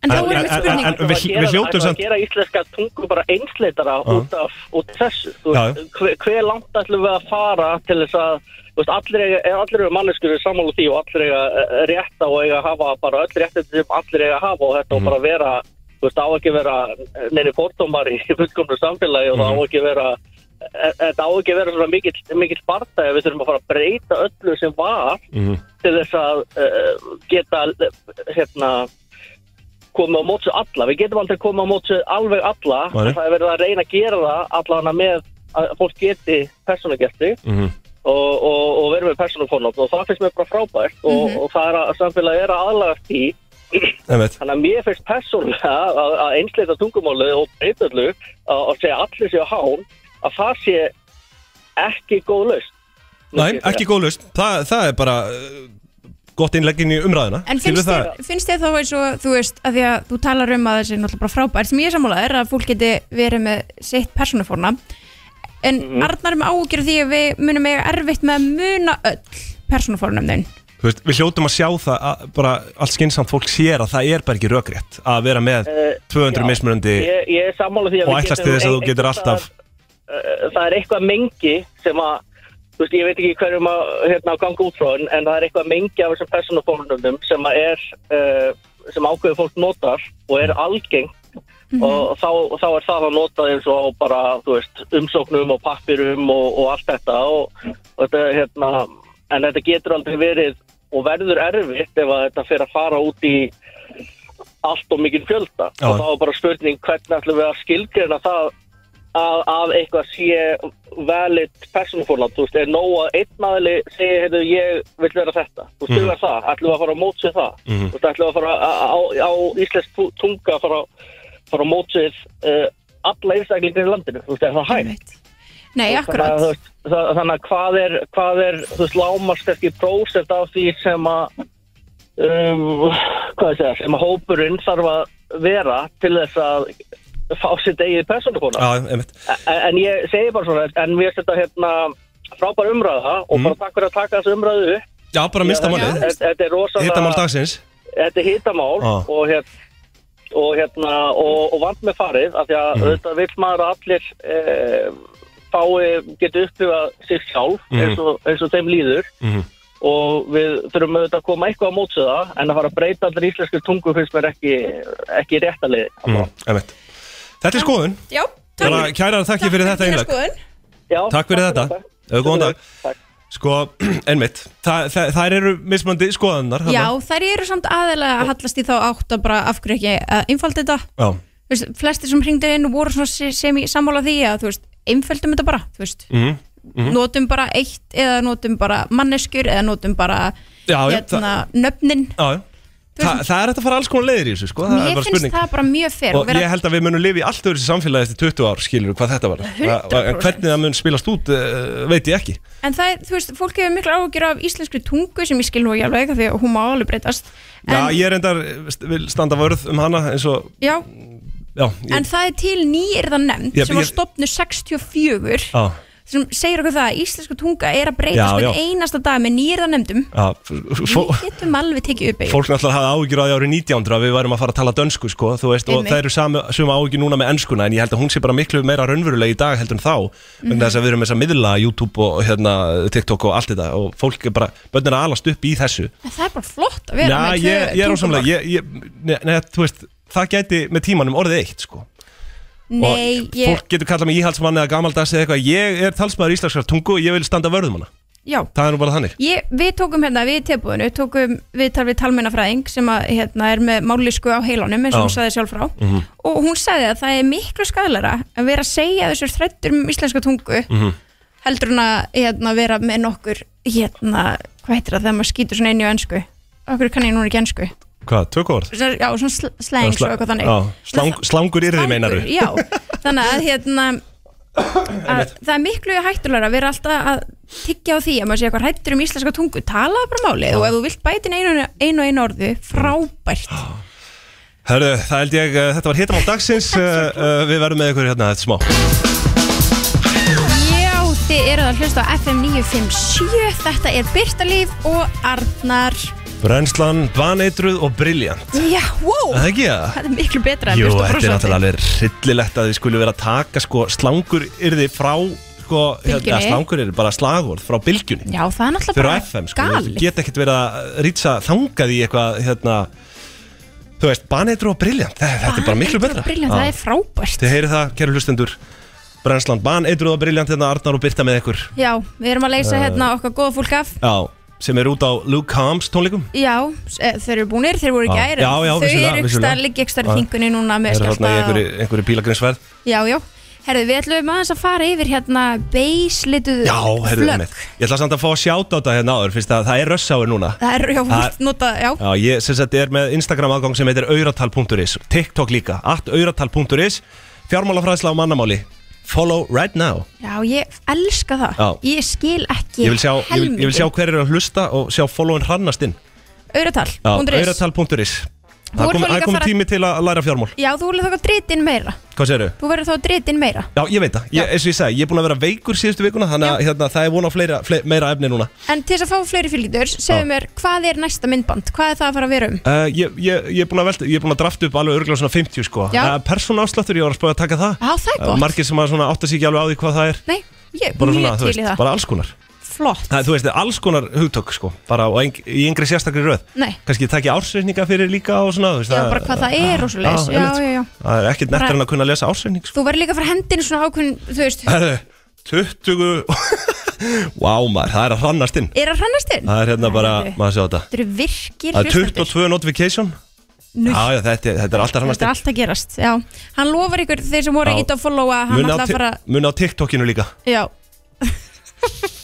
Speaker 2: En þá
Speaker 1: En-
Speaker 2: er
Speaker 1: en-
Speaker 2: einmitt spurning
Speaker 1: en- en- við-
Speaker 5: Ætlum að
Speaker 1: við hljótum
Speaker 5: ætlum
Speaker 1: samt-
Speaker 5: að gera íslenska tungu bara einsleitara út, af, út af þessu. Þú
Speaker 1: Já,
Speaker 5: veist, hver, hver langt ætlum við að fara til þess að þú veist, allir, eiga, eh, allir eru manneskur við sammála því og allir eiga eh, rétt á að eiga að hafa bara öll réttið sem allir eiga að hafa og
Speaker 1: Mm.
Speaker 5: þetta á bara að vera, þú veist, á ekki að vera eh, neini fórtómar í fullkomnu samfélagi og
Speaker 1: Mm.
Speaker 5: það á ekki að vera eh, þetta á ekki að vera svona mikill, mikill barndæg við þurfum að fara að breyta öllu sem var
Speaker 1: Mhm.
Speaker 5: til þess að uh, geta eh, hérna komið á mótsu alla, við getum aldrei komið á mótsu alveg alla,
Speaker 1: Nei.
Speaker 5: en það er verið að reyna að gera það allana með að fólk geti persónugerti
Speaker 1: Mhm.
Speaker 5: og, og, og verið með persónukonum og það finnst mér bara frábært og, og það er að samfélagi er að aðlagast í
Speaker 1: einmitt,
Speaker 5: þannig að mér finnst persónulega að, að einsleita tungumálið og breytöldu að, að segja allir séu hán að það sé ekki góð laust
Speaker 1: Nei, ekki góð lust, það, það er bara uh, gott innleggin í umræðina
Speaker 2: En
Speaker 1: Skilur
Speaker 2: finnst þér, finnst þér þá eins og þú veist að því að þú talar um að þessi er náttúrulega bara frábært sem ég er sammála er að fólk geti verið með sitt persónufórna en
Speaker 1: Mhm.
Speaker 2: Arnar er með ágjör því að við munum eiga erfitt með að muna öll persónufórnum þinn
Speaker 1: Þú veist, Við hljótum að sjá það að bara allt skynnsamt fólk sér að það er bara ekki rökrétt að vera með
Speaker 5: Eh,
Speaker 1: 200
Speaker 5: já.
Speaker 1: mismunandi
Speaker 5: ég, ég um er sammála því að
Speaker 1: og
Speaker 5: við
Speaker 1: ætlast til þess að þú
Speaker 5: ein-
Speaker 1: getur
Speaker 5: einhvers staðar-
Speaker 1: alltaf
Speaker 5: uh, það er eitthvað mengi sem að þú veist, ég veit ekki hverjum að hérna, ganga út frá en, en það er eitthvað mengi af þessum persónufórnum sem að er uh, sem ákveðu fólk notar og er algeng
Speaker 9: Mhm.
Speaker 5: og þá, þá er það að nota eins og á bara þú veist, umsóknum og pappirum og, og allt þetta og, og þetta, hérna, en þetta getur aldrei verið og verður erfitt ef að þetta fer að fara út í allt og mikinn fjölda
Speaker 1: Já.
Speaker 5: og þá er bara spurning hvernig ætlum við að skilgreina það að, að eitthvað sé valid persónufórnand, þú veist, er nóg að einn maðurli segja, heyrðu, ég vil vera þetta þú veist, mm. það, ætlum við að fara á mótsið það
Speaker 1: Mhm.
Speaker 5: þú veist, ætlum við að fara á, á, á íslensk tu- tunga að fara, á- fara á mótsið uh, alla einstaklingar í landinu, þú veist, er það hægt
Speaker 2: Einmitt. Nei,
Speaker 5: Þannig að,
Speaker 2: akkurat
Speaker 5: þú veist, það- þannig að hvað er, hvað er þú veist, lámast ekki prósent af því sem að um, hvað ég segja, sem að hópurinn þarf að vera til þess að fá sitt eigið persónukona
Speaker 1: Já, einmitt
Speaker 5: en, en ég segi bara svona, en mér finnst þetta hérna frábær umræða og bara takk fyrir að taka þessu umræðu upp.
Speaker 1: Mm. Já, bara mista málið,
Speaker 5: Þetta- Þetta er rosalega
Speaker 1: hitta mál dagsins
Speaker 5: Þetta er hittamál
Speaker 1: Já.
Speaker 5: og hérna og hérna, og, og vant með farið af því að
Speaker 1: Mhm.
Speaker 5: auðvitað vill maður að allir e, fái, geti upplifað sig sjálf eins, og, eins og þeim líður
Speaker 1: Mhm.
Speaker 5: og við þurfum auðvitað að koma eitthvað á mótsöða en að fara að breyta allir íslensku tungu finnst mér ekki, ekki réttaliði
Speaker 1: mm, einmitt. Þetta er skoðun,
Speaker 2: Já, takk
Speaker 1: bara kærar þakki fyrir þetta
Speaker 2: þína
Speaker 1: einlegg
Speaker 2: skoðun.
Speaker 5: Já,
Speaker 1: Takk fyrir þetta, auðvitað góðan dag
Speaker 5: Takk.
Speaker 1: Sko, einmitt, Þa, þa- þær eru mismandi skoðanar
Speaker 2: Já, þær eru samt aðeinslega að hallast í þá átt að bara af hverju ekki að einfalda þetta
Speaker 1: Já,
Speaker 2: Þú veist, flestir sem hringdu inn voru svona se- sem í sammála því að þú veist, einföldum þetta bara, þú veist
Speaker 1: Mhm,
Speaker 2: notum bara eitt eða notum bara manneskur eða notum bara
Speaker 1: já, já, það,
Speaker 2: hérna, nöfnin
Speaker 1: já, já. Þa, það er hægt að fara alls konar leiðir í þessu, sko, það
Speaker 2: Mér
Speaker 1: er bara
Speaker 2: finnst
Speaker 1: spurning
Speaker 2: það bara mjög fyrr
Speaker 1: Og ég held að við munum lifa í allt öðru samfélagi eftir 20 ár, skilur hvað þetta var
Speaker 2: 100%.
Speaker 1: En hvernig það mun spilast út, uh, veit ég ekki
Speaker 2: En það, er, þú veist, fólk hefur miklu áhugjur af íslenskri tungu sem ég skil nú ekki alveg af því að hún má alveg breytast
Speaker 1: Já,
Speaker 2: En,
Speaker 1: ég er endar, vil standa vörð um hana eins og,
Speaker 2: já,
Speaker 1: já, ég,
Speaker 2: en það er til nýyrðan nefnd
Speaker 1: Ég-
Speaker 2: sem var
Speaker 1: ég-
Speaker 2: stopnu 64
Speaker 1: á,
Speaker 2: sem segir okkur það að íslenska tunga er að breytast
Speaker 1: Já, já.
Speaker 2: hvern einasta dag með nýyrðan nefndum
Speaker 1: á, fó,
Speaker 2: Við getum alveg tekið upp eigur
Speaker 1: fólk náttúrulega hafði áhyggjur á því árið 1900 að við værum að fara að tala dönsku sko, þú veist, og
Speaker 2: Einmitt.
Speaker 1: það eru sami, suma áhyggjur núna með ennskuna en ég held að hún sé bara miklu meira raunveruleg í dag heldur en þá vegna
Speaker 2: Mhm.
Speaker 1: þess að við erum með þess að miðla YouTube og hérna, TikTok og allt þetta og fólk er bara, börn er að alast upp í þessu
Speaker 2: Það er bara flott að vera
Speaker 1: Já,
Speaker 2: með tvö
Speaker 1: ég, ég er
Speaker 2: tungumál.
Speaker 1: ósamlega ég, ég, ne, ne, þú veist, það gæti með tímanum orðið eitt sko
Speaker 2: Nei,
Speaker 1: og
Speaker 2: ég,
Speaker 1: fólk getur kallað mig íhaldsmann eða gamaldags eða eitthvað, ég er talsmaður íslenskar tungu og ég vil standa vörðum hana
Speaker 2: já
Speaker 1: Það er nú bara þannig
Speaker 2: Ég, við tókum hérna, við í tilbúinu tókum við tal við talmennafræðing sem að, hérna, er með málisku á heilanum eins og hún
Speaker 1: Já. Mhm.
Speaker 2: sagði sjálf frá og hún sagði að það er miklu skadalara að vera að segja þessur þrættur um íslenska tungu
Speaker 1: Mhm.
Speaker 2: heldur hún að hérna, vera með nokkur hérna, hvað heitir það þegar maður skýtur svona inn í á ensku okkur kann ég núna ekki ensku
Speaker 1: Hvað, tökord?
Speaker 2: Svona- já, svona sl slengs og eitthvað þannig
Speaker 1: slang, Slangur yrði meinaru
Speaker 2: Slangur, Já, þannig að hérna að það er miklu hættulega að vera alltaf að tyggja á því að maður sé eitthvað hættur um íslenska tungu tala bara málið og ef þú vilt bæti inn einu, einu og einu orðu, frábært
Speaker 1: Hörðu, það held ég, uh, þetta var hitamál dagsins uh, uh, Við verðum með ykkur hérna þetta smá
Speaker 2: Já, þið eruð að hlusta á FM 957 þetta er Birta Líf og Arnar
Speaker 1: Brennslan, baneitruð og briljant
Speaker 2: Já, wow,
Speaker 1: Það ekki það?
Speaker 2: það er miklu betra en
Speaker 1: Jú,
Speaker 2: Birta
Speaker 1: þetta er
Speaker 2: brosandi.
Speaker 1: náttúrulega alveg rillilegt að þið skulle vera að taka sko, slangur yrði frá sko,
Speaker 2: Bylgjunni.
Speaker 1: eða slangur yrði bara slagorð frá bylgjunni
Speaker 2: Já, það er
Speaker 1: Þau
Speaker 2: náttúrulega
Speaker 1: eru á
Speaker 2: bara
Speaker 1: FM sko,
Speaker 2: galið
Speaker 1: þau geta ekkert verið að rýtsa þangað í eitthvað hérna, þú veist, baneitru og briljant Þe- þetta er bara miklu
Speaker 2: Baneitruð
Speaker 1: betra
Speaker 2: og brilljant,
Speaker 1: Já.
Speaker 2: Það er frábært
Speaker 1: Þið heyrið það, kæru hlustendur Brennslan, baneitru og briljant hérna Arnar og Birta með ykkur
Speaker 2: Já, við erum að
Speaker 1: Eh.
Speaker 2: leysa hérna okkar góða fólk af
Speaker 1: Já, sem er út á Luke Combs tónleikum
Speaker 2: Já, s- eh, þeir eru búnir, þeir voru
Speaker 1: Já.
Speaker 2: ekki æri
Speaker 1: Já, já,
Speaker 2: Þau
Speaker 1: vissulega,
Speaker 2: eru
Speaker 1: vissulega.
Speaker 2: ekstar, liggja ekstar
Speaker 1: Já.
Speaker 2: í hingunni núna með
Speaker 1: Er þarna í
Speaker 2: skjálfta
Speaker 1: einhverju, einhverju pílagrinsverð
Speaker 2: Já, já, herðu, við ætlum aðeins að fara yfir hérna beislituð
Speaker 1: Já, heyrðu
Speaker 2: flögg
Speaker 1: með Ég ætla samt að fá að sjáta á þetta hérna áður Fyrst að það er rössáir núna
Speaker 2: Það er, já,
Speaker 1: Það-
Speaker 2: vart nota, já,
Speaker 1: Já, ég sem sagt er með Instagram aðgang sem heitir auratal.is TikTok líka, at auratal.is Fjármálafræðsla á mannamáli Follow right now
Speaker 2: já, ég elska það
Speaker 1: Já.
Speaker 2: Ég skil ekki
Speaker 1: Ég vil sjá, ég vil, ég vil sjá hver eru að hlusta og sjá followin hrannast inn
Speaker 2: Auratal,
Speaker 1: Já,
Speaker 2: hundur is
Speaker 1: auratal.is
Speaker 2: Þú
Speaker 1: Það
Speaker 2: ert
Speaker 1: kom,
Speaker 2: þá líka
Speaker 1: það kom
Speaker 2: að fara-
Speaker 1: tími til að læra fjármál
Speaker 2: Já, þú verður þá að dritin meira
Speaker 1: Hvað segirðu?
Speaker 2: Þú verður þá að dritin meira
Speaker 1: Já, ég veit það, ég, eins og ég sagði, ég er búin að vera veikur síðustu vikuna Þannig að hérna, það er vona á fleira, fleira, meira efni núna
Speaker 2: En til þess að fá fleiri fylgjitur,
Speaker 1: Já.
Speaker 2: segðu mér, hvað er næsta myndband? Hvað er það að fara að vera um?
Speaker 1: uh, ég, ég, ég er búin að velta, ég er búin að drafta upp alveg örgulega svona 50 sko
Speaker 2: Já.
Speaker 1: uh, Persónafsláttur, ég var að spöða að taka það
Speaker 2: Já, það er
Speaker 1: Eh,
Speaker 2: gott.
Speaker 1: Margir sem að svona átta sig ekki alveg á því hvað það er
Speaker 2: Nei, ég er
Speaker 1: Bara svona,
Speaker 2: mjög
Speaker 1: þú
Speaker 2: til
Speaker 1: veist,
Speaker 2: í það
Speaker 1: bara alls konar
Speaker 2: Flott,
Speaker 1: Það, þú veist, alls konar hugtök sko bara á eng, í yngri sérstakri röð
Speaker 2: Nei.
Speaker 1: kannski takja ársveikninga fyrir líka og svona þú veist,
Speaker 2: já, bara hvað það er og svo
Speaker 1: Já,
Speaker 2: Já,
Speaker 1: einmitt, sko.
Speaker 2: já, já
Speaker 1: það er ekkert nettur
Speaker 2: Bara-
Speaker 1: en að kunna lesa ársveikning sko.
Speaker 2: Þú verður líka að fara hendin svona ákveðin, þú veist,
Speaker 1: Herðu, 20 Vá maður, það er að hrannast inn
Speaker 2: er að hrannast inn?
Speaker 1: það er hérna bara,
Speaker 2: Herðu.
Speaker 1: maður sjá þetta
Speaker 2: Þetta eru virkir
Speaker 1: það er
Speaker 2: hlustendur.
Speaker 1: 22 notification
Speaker 2: Nú,
Speaker 1: Já, já, þetta, er- þetta er alltaf hrannast
Speaker 2: Þetta er
Speaker 1: inn
Speaker 2: allt að gerast, já. Hann lofar ykkur þeir sem voru
Speaker 1: Já.
Speaker 2: ít að followa, hann
Speaker 1: Muna á,
Speaker 2: ætla að
Speaker 1: ti-
Speaker 2: fara,
Speaker 1: muna á TikTokinu líka
Speaker 2: já.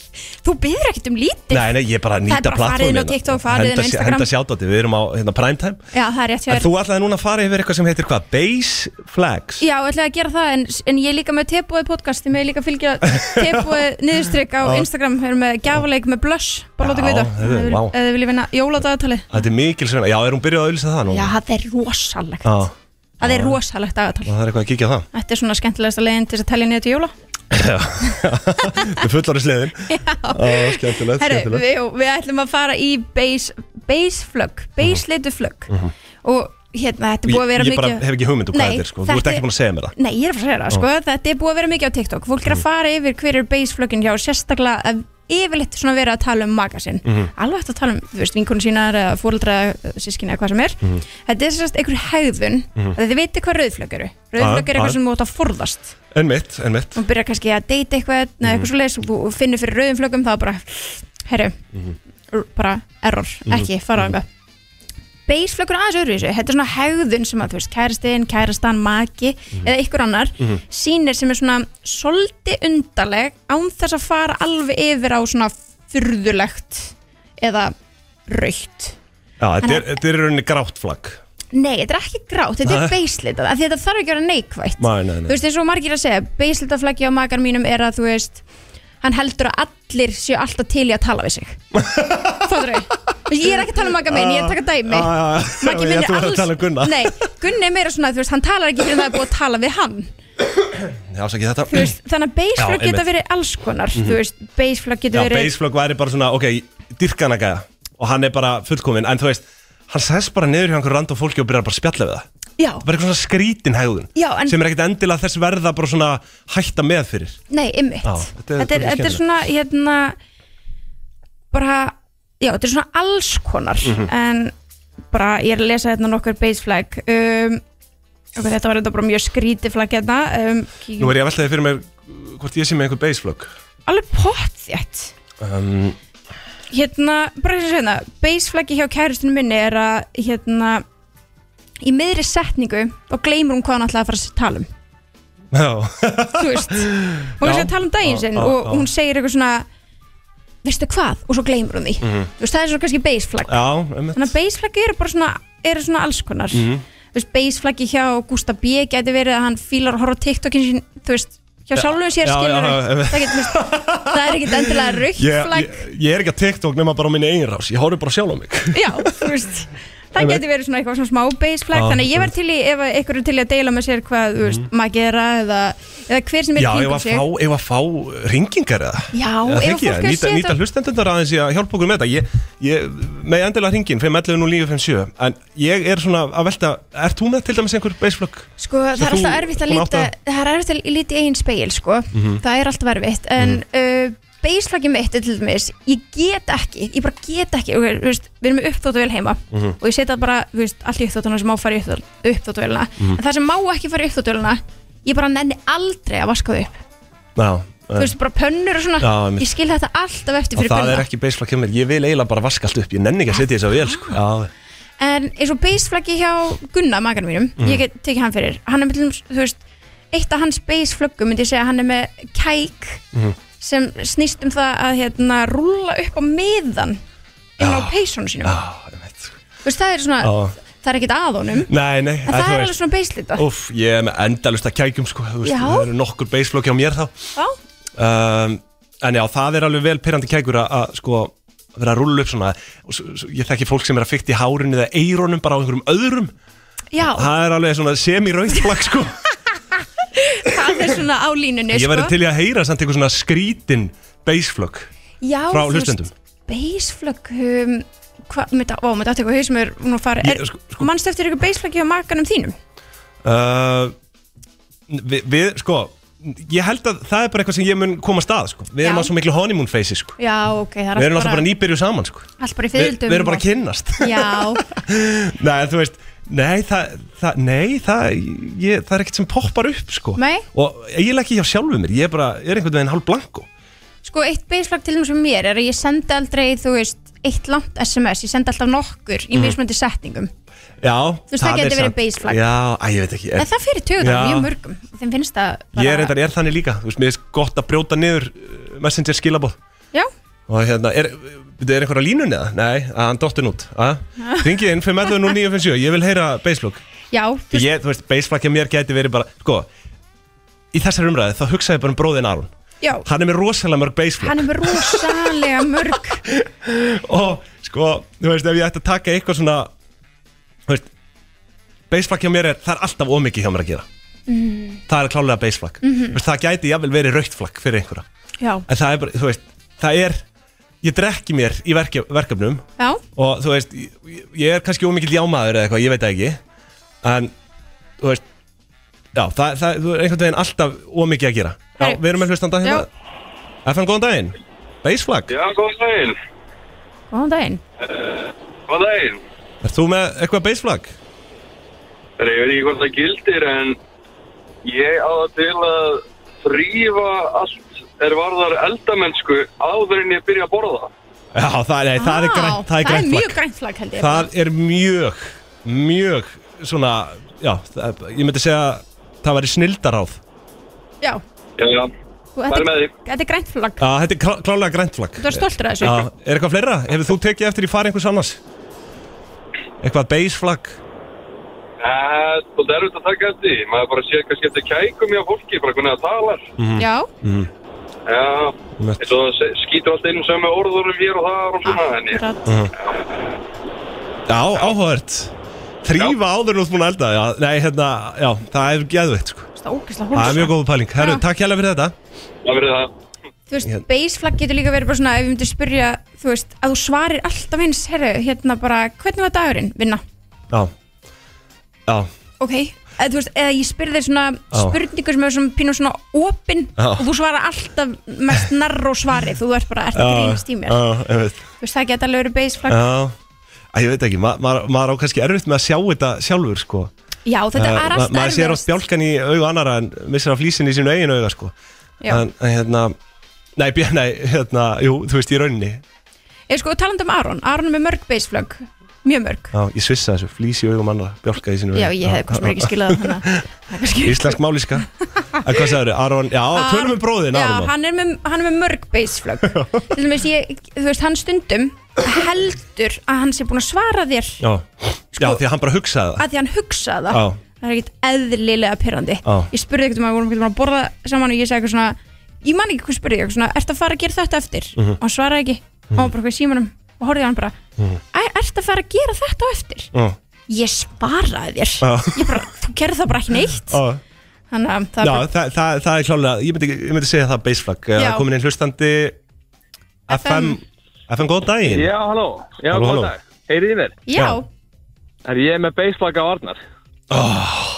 Speaker 2: Þú byður ekkert um lítið.
Speaker 1: Nei, nei, ég er bara að
Speaker 2: Það er
Speaker 1: nýta
Speaker 2: bara farið inn á
Speaker 1: plattformina
Speaker 2: TikTok, farið inn á Instagram.
Speaker 1: Henda sjátátti, við erum á hérna, primetime
Speaker 2: Já, það er rétt hjá
Speaker 1: En
Speaker 2: þér.
Speaker 1: þú ætlaði núna að fara yfir eitthvað sem heitir hvað? Base flags
Speaker 2: Já, ég ætla að gera það, en, en ég er líka með tebúið podcasti, ég er líka að fylgja tebúið niðurstrykk á Instagram, við erum með gjafaleik með blush, bara láta
Speaker 1: Já,
Speaker 2: ykkur vita.
Speaker 1: þetta er-
Speaker 2: Ef þið vil-
Speaker 1: vá.
Speaker 2: Ef þið viljið vinna jóladagatalið.
Speaker 1: Þetta er mikil sveina, já, er hún byrjuð að auðvisa það nú?
Speaker 2: Já, það er rosalegt.
Speaker 1: Já,
Speaker 2: Það er rosalegt dagatal.
Speaker 1: og það er eitthvað að kíkja á það
Speaker 2: Þetta er svona skemmtilegasta leiðin til þess að telja niður til jóla.
Speaker 1: Við fullarins liðin Já, skemmtilegt,
Speaker 2: Herru,
Speaker 1: skemmtilegt
Speaker 2: við, við ætlum að fara í base, base flögg, base litu flögg og hérna, þetta er
Speaker 1: Ég,
Speaker 2: búið að vera
Speaker 1: Mhm. ég
Speaker 2: mikið
Speaker 1: bara hef ekki hugmynd um hvað
Speaker 2: Nei,
Speaker 1: þetta er sko. Þú ert
Speaker 2: þetta
Speaker 1: ekki
Speaker 2: er-
Speaker 1: búin að segja mér það Mhm.
Speaker 2: Nei, ég er að fara að segja það, sko, þetta er búið að vera mikið á TikTok Fólk er að fara yfir hver er base flöggin hjá sérstaklega að yfirleitt svona vera að tala um magasinn
Speaker 1: Mhm.
Speaker 2: Alveg hægt að tala um, þú veist, vinkunum sínar eða fóreldra, sískinni eða hvað sem er
Speaker 1: Mhm.
Speaker 2: Þetta er sérst einhver hegðun mm -hmm. Þið veitir hvað rauðflögg eru Rauðflögg er
Speaker 1: Já, já.
Speaker 2: eitthvað sem þú átt að forðast
Speaker 1: En mitt, en mitt
Speaker 2: og byrjar kannski að deyta eitthvað mm. eitthvað svo leiðis og finnir fyrir rauðum flöggum þá bara, herru r- bara error, ekki fara mm. beigflöggur aðeins öðru þessu þetta er svona hegðun sem að þú veist kæristinn, kærastan, maki eða ykkur annar
Speaker 6: Mhm.
Speaker 1: Mhm.
Speaker 2: sýnir sem er svona soldi undarleg án þess að fara alveg yfir á svona furðulegt eða raukt
Speaker 1: Já, þetta er- þetta er í rauninni grátt flagg
Speaker 2: Nei, þetta er ekki grátt, þetta er
Speaker 1: Nei.
Speaker 2: beislitað af því þetta þarf ekki að vera neikvætt
Speaker 1: Nei, nei, nei.
Speaker 2: Þú veist, eins og margir að segja, beislitað flaggi á makar mínum er að þú veist hann heldur að allir séu alltaf til í að tala við sig Fattur þau? Ég er ekki að tala um makar minn, ég er að taka dæmi
Speaker 1: Já, Ah, já, já.
Speaker 2: Maggi minn
Speaker 1: Ég ætla
Speaker 2: er
Speaker 1: að
Speaker 2: alls
Speaker 1: tala um Gunna.
Speaker 2: Nei, Gunni er meira svona, þú veist, hann talar ekki fyrir það er búið að tala við hann
Speaker 1: Já, sagði þetta
Speaker 2: Þú veist, Þannig að
Speaker 1: Já,
Speaker 2: beisflögg geta
Speaker 1: einmitt. Mhm.
Speaker 2: verið alls konar Þú veist, beisflögg
Speaker 1: Já,
Speaker 2: geta verið
Speaker 1: base flagg væri bara svona, ok, dyrkana gæja Og hann er bara fullkominn En þú veist, hann sæst bara niður hjá einhverjum random fólki og byrjar bara að spjalla við það
Speaker 2: Já,
Speaker 1: bara eitthvað svona skrítin hegðun
Speaker 2: Já, en-
Speaker 1: sem er ekkert endilega þess verða bara svona hætta með fyrir
Speaker 2: Nei, ymmit
Speaker 1: Já,
Speaker 2: þetta, er- þetta er
Speaker 1: skemmtilegt.
Speaker 2: svona hérna bara, já, þetta er svona alls konar
Speaker 1: Mhm.
Speaker 2: en bara, ég er að lesa hérna nokkur base flag um, ok, þetta var þetta bara mjög skríti flag hérna um,
Speaker 1: Nú
Speaker 2: kíkjum-
Speaker 1: er ég að velta þið fyrir mér hvort ég sé með einhver baseflögg
Speaker 2: alveg pott þétt
Speaker 1: um,
Speaker 2: hérna, bara þess að hérna baseflaggi hjá kærustunum minni er að hérna í miðri setningu og gleymur hún hvað hann ætlaði að fara að tala um
Speaker 1: Já,
Speaker 2: þú veist, hún er
Speaker 1: Já.
Speaker 2: að tala um daginn sinn
Speaker 1: Já, já,
Speaker 2: og
Speaker 1: já.
Speaker 2: hún segir eitthvað svona veistu hvað, og svo gleymur hún því
Speaker 1: Mhm.
Speaker 2: þú veist, það er svo kannski baseflag
Speaker 1: já einmitt.
Speaker 2: þannig að baseflag eru bara svona, eru svona alls konar
Speaker 1: Mhm.
Speaker 2: þú veist, baseflaggi hjá Gustaf B. gæti verið að hann fílar að horfa á TikTokin sín, þú veist, hjá sjálfum sér
Speaker 1: já,
Speaker 2: skilur
Speaker 1: já, einmitt.
Speaker 2: það, getur, þú veist, það er ekkit endilega raukt
Speaker 1: Ég,
Speaker 2: flagg
Speaker 1: ég, ég er ekki að TikTok nema bara á minni eigin rás Ég horfði bara sjálf á mig
Speaker 2: Já, þú veist Það
Speaker 1: Einmitt.
Speaker 2: getur verið svona eitthvað svona smá baseflag
Speaker 1: Já, Mhm.
Speaker 2: Þannig að ég verð til í, ef að ykkur er til í að deila með sér hvað, þú veist, maður gera eða, eða hver sem er
Speaker 1: Já,
Speaker 2: í
Speaker 1: ef
Speaker 2: kringum
Speaker 1: að
Speaker 2: sig
Speaker 1: fá, ef að fá ringingar eða
Speaker 2: Já,
Speaker 1: Eða
Speaker 2: ef
Speaker 1: það ekki,
Speaker 2: fólk er að
Speaker 1: nýta,
Speaker 2: setja-
Speaker 1: nýta hlustendunar aðeins í að hjálpa okkur með þetta ég, ég, með endilega hringin, 511 nú lífi 57 en ég er svona að velta ert þú með til dæmis einhver baseflögg?
Speaker 2: Sko, það
Speaker 1: Svo
Speaker 2: er
Speaker 1: þú-
Speaker 2: alltaf erfitt að
Speaker 1: hún
Speaker 2: líta
Speaker 1: átti Mhm.
Speaker 2: Það er erfitt að líta í eigin speil, sko Það er alltaf erfitt En mm uh, baselagi mitt er til dæmis Ég get ekki, ég bara get ekki okay, þú veist, Við erum með uppþóttavél heima
Speaker 1: Mhm.
Speaker 2: Og ég setja bara, þú veist, allt í uppþóttuna sem má fara í uppþóttavélina
Speaker 1: Mhm.
Speaker 2: En það sem má ekki fara í uppþóttavélina Ég bara nenni aldrei að vaska þau upp
Speaker 1: Já,
Speaker 2: Þú veist, bara pönnur og svona
Speaker 1: Já, einmitt.
Speaker 2: Ég skil þetta alltaf eftir
Speaker 1: og
Speaker 2: fyrir
Speaker 1: það
Speaker 2: gunna
Speaker 1: er ekki baseflögg hjá mér ég vil eiginlega bara vaska allt upp, ég nenni ekki að setja þess að vel sko.
Speaker 2: Ah.
Speaker 1: Já,
Speaker 2: En eins og baseflaggi hjá Gunna, makanum mínum,
Speaker 1: Mhm.
Speaker 2: ég get tekið hann fyrir Hann er með, til dæmis, þú veist, eitt af hans baseflöggum myndi ég segja að hann er með kæk
Speaker 1: Mhm.
Speaker 2: sem snýst um það að hérna rúlla upp á miðan inn á peysunum sínum
Speaker 1: já, ég veit
Speaker 2: Þú veist, það er svona,
Speaker 1: Já.
Speaker 2: það er ekkit að honum
Speaker 1: Nei, nei,
Speaker 2: Ah. En það er alveg svona beislita
Speaker 1: Úf, ég er með endalust að kækjum sko, þú veist,
Speaker 2: Já.
Speaker 1: það eru nokkur baseflögg hjá mér þá
Speaker 2: Já,
Speaker 1: um, En já, það er alveg vel pyrrandi kækur að, að sko vera að rúlla upp svona og s- s- ég þekki fólk sem er að fykta í hárinu eða eirónum bara á einhverjum öðrum
Speaker 2: já,
Speaker 1: Það er alveg svona semi-rauðflag sko
Speaker 2: það er svona á línunni sko.
Speaker 1: Ég væri til í að heyra samt einhver svona skrítin baseflögg
Speaker 2: Já,
Speaker 1: frá
Speaker 2: þú veist,
Speaker 1: hlustendum.
Speaker 2: Baseflögg um, Hvað, mér þetta, ó, mér þetta eitthvað í haus sem er nú að fara
Speaker 1: Ég-
Speaker 2: er,
Speaker 1: sko- sko-
Speaker 2: Manstu eftir eitthvað baseflögg hjá makanum þínum?
Speaker 1: uh, við, við, sko Ég held að það er bara eitthvað sem ég mun koma að stað sko. Við erum
Speaker 2: Já.
Speaker 1: á svo miklu honeymoon face sko.
Speaker 2: Já, ok, það er
Speaker 1: Við erum alltaf bara nýbyrju saman sko.
Speaker 2: Allt bara í
Speaker 1: við,
Speaker 2: fiðildum
Speaker 1: við erum bara að kynnast
Speaker 2: Já,
Speaker 1: Nei, en þú veist Nei, það, það, nei, það, ég, það er ekkert sem poppar upp, sko
Speaker 2: Nei.
Speaker 1: Og eiginlega ekki hjá sjálfu mér, ég er bara, er einhvern veginn hálf blanko
Speaker 2: sko eitt baseflögg til þessum mér er að ég sendi aldrei, þú veist eitt langt SMS, ég sendi alltaf nokkur
Speaker 1: Mhm.
Speaker 2: í mismöndi setningum,
Speaker 1: Já,
Speaker 2: veist, það
Speaker 1: er
Speaker 2: gæti verið
Speaker 1: samt-
Speaker 2: base flag.
Speaker 1: Já, að, ég veit ekki
Speaker 2: en
Speaker 1: er,
Speaker 2: það fyrir töðan
Speaker 1: Já.
Speaker 2: mjög mörgum, þeim finnst það bara,
Speaker 1: Ég er, reyndar, ég er þannig líka, þú veist, mér er gott að brjóta niður uh, messenger skilaboð
Speaker 2: Já,
Speaker 1: Og hérna, er, er, er einhverja línun eða? Nei, að hann dottin út, að Ringið inn, 5.11.09.57, ég vil heyra baseflug
Speaker 2: já, þú veist,
Speaker 1: Ég, þú veist, baseflug hjá mér gæti verið bara, sko Í þessari umræði, þá hugsaði ég bara um bróðin Aron
Speaker 2: já
Speaker 1: Hann er með rosalega mörg baseflug
Speaker 2: Hann er með rosalega mörg
Speaker 1: og sko, þú veist, ef ég ætti að taka eitthvað svona þú veist baseflag hjá mér er, það er alltaf ómikið hjá mér að gera
Speaker 2: Mm.
Speaker 1: það er klálega baseflag mm veist, það gæti jafnvel verið rautflag fyrir einhverja
Speaker 2: Já,
Speaker 1: en það er bara, þú veist, það er ég drekki mér í verke, verkefnum
Speaker 2: já,
Speaker 1: og þú veist, ég, ég er kannski ómikið ljámaður eða eitthvað, ég veit það ekki en, þú veist já, það, það þú er einhvern veginn alltaf ómikið að gera já,
Speaker 2: Herri.
Speaker 1: við erum með hlustanda hérna FN, góðan daginn, baseflag
Speaker 7: Já, góðan daginn.
Speaker 2: góðan daginn
Speaker 7: Góðan daginn.
Speaker 1: er þú með eitthvað baseflag?
Speaker 7: Það er ekki hvort það gildir en ég á það til að þrýfa allt er varðar eldamennsku áður en ég byrja að borða.
Speaker 1: Já, það, nei, það er
Speaker 2: Á,
Speaker 1: grænt, það er grænt
Speaker 2: mjög
Speaker 1: flagg
Speaker 2: grænt flagg held ég
Speaker 1: Það er mjög, mjög svona, já, það, ég myndi segja það væri snildaráð
Speaker 2: Já,
Speaker 7: Já, já.
Speaker 2: og þetta,
Speaker 7: Bara með því.
Speaker 2: er- þetta er grænt flagg
Speaker 1: Já, þetta er klá, klálega grænt flagg
Speaker 2: Þú er stoltur af þessu
Speaker 1: Já, er eitthvað fleira? Hefur þú tekið eftir í fari einhvers annars? Eitthvað beige flagg?
Speaker 7: Eh, Það er erfitt að taka eftir. því. Maður bara sé kannski eftir kækum hjá fólki, bara hvernig það talar.
Speaker 1: Mhm.
Speaker 2: Já,
Speaker 7: Já,
Speaker 1: Einmitt.
Speaker 7: eins og það se- skýtur alltaf inn sömu orðunum hér og þar og svona. En ég,
Speaker 2: grænt
Speaker 1: Mhm. Já, áhugavert Þrýfa áður nú búin að elda, já, nei, hérna, já, það er geðveikt, sko
Speaker 2: Það er ógæslega
Speaker 1: Það er mjög góð pæling, herru,
Speaker 2: Já.
Speaker 1: takk hérlega fyrir þetta
Speaker 7: það verður það.
Speaker 2: þú veist,
Speaker 1: Hérna.
Speaker 2: baseflag getur líka verið bara svona ef við myndum spyrja, þú veist, að þú svarir alltaf eins, herru, hérna bara, hvernig var dagurinn vinna,
Speaker 1: Já, já,
Speaker 2: ok eða þú veist, eða ég spyr þér svona
Speaker 1: Já.
Speaker 2: spurningu sem er svona pínum svona opin
Speaker 1: Já.
Speaker 2: og þú svarar alltaf mest narró svarið þú ert bara, ert að grínast í mér
Speaker 1: já, ég veit
Speaker 2: þú veist, það geta alveg verið baseflag já,
Speaker 1: Já, að ég veit ekki, ma maður ma á kannski erfitt með að sjá þetta sjálfur sko
Speaker 2: þetta er
Speaker 1: Eh, ma-
Speaker 2: alltaf
Speaker 1: Maður sér oft
Speaker 2: erfiðast
Speaker 1: bjálkan í augu annara en missir af flísin í sínu eigin auga sko
Speaker 2: Já.
Speaker 1: En en hérna, Nei, bjö, nei, hérna, jú, þú veist, í rauninni
Speaker 2: Ég sko, talandi um Aron, Aron er með mörg beisflögg Mjög mörg
Speaker 1: Já, ég svissa þessu, flýs í augum annara, bjálka í sinu
Speaker 2: Já, ég hefði hvort sem ekki skilað hana
Speaker 1: Íslensk máliska En hvað sagður, Aron, já, tölum við bróðin,
Speaker 2: Já,
Speaker 1: Aron
Speaker 2: hann er með, hann er með mörg beisflögg Til dæmis, ég, þú veist, hann stundum heldur að hann sé búin að svara þér
Speaker 1: Já, já, því að hann bara hugsaði það
Speaker 2: að því hann hugsaði það
Speaker 1: Já.
Speaker 2: það er ekkert eðlilega pyrrandi
Speaker 1: Já.
Speaker 2: ég spurði ekkert um að við vorum ekkert að borða saman og ég sagði eitthvað svona ég man ekki hvað spurði, ég eitthvað svona, ertu að fara að gera þetta eftir
Speaker 1: Mhm.
Speaker 2: og hann svaraði ekki, hann var bara eitthvað í símanum og horfði á hann bara, mm
Speaker 1: Mhm.
Speaker 2: ertu að fara að gera þetta á eftir
Speaker 1: Já,
Speaker 2: ég svaraði þér,
Speaker 1: Já.
Speaker 2: ég bara, þú gerði það bara ekki neitt
Speaker 1: já
Speaker 2: þannig að það
Speaker 1: Já,
Speaker 2: er
Speaker 1: það, það, það er klálega, ég myndi, ég myndi segja það baseflag
Speaker 2: Já.
Speaker 1: Komin inn hlustandi FM, FM góðan daginn
Speaker 9: Já, halló, já,
Speaker 1: Halló, halló.
Speaker 9: góð dag Heyrið í mér,
Speaker 2: já,
Speaker 1: já.
Speaker 9: er ég með beisflagga á Arnar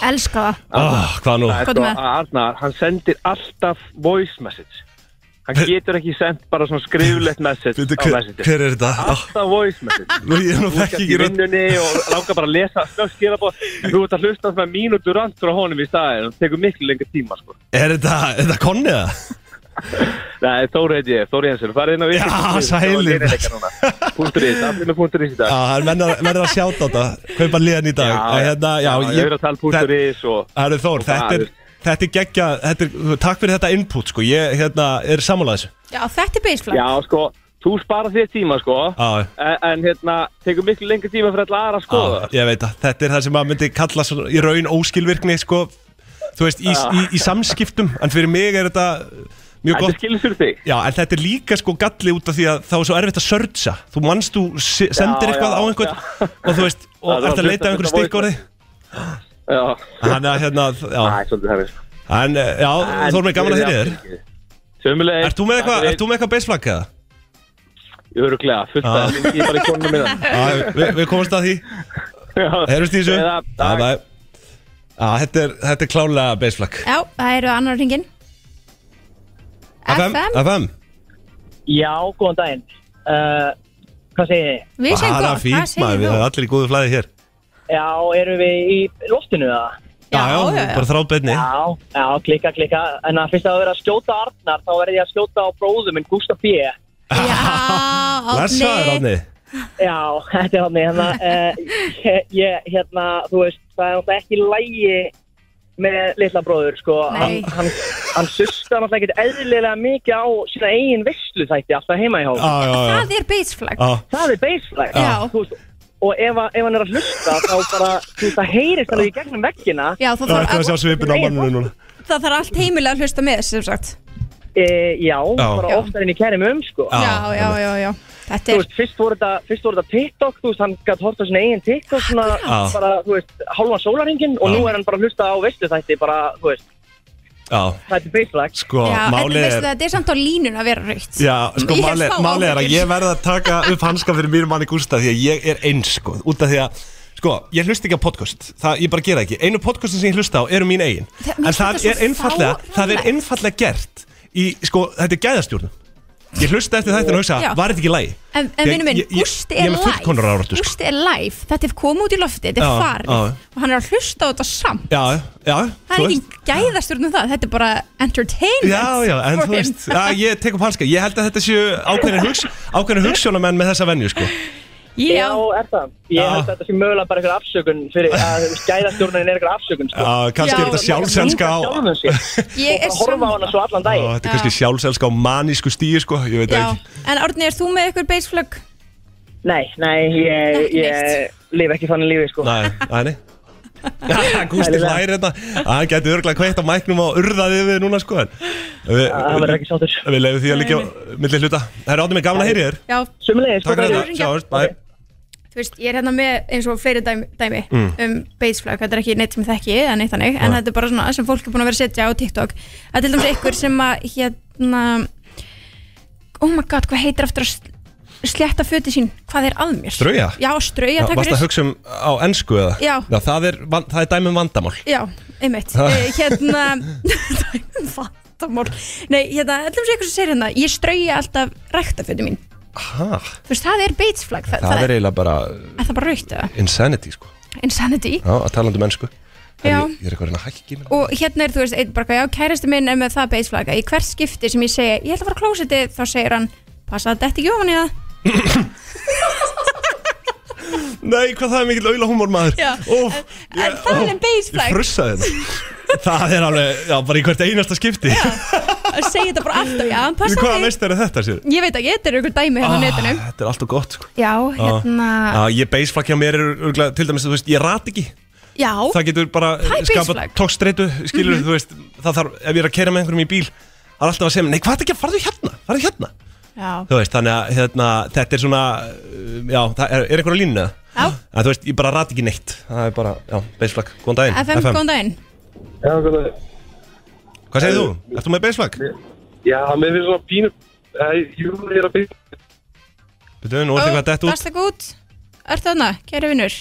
Speaker 2: elska það
Speaker 1: Ah, Hvað nú?
Speaker 9: Það er
Speaker 2: Hvað er
Speaker 9: sko
Speaker 2: með?
Speaker 9: að Arnar, hann sendir alltaf voice message Hann getur ekki sendt bara svona skriflegt message
Speaker 1: Bíddu,
Speaker 9: á
Speaker 1: hver,
Speaker 9: messenger
Speaker 1: hver er þetta? Ah,
Speaker 9: Alltaf voice message
Speaker 1: nú, ég er nú þekki
Speaker 9: Ekki í
Speaker 1: ekki rödd
Speaker 9: vinnunni og langar bara að lesa snögg skilabóð Þú ert að hlusta með mínútur andur á honum í staðin og tekur miklu lengur tíma sko
Speaker 1: Er þetta, er þetta konnið það?
Speaker 9: Nei, Þóri heiti ég, Þóri Jensen, farið inn á
Speaker 1: Já, sælir.
Speaker 9: Púntur ís, allir með púntur ís í
Speaker 1: Já,
Speaker 9: dag
Speaker 1: hann verður verður að sjáta á þetta Kaupa liðan í dag En hérna, já,
Speaker 9: ég er að tala púntur ís og
Speaker 1: Það eru Þór,
Speaker 9: og
Speaker 1: þetta er,
Speaker 9: bara-
Speaker 1: þetta er geggja þetta er, Takk fyrir þetta input, sko Ég, hérna, er sammála þessu
Speaker 2: já, þetta er beisflag
Speaker 9: Já, sko, þú sparar þér tíma, sko
Speaker 1: Já,
Speaker 9: en, en hérna, tekur miklu lengur tíma fyrir alla aðra sko. að skoða
Speaker 1: já, ég veit það Þetta er það sem maður myndi kalla svona, í raun óskilvirkni, sko Þú veist, í, í, í samskiptum En fyrir mig er þetta mjög
Speaker 9: Þetta
Speaker 1: gott
Speaker 9: skilur fyrir þig
Speaker 1: Já, en þetta er líka sko galli út af því að þá er svo erfitt að sörtsa Þú manst, þú se- sendir
Speaker 9: Já,
Speaker 1: eitthvað
Speaker 9: já,
Speaker 1: á einhvern og þú veist, og
Speaker 9: Það
Speaker 1: ert
Speaker 9: er
Speaker 1: að
Speaker 9: að
Speaker 1: leita
Speaker 9: hlusta
Speaker 1: af einhverju
Speaker 9: þetta voice
Speaker 1: stikkorði
Speaker 9: Já,
Speaker 1: Þannig að hérna, já
Speaker 9: það er svolítið hefðis
Speaker 1: En eh, já, þú erum með gaman að heyri þér
Speaker 9: Sumuleg
Speaker 1: Ert þú með eitthvað, ert þú með eitthvað baseflag eða?
Speaker 9: Öruglega, fullt
Speaker 1: Já.
Speaker 9: að lingi bara í konum minna
Speaker 1: Já, Ah, við, við komumst að því Heyrjumst í þessu
Speaker 9: Eða,
Speaker 1: Já, bæ. Já, þetta er, þetta er klálega baseflag
Speaker 2: já, það eru annar hringin FM,
Speaker 1: FM
Speaker 5: Já, góðan daginn uh, Hvað segir þið?
Speaker 2: við segjum
Speaker 1: Bara
Speaker 2: gott, það
Speaker 1: fínt maður,
Speaker 2: segir
Speaker 1: við
Speaker 2: þú
Speaker 1: erum allir í góðu flæði hér
Speaker 5: Já, erum við í loftinu það?
Speaker 1: Já, já, bara þráð beinni
Speaker 5: Já, já, klikka, klikka En að fyrst að það vera að skjóta Arnar þá verði ég að skjóta á bróðum minn Gustaf B
Speaker 2: já,
Speaker 1: Blessaður,
Speaker 2: Árni.
Speaker 1: Árni
Speaker 5: Já, þetta er hann hérna, uh, ég, ég, hérna, þú veist, það er náttúrulega ekki lægi með litla bróður, sko
Speaker 2: Nei.
Speaker 5: hann, hann, hann sustar náttúrulega ekkert eðlilega mikið á sína eigin visslu þætti alltaf heima í hóf
Speaker 1: Já, já, já
Speaker 2: það er beisflag
Speaker 1: Já,
Speaker 5: Það er beisflag
Speaker 2: Já.
Speaker 5: Og ef, að- ef hann er að hlusta þá bara, þú veist, það heyrist alveg í gegnum veggina
Speaker 2: já, það
Speaker 1: það er eftir að
Speaker 2: þarf
Speaker 1: sjá svipin á manninu núna
Speaker 2: það þarf allt heimilega að hlusta með sem sagt
Speaker 5: e, Já, bara
Speaker 2: Já.
Speaker 5: oftar inn í kærum um, sko
Speaker 1: Já,
Speaker 2: já, já, já, já þetta
Speaker 5: Þú
Speaker 2: er,
Speaker 5: veist, fyrst voru þetta, fyrst voru þetta TikTok, þú veist, hann gætt horta sinna eigin TikTok svona,
Speaker 1: Akkurát.
Speaker 5: bara, þú veist, hálfan sólaringin og
Speaker 1: Já.
Speaker 5: nú er hann bara að hlusta á veistu þætti, bara, þú veist,
Speaker 1: Já,
Speaker 5: þætti beislag.
Speaker 1: sko,
Speaker 2: já, en
Speaker 1: málið
Speaker 2: veistu
Speaker 1: er
Speaker 2: þetta er samt á línun að vera raukt
Speaker 1: Já, sko,
Speaker 2: Ég
Speaker 1: málið
Speaker 2: fá
Speaker 1: máli er að
Speaker 2: áhyggjur.
Speaker 1: ég verð að taka upp hanska fyrir mínum manni Gústa því að ég er eins, sko, út af því að Sko, ég hlusta ekki á podcast, það, ég bara gera ekki Einu podcastin sem ég hlusta á eru mín eigin
Speaker 2: Það- mér
Speaker 1: En
Speaker 2: finnst
Speaker 1: það
Speaker 2: þetta svo
Speaker 1: er einfallega, það er
Speaker 2: fáránlegt.
Speaker 1: einfallega gert Í, sko, þetta er gæðastjórnum Ég hlusta eftir þetta og hugsa,
Speaker 2: Já.
Speaker 1: var þetta ekki lægi?
Speaker 2: en, en vinnum minn, Gústi er live
Speaker 1: live sko.
Speaker 2: Gústi er live, þetta er komið út í lofti þetta
Speaker 1: Já,
Speaker 2: er farið
Speaker 1: já.
Speaker 2: og hann er að hlusta á þetta samt
Speaker 1: Já, já,
Speaker 2: það
Speaker 1: þú
Speaker 2: er
Speaker 1: veist.
Speaker 2: ekki gæðastjórn um það, þetta er bara entertainment
Speaker 1: Já, já, en
Speaker 2: for
Speaker 1: þú
Speaker 2: him.
Speaker 1: veist já, Ég tek upp hanska, ég held að þetta séu ákveðin, hugs, ákveðin hugssjónamenn með þessa venju, sko
Speaker 2: já,
Speaker 5: er það. Ég held að þetta sé mögulega bara eitthvað afsökun fyrir að gæðastjórnin er eitthvað afsökun, sko.
Speaker 1: Já, Ah, kannski
Speaker 2: Já.
Speaker 1: er þetta sjálfselska á
Speaker 5: Sjálfum sér.
Speaker 2: ég er
Speaker 5: Bara horfa á hana svo allan
Speaker 1: Já,
Speaker 5: dag.
Speaker 1: þetta er kannski sjálfselska á manísku stíu sko, ég veit það
Speaker 2: já,
Speaker 1: ekki
Speaker 2: en Árni, er þú með ykkur beisflögg?
Speaker 5: Nei, nei, ég,
Speaker 2: Ekki neitt.
Speaker 5: ég lifi ekki þannig lífi, sko.
Speaker 1: Nei, nei, nei Gústi
Speaker 5: Sælilega.
Speaker 1: hlær þetta Hann getur örglega kveitt á mæknum og urðaði við núna sko en við-
Speaker 2: Ah,
Speaker 5: Það verður ekki sáttur.
Speaker 1: Við leiðum því að líka milli hluta Herra áttum mig gaman að heyri þér
Speaker 2: já,
Speaker 5: Sumulegis,
Speaker 1: Takk fyrir
Speaker 5: hvað
Speaker 2: fyrir
Speaker 5: er
Speaker 2: að
Speaker 1: þetta,
Speaker 2: hringja.
Speaker 1: sjáumst, bæ
Speaker 2: þú veist, ég er hérna með eins og fleiri dæmi, dæmi
Speaker 1: Mm.
Speaker 2: um beisflag, þetta er ekki neitt sem ég þekki eða neitt hannig, en þetta er bara svona sem fólk er búin að vera að setja á TikTok, að til dæmis einhver sem að hérna oh my god, hvað heitir aftur að sl- slétta föti sín, hvað er að mér?
Speaker 1: Strauja?
Speaker 2: Já, strauja,
Speaker 1: Já,
Speaker 2: takk
Speaker 1: Varst að
Speaker 2: fyrir
Speaker 1: hugsa um á ennsku eða?
Speaker 2: Já.
Speaker 1: það er, van- það er dæmum vandamál
Speaker 2: Já, einmitt, uh, hérna fattamál, nei, hérna til dæmis einhver sem segir hérna, ég strauja alltaf ræktaföti mín,
Speaker 1: ha,
Speaker 2: þú veist, það er beisflag, það,
Speaker 1: Það er eiginlega bara
Speaker 2: er það bara raukt eða,
Speaker 1: insanity sko
Speaker 2: insanity
Speaker 1: Já, að talandi um ennsku
Speaker 2: Já.
Speaker 1: Ég ég er eitthvað að reyna að hækki mér
Speaker 2: og hérna er þú veist, einn bara, eitthvað, já, kærasti minn er með það beisflaga, í hvert skipti sem ég segi ég ætla að fara klósiti, þá segir hann passa að detti ekki ofan í það
Speaker 1: Nei, hvað það er mikill auðla húmor maður
Speaker 2: Já,
Speaker 1: Óf,
Speaker 2: en- en það er en beige flag.
Speaker 1: Ég frussaði hérna. þetta Það er alveg, já, bara í hvert einasta skipti Já,
Speaker 2: og segi þetta bara alltaf, já, hann passa
Speaker 1: Hvaða
Speaker 2: að
Speaker 1: veist er þetta sér?
Speaker 2: ég veit ekki, þetta er einhver dæmi
Speaker 1: Ah.
Speaker 2: hérna á netinu
Speaker 1: Þetta er alltaf gott sko.
Speaker 2: já, hérna,
Speaker 1: Já, ég beisflakk hjá mér er örgulega, til dæmis, þú veist, ég rat ekki
Speaker 2: já,
Speaker 1: Það getur bara
Speaker 2: Það er Mhm.
Speaker 1: skapað
Speaker 2: beisflagg.
Speaker 1: tókstreitu, skilur þú veist Það þarf, ef ég er að keira með einhverjum í bíl Það er alltaf að segja, mér, nei, hvað er ekki að farðu hérna, farðu hérna
Speaker 2: já,
Speaker 1: Þú veist, þannig að hérna, þetta er svona, uh, já, það er, er einhverja línu
Speaker 2: já
Speaker 1: En þú veist, ég bara rat ekki neitt Það er bara, já, beisflakk, góðan daginn
Speaker 2: FM, góðan daginn
Speaker 9: Já, hvað það er?
Speaker 1: Hvað segir þú? Ertu með beisflakk?
Speaker 9: Já, mér finnst svona pínu Æ, Jú, ég er að byrja
Speaker 1: Betur, nú ertu eitthvað að detta út
Speaker 2: Dasta gút, ertu þarna, kæri vinnur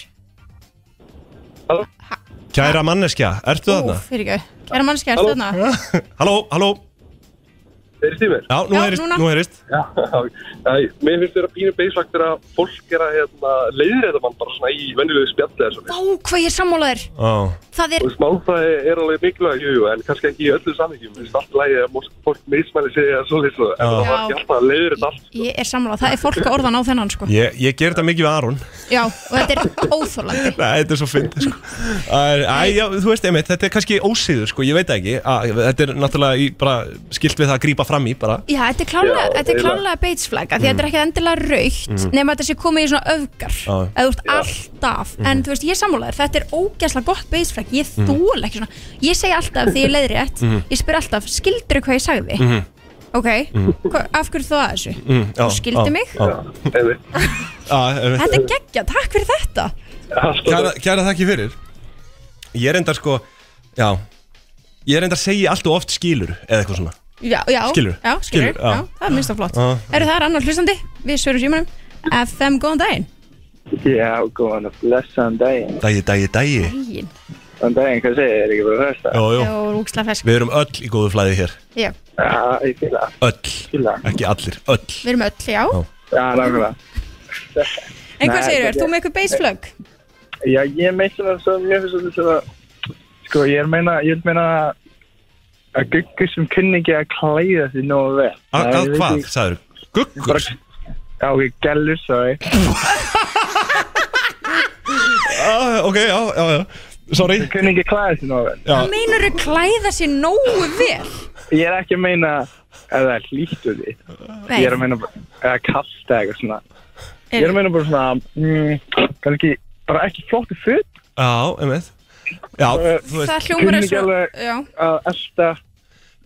Speaker 1: Kæra manneskja, ertu þarna?
Speaker 2: Úf, fyrir ekki, kæra mannski, ertu þarna
Speaker 1: Halló, halló
Speaker 9: Þeir stímir
Speaker 1: Já, nú
Speaker 2: Já,
Speaker 1: heyrist,
Speaker 2: núna.
Speaker 1: nú heyrist
Speaker 9: Já, æ, mér finnst þeirra pínu beislagt þegar fólk er að hérna, leiðir þetta mann bara svona í venjulegu spjalli eða svona.
Speaker 2: Vá, hvað ég er sammálaður
Speaker 1: Ó,
Speaker 2: Það er,
Speaker 9: Og smáfræði er alveg mikilvæg, jú, jú, en kannski ekki í öllu samvíkjum. Mér finnst allt lægi að mos- fólk mismæli sig eða svo lýsa það. En
Speaker 1: Já.
Speaker 9: það var ekki alltaf að leiðir þetta allt.
Speaker 2: ég er sammálaður, það er fólk að orðan á þennan sko
Speaker 1: ég, ég ger þetta mikið við Aron
Speaker 2: Já, og þetta er óþólandi
Speaker 1: Nei, þetta er svo fyndið sko Æ, æ, já, þú veist, einmitt, þetta er kannski ósýður sko, ég veit það ekki Æ, Þetta er náttúrulega í, bara skilt við það að grípa fram í bara
Speaker 2: Já, þetta er klárlega,
Speaker 9: Já,
Speaker 2: þetta er
Speaker 9: eiginlega.
Speaker 2: klárlega beitsflæk af því að þetta er ekki endilega raukt nema þetta sé komið í svona öfgar
Speaker 1: Mhm. Já. Eh, Mhm.
Speaker 2: eða þú veist alltaf, en þú veist ég er sammálaður þetta er ógæslega gott beitsflæk ég mm. þól ekki svona, ég segi alltaf því ég leiðir rétt
Speaker 1: Mhm.
Speaker 2: ég spyr alltaf, skildur hvað ég sagði ok, hva, af hverju þú að þessu
Speaker 1: mm, Mhm, já,
Speaker 2: Þú skildir
Speaker 1: já,
Speaker 2: mig?
Speaker 1: já.
Speaker 9: Einmitt.
Speaker 1: Já, einmitt.
Speaker 2: þetta er geggja, takk fyrir þetta
Speaker 9: Allt
Speaker 1: Kæra, kæra þakki fyrir Ég er enda sko, já Ég er enda að segja allt og oft skilur eða eitthvað svona
Speaker 2: já, já,
Speaker 1: Skilurðu?
Speaker 2: já, skilur,
Speaker 1: Skilurðu, já.
Speaker 2: já, það er minnst að flott
Speaker 1: Já.
Speaker 2: eru það er annar hlustandi, við svörum símanum FM, góðan daginn
Speaker 8: Já, góðan og blessaðan daginn.
Speaker 1: Dægi, dægi, dægi
Speaker 2: Ígin,
Speaker 8: Þann daginn, hvað segir þér ekki bara fyrst
Speaker 1: Jó, jó,
Speaker 2: og rúkslega fersk
Speaker 1: við erum öll í góðu flæði hér
Speaker 2: Já,
Speaker 8: Já, ég fýla,
Speaker 1: Öll,
Speaker 8: fýla.
Speaker 1: ekki allir, öll
Speaker 2: við erum öll, já
Speaker 1: Já.
Speaker 8: Já, nákvæmlega.
Speaker 2: En hvað
Speaker 8: Nei,
Speaker 2: segir þú,
Speaker 8: þetta
Speaker 2: ert þú
Speaker 8: er-
Speaker 2: með eitthvað beisflögg?
Speaker 8: Já, ég meina það svo, mér finnst þetta svo, sko, ég er meina, ég vil meina að guggur sem kunni ekki að klæða sig nógu vel.
Speaker 1: Að
Speaker 8: Það
Speaker 1: að
Speaker 8: er- ég veit
Speaker 1: hvað,
Speaker 8: ekki-
Speaker 1: sagður? Guggur?
Speaker 8: Bara- Já, ok, gælur, sorry.
Speaker 1: Ah, ok, já, já, já Sorry
Speaker 8: Kunni ekki að klæða sig nógu vel.
Speaker 1: já.
Speaker 2: Meinar þú klæða sér nógu vel?
Speaker 8: Ég er ekki að meina að það er hlýtt úr því.
Speaker 2: Nei,
Speaker 8: Ég er að meina, bara- eða kallt eða eitthvað svona. Ég er að meina bara svona, mm, kannski, bara ekki flótti föt,
Speaker 1: Já, einmitt Já, þú veist,
Speaker 2: það hljómar er
Speaker 8: kunni ekki
Speaker 2: svo
Speaker 8: alveg-
Speaker 2: Já,
Speaker 8: að elta.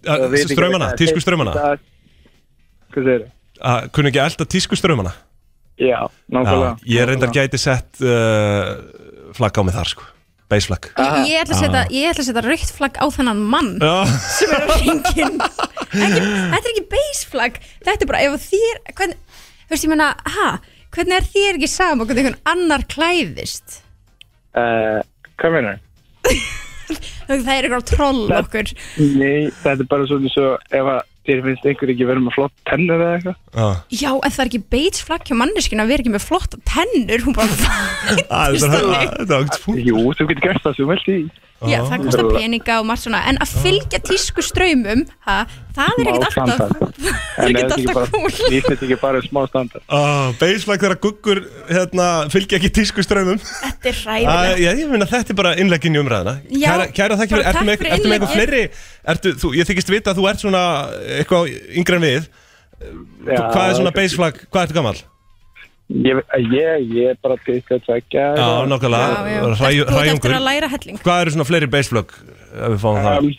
Speaker 1: að-
Speaker 8: að vita ekki
Speaker 1: straumana,
Speaker 8: hvað-
Speaker 1: tísku straumana
Speaker 8: hvað- Hvað segir þið?
Speaker 1: Að Kunni ekki að elda tísku straumana
Speaker 8: Já,
Speaker 1: Já,
Speaker 8: nákvæmlega.
Speaker 1: Ég reyndar gæti sett uh, flagg á mig þar, sko Baseflagg
Speaker 2: ég, ég ætla að setja, ég ætla að setja raukt flagg á þennan mann
Speaker 1: Já,
Speaker 2: sem er á ringin ekki, Þetta er ekki beisflagg Þetta er bara, ef þér hvern, Þú veist, ég meina, ha, hvernig er þér ekki sama hvernig einhvern annar klæðist?
Speaker 8: Eh, Hvað meinar þið?
Speaker 2: Það er eitthvað troll okkur
Speaker 8: Nei, þetta er bara svona svo ef að þér finnst einhver ekki verið með flott tennur eða eitthvað.
Speaker 1: já
Speaker 2: Já, en það er ekki beisflagg hjá manneskinu að vera ekki með flotta tennur Hún bara,
Speaker 1: Að, Þetta er
Speaker 2: Þannig.
Speaker 1: þetta er ágætt punkt
Speaker 8: Jú, þú getur gert það sem þú vilt í.
Speaker 2: Já, það kostar peninga og margt svona En að fylgja tísku ströymum ha, Það er ekkert
Speaker 8: Smá
Speaker 2: alltaf
Speaker 8: standard.
Speaker 2: Það er ekkert alltaf cool
Speaker 8: Ég finnst ekki bara smá standard.
Speaker 1: ah, Baseflagg þegar guggur hérna, fylgja ekki tísku straumum
Speaker 2: Þetta er
Speaker 1: Ah,
Speaker 2: ræðilegt
Speaker 1: já, ég finna þetta er bara innleggin í umræðina
Speaker 2: Já,
Speaker 1: Kæra, kæra þakki fyrir,
Speaker 2: bara
Speaker 1: ertu
Speaker 2: takk
Speaker 1: með
Speaker 2: fyrir
Speaker 1: eitthvað- ertu með eitthvað
Speaker 2: innleggið.
Speaker 1: fleiri ertu, þú, Ég þykist vita að þú ert svona eitthvað yngre en við
Speaker 8: Já,
Speaker 1: Hvað er svona baseflag, hvað ertu gammal?
Speaker 8: Ég, ég, ég er bara til að
Speaker 1: Já,
Speaker 8: tvekja.
Speaker 2: Já, já.
Speaker 1: nákvæmlega,
Speaker 2: Þú
Speaker 1: hræ-
Speaker 2: ert eftir
Speaker 1: hræjungur
Speaker 2: að læra helling
Speaker 1: Hvað eru svona fleiri baseflag ef við fáum það?
Speaker 8: Um,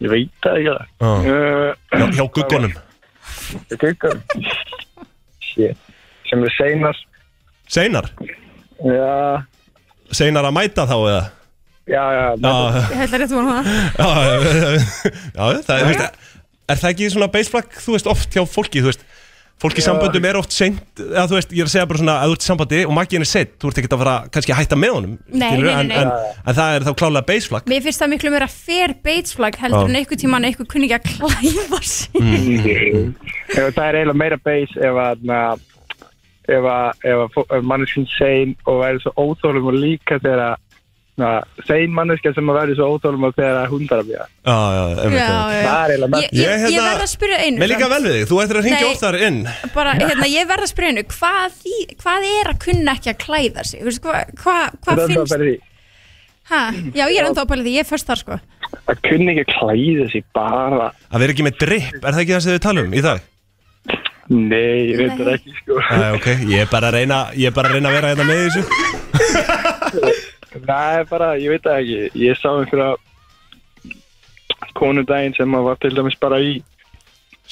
Speaker 8: ég veit það ekki það.
Speaker 1: Ah.
Speaker 8: Uh,
Speaker 1: Hjá, hjá guggunum
Speaker 8: Guggun. Shit. Sem er seinar.
Speaker 1: Seinar,
Speaker 8: Já,
Speaker 1: seinar að mæta þá eða
Speaker 8: já, já.
Speaker 1: Já,
Speaker 2: Ég held að rétt vona það
Speaker 1: já, já, já það er, veist, er það ekki svona baseflag, þú veist, oft hjá fólki, þú veist Fólk í samböndum er oft seint eða þú veist, ég er að segja bara svona að þú ert í sambandi og makiðin er seint, þú ert ekkert að fara kannski að hætta með honum
Speaker 2: Nei, nei,
Speaker 1: skilurðu,
Speaker 2: nei, nei.
Speaker 1: En, en, en það er þá klálega baseflag
Speaker 2: Mér finnst það miklu meira fair beitsflag heldur
Speaker 1: Já.
Speaker 2: en einhver tíma en einhver kunni ekki að klæða sig
Speaker 8: Ef það er eiginlega meira beis ef að na, ef að, ef að fó- ef manneskinn sein og væri svo óþólum og líka þegar að þein manneskja sem að verði svo óþólum að þegar hundar að býja
Speaker 1: Já, já,
Speaker 2: já,
Speaker 1: einmitt, einmitt.
Speaker 2: já.
Speaker 8: Það er eiginlega
Speaker 2: Ég,
Speaker 1: Ég,
Speaker 2: ég, ég
Speaker 1: hérna,
Speaker 2: verð að spyrja einu
Speaker 1: Mér líka
Speaker 2: samt.
Speaker 1: vel við þig, þú ættir að ringja
Speaker 2: Nei.
Speaker 1: oftar inn
Speaker 2: bara, hérna, ég verð að spyrja einu hvað, því, hvað er að kunna ekki að klæða sig Vist, hva, hva, hvað
Speaker 8: Það er
Speaker 2: finnst
Speaker 8: bara því
Speaker 2: ha, já ég er enda að pæla því, ég er först þar sko
Speaker 8: að kunni ekki að klæða sig bara
Speaker 1: Að vera ekki með drip, er það ekki það sem við talum í dag?
Speaker 8: Nei, ég veit
Speaker 2: Nei.
Speaker 8: það ekki sko
Speaker 1: Æ, ok, ég er bara að reyna, ég er bara að reyna að vera hérna með í þessu
Speaker 8: Nei, bara, ég veit það ekki Ég sá einhverja konu daginn sem að var til dæmis bara í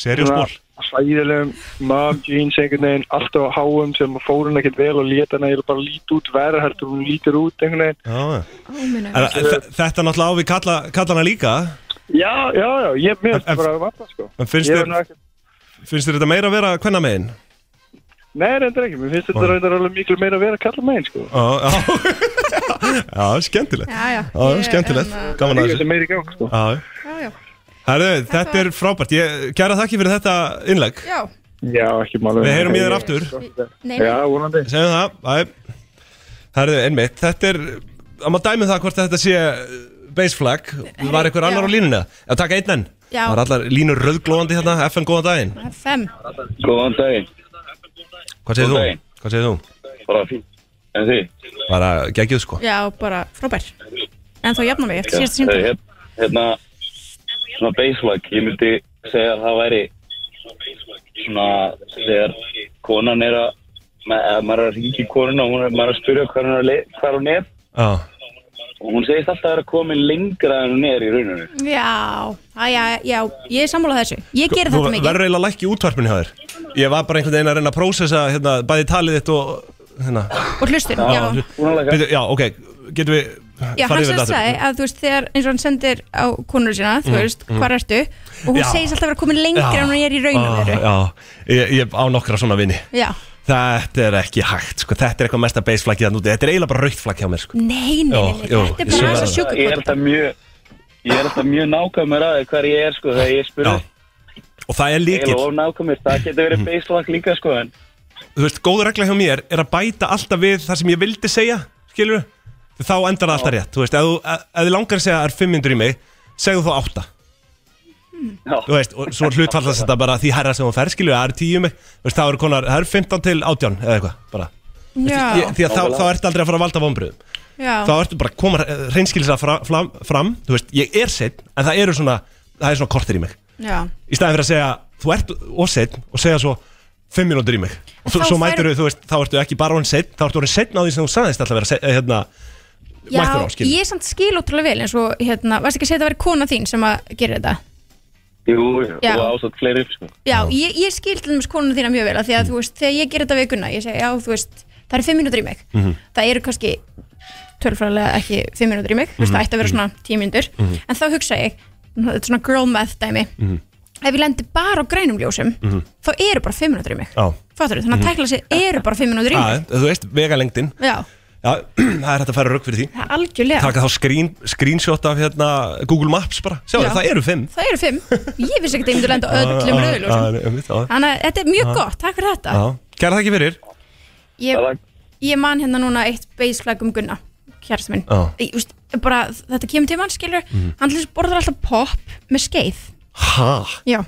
Speaker 1: Serjósból
Speaker 8: slæðilegum mom jeans einhvern veginn alltaf á háum sem fór hún ekkert vel og lét hana eiginlega bara lít út verður heldur en hún lítur út einhvern veginn
Speaker 1: En þe- Þetta náttúrulega á við kalla, kallana líka
Speaker 8: Já, já, já, ég mér
Speaker 1: En- en-
Speaker 8: finnst bara að vata sko
Speaker 1: En finnst
Speaker 8: Ég er
Speaker 1: þér,
Speaker 8: nú ekki
Speaker 1: finnst þér þetta meira að vera hvenna megin?
Speaker 8: Nei, reyndar ekki, mér finnst þetta reyndar alveg miklu meira að vera að kalla meginn sko
Speaker 1: Já, já Já, skemmtilegt
Speaker 2: já, já, hérna-
Speaker 1: Já, skemmtilegt, gaman að
Speaker 8: Ég
Speaker 1: þessu
Speaker 8: er meira í gang sko
Speaker 1: Já, já.
Speaker 2: já, já,
Speaker 1: Herðu, þetta er frábært ég, Kæra þakki fyrir þetta innlegg
Speaker 2: já,
Speaker 8: Já, ekki mála
Speaker 1: Við heyrum í þér aftur
Speaker 2: nei,
Speaker 8: Já, vonandi
Speaker 1: Segjum það, æ Herðu, einmitt, þetta er Það má dæmi það hvort þetta sé base flag Var einhver annar
Speaker 2: Já.
Speaker 1: á línuna? Já, takk einn enn
Speaker 2: Já.
Speaker 1: Var allar línur rauðglóðandi hérna, FN góðan daginn
Speaker 2: það er fem
Speaker 10: Góðan daginn,
Speaker 1: Hvað
Speaker 10: Góðan
Speaker 1: segir þú?
Speaker 10: daginn.
Speaker 1: Hvað segir þú?
Speaker 10: bara fín En því?
Speaker 1: Bara geggjuð sko
Speaker 2: já, bara frábær en þá jafna mig, eftir síðast
Speaker 10: Eh,
Speaker 2: símtal
Speaker 10: hér- Hérna, svona baselag, ég myndi segja að það væri svona þegar konan er að, ma- eða maður er að ringi konuna og hún er, maður er að spyrja hvað hún er, að le- hvar hún er
Speaker 1: Já,
Speaker 10: og hún segist alltaf að það er að komin lengra en hún er í rauninu.
Speaker 2: já, já, já, já, ég er sammála þessu ég gerir
Speaker 1: Þú
Speaker 2: þetta mikið
Speaker 1: verður eiginlega lækki útvarpinu hjá þér Ég var bara einhvern veginn að reyna að prósessa hérna, bæði talið þitt og hérna.
Speaker 2: og hlustin, já,
Speaker 1: Byrju, Já, ok, getum við
Speaker 2: já,
Speaker 1: farið
Speaker 2: hann
Speaker 1: yfir
Speaker 2: sem
Speaker 1: þetta aftur?
Speaker 2: sagði að þú veist þegar eins og hann sendir á konur sína, þú veist, hvar ertu og hún
Speaker 1: Mm, Já.
Speaker 2: segist alltaf að vera komin
Speaker 1: Já.
Speaker 2: lengra en hún er í raunum
Speaker 1: Ó,
Speaker 2: veru,
Speaker 1: Já, ég, ég á nokkra svona vini
Speaker 2: já,
Speaker 1: Þetta er ekki hægt, sko, þetta er eitthvað mesta baseflaggið að núti Þetta er eiginlega bara raukt flagg hjá mér, sko
Speaker 2: nei, nei, nei,
Speaker 1: Jó,
Speaker 2: nei,
Speaker 1: jó,
Speaker 2: þetta er
Speaker 1: ég sé
Speaker 2: bara þess
Speaker 1: það.
Speaker 2: að
Speaker 10: Ég er alltaf
Speaker 2: sjúkubolta
Speaker 10: mjög, ég er alltaf mjög nákvæmur að því hver ég er sko þegar ég
Speaker 1: Já,
Speaker 10: spurði.
Speaker 1: og það er Mhm.
Speaker 10: Ég er
Speaker 1: líkil
Speaker 10: of nákvæmur, það getur verið baselag líka sko en
Speaker 1: Þú veist, góð regla hjá mér er að bæta alltaf við það sem ég vildi segja, skilur Þá endar það alltaf rétt, þú veist, ef þú ef- ef þið langar að segja að það er 500 í mig Segðu þá 8
Speaker 10: já,
Speaker 1: Þú veist, og svo hlutfallast þetta bara því herra sem hún fer, skilur, það er 10 í mig Þú veist, það eru konar, það eru 15 til 18 eða eitthvað, bara
Speaker 2: já,
Speaker 1: Ég- Því að þá, þá ertu aldrei að fara að valda vombriðum
Speaker 2: já,
Speaker 1: þá ertu bara að koma reynskilisa fram, fram þú veist, ég er seitt en það eru svona, það er svona kortir í mig
Speaker 2: já
Speaker 1: í staðin fyrir að segja, þú ert og seitt og segja svo, fimm mínútur í mig og þú,
Speaker 2: Þá
Speaker 1: svo
Speaker 2: fær-
Speaker 1: mætur þú veist, þá ertu ekki bara orðin seitt þá ertu orðin seitt á því sem þú sagðist alltaf að vera seitt, eh, hérna,
Speaker 2: Já,
Speaker 1: mættur á, skilur
Speaker 2: ég samt skil ótrúlega vel eins og hérna, varst ekki að segja að þetta væri kona þín sem að gera þetta
Speaker 10: jú, jú,
Speaker 2: Já.
Speaker 10: og ásatt fleiri sko.
Speaker 2: Já, ég, ég skil til dæmis konuna þína mjög vel af því
Speaker 1: Mm.
Speaker 2: að þú veist, þegar ég gera þetta við Gunna ég segi, já, þú veist, það eru fimm mínútur í mig
Speaker 1: Mhm.
Speaker 2: það eru kannski tölfræðilega ekki fimm mínútur í mig, þú veist, það ætti að vera svona tíu mínútur, en þá hugsa ég þetta er svona girl math dæmi ef ég lendi bara á grænum ljósum þá eru bara fimm mínútur í mig
Speaker 1: Já.
Speaker 2: Fattar þannig að tækla sig eru bara fimm mínútur í mig
Speaker 1: að, þú veist, vegalengdin
Speaker 2: Já,
Speaker 1: já, það er hægt að fara rögg fyrir því
Speaker 2: það er algjörlega
Speaker 1: taka þá screen, screenshot af hérna, Google Maps bara, sjá
Speaker 2: Já.
Speaker 1: það eru fimm
Speaker 2: það eru fimm, ég vissi ekki að ég myndi lenda á öllum
Speaker 1: Já,
Speaker 2: rauðljósum
Speaker 1: já, einmitt, já.
Speaker 2: Þannig að þetta er mjög gott, takk fyrir þetta
Speaker 1: Já. kæra þakki fyrir
Speaker 2: ég, ég man hérna núna eitt baseflag um Gunna Kjærasta minn
Speaker 1: Já.
Speaker 2: ég, úst, bara, Þetta kemur til mann, skilur Hann hlust borðar alltaf pop með skeið
Speaker 1: hæ
Speaker 2: Já,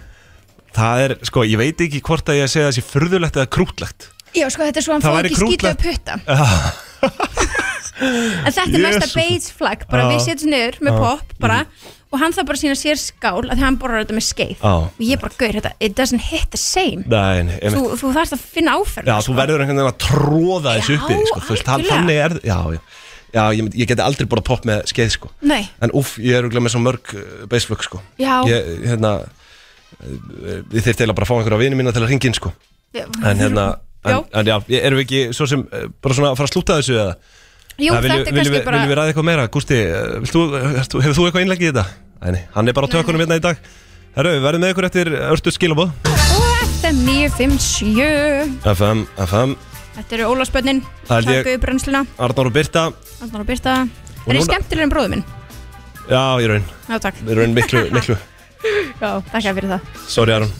Speaker 1: Það er, sko, ég veit ekki hvort að ég að segja þessi furðulegt eða krútlegt
Speaker 2: Já sko, þetta er svo hann
Speaker 1: Það
Speaker 2: fá
Speaker 1: væri
Speaker 2: ekki skýtlega
Speaker 1: krútlegt.
Speaker 2: putta En þetta er mesta
Speaker 1: Jesus.
Speaker 2: baseflag Bara
Speaker 1: Já. Mm.
Speaker 2: við setjum niður með pop bara, Og hann þarf bara að sína sér skál Að hann borðar þetta með skeið
Speaker 1: Já.
Speaker 2: Og ég bara gaur þetta, it doesn't hit the same
Speaker 1: Nei, nei, einmitt.
Speaker 2: Þú, þú þarfst að finna áferð
Speaker 1: Já, þú verður einhvern veginn að tróða þessu
Speaker 2: Já,
Speaker 1: uppi sko. Þú veist, hann-
Speaker 2: algjörlega.
Speaker 1: þannig er, já, já Já, ég, myndi- ég geti aldrei borða popp með skeið, sko
Speaker 2: Nei,
Speaker 1: En úff, ég er örugglega með svo mörg uh, beisflögg, sko
Speaker 2: Já.
Speaker 1: Ég, hérna eh, Ég þyrfti eiginlega bara að fá einhverja vini mína til að ringa inn, sko En hérna
Speaker 2: Já.
Speaker 1: En, en já, ég- erum við ekki svo sem eh, bara svona að fara að slúta þessu eða?
Speaker 2: Jú,
Speaker 1: Eða
Speaker 2: þetta
Speaker 1: viljum-
Speaker 2: er
Speaker 1: viljum
Speaker 2: kannski
Speaker 1: við-
Speaker 2: bara
Speaker 1: Viljum við ræða eitthvað meira? Gústi, eh, vilt þú- hefur þú- hefur þú eitthvað innlegg í þetta? Nei, nei, hann er bara á tökunum hérna í dag Herru, við verðum með ykkur eftir örstu skilabóð
Speaker 2: Og FM 957
Speaker 1: FM, FM,
Speaker 2: Þetta eru Ólafsbönnin
Speaker 1: Það held ég.
Speaker 2: Takk við brennsluna
Speaker 1: Arnar og Birta
Speaker 2: Arnar og Birta
Speaker 1: Og
Speaker 2: Það er
Speaker 1: núna-
Speaker 2: skemmtilegri en bróður minn
Speaker 1: Já, ég raun,
Speaker 2: Já, takk
Speaker 1: ég raun miklu, miklu
Speaker 2: Já, Takk fyrir það
Speaker 1: Sorry Aron,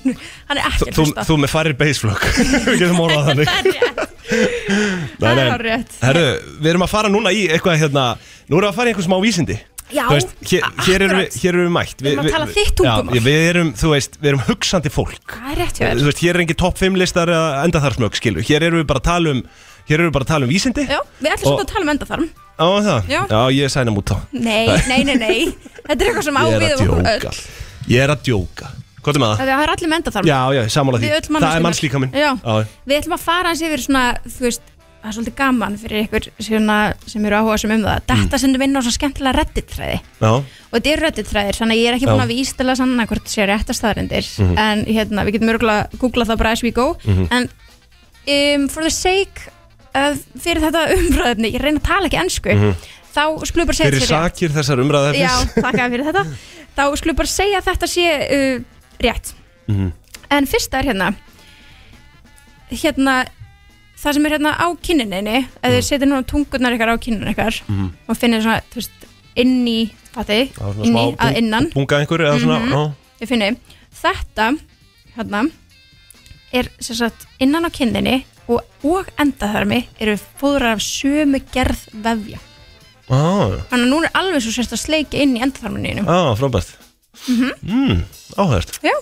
Speaker 2: Hann er ekki
Speaker 1: þú, þú með farir baseflögg Við getum orðað þannig
Speaker 2: Það er rétt
Speaker 1: Nei,
Speaker 2: Það
Speaker 1: nei.
Speaker 2: er hárrétt.
Speaker 1: Herru, við erum að fara núna í eitthvað hérna Nú erum við að fara í einhver smá vísindi
Speaker 2: Já,
Speaker 1: Þú veist, hér, hér, erum við, hér erum við mætt
Speaker 2: Við erum að tala þitt tungumál.
Speaker 1: Já, við erum, þú veist, við erum hugsandi fólk
Speaker 2: Það er rétt hjá
Speaker 1: Þú
Speaker 2: þér
Speaker 1: veist, hér er engin topp 5 listar að enda þar smög, skilu Hér erum við bara að tala um, hér erum við bara að tala um vísindi
Speaker 2: Já, við ætlum
Speaker 1: Og-
Speaker 2: svolítið að tala um endatharm
Speaker 1: Á, það?
Speaker 2: Já.
Speaker 1: ég sæna mút þá
Speaker 2: Nei, nei, nei, nei Þetta er eitthvað sem á
Speaker 1: Ég er
Speaker 2: við
Speaker 1: að
Speaker 2: um okkur
Speaker 1: djóka
Speaker 2: öll
Speaker 1: Ég er að djóka Hvað er með það?
Speaker 2: Það er allir með endatharm
Speaker 1: Já, já, samála því
Speaker 2: Við öll
Speaker 1: Það er
Speaker 2: manneskjurnar.
Speaker 1: mannslíkaminn
Speaker 2: Já.
Speaker 1: já
Speaker 2: Við ætlum að fara hans yfir svona, þú veist Það er svolítið gaman fyrir ykkur svona, sem eru áhuga sem um það
Speaker 1: Mm.
Speaker 2: Þetta sendum inn á svo skemmtilega redditræði
Speaker 1: Já,
Speaker 2: Og þetta eru redditræðir, þannig að ég er ekki búin
Speaker 1: Já. Mhm.
Speaker 2: að vístila sannan hvort þetta sé rétt að staðarindir En hérna, við getum örgulega googlað það bara as we go En um, for the sake of, fyrir þetta umræðefni, ég reyna að tala ekki ensku
Speaker 1: Mhm.
Speaker 2: Þá skulum við bara segja
Speaker 1: fyrir
Speaker 2: þetta sé rétt.
Speaker 1: sakir þessar umræðefnis
Speaker 2: Já, þakka fyrir þetta Þá skulum bara segja að þetta sé uh, rétt
Speaker 1: Mhm.
Speaker 2: En fyrsta er hérna Hérna Það sem er hérna á kinninni Ef
Speaker 1: Mm.
Speaker 2: þið setja núna tungurnar ykkar á kinninni ykkar
Speaker 1: mhm.
Speaker 2: Og finnir svona, þú veist, inn í Fatti,
Speaker 1: Já, svona
Speaker 2: inn í,
Speaker 1: smá
Speaker 2: að
Speaker 1: bung-
Speaker 2: innan Mhm.
Speaker 1: Bunga einhverju eða svona já.
Speaker 2: Ég finni, þetta Hérna Er sem sagt innan á kinninni Og, og endaþarmi eru fóðrar af sömu gerð vefja
Speaker 1: Já,
Speaker 2: Þannig að núna er alveg svo sérst að sleiki inn í Mhm. endaþarmininu
Speaker 1: já, frábært Mm, Áhört
Speaker 2: Já,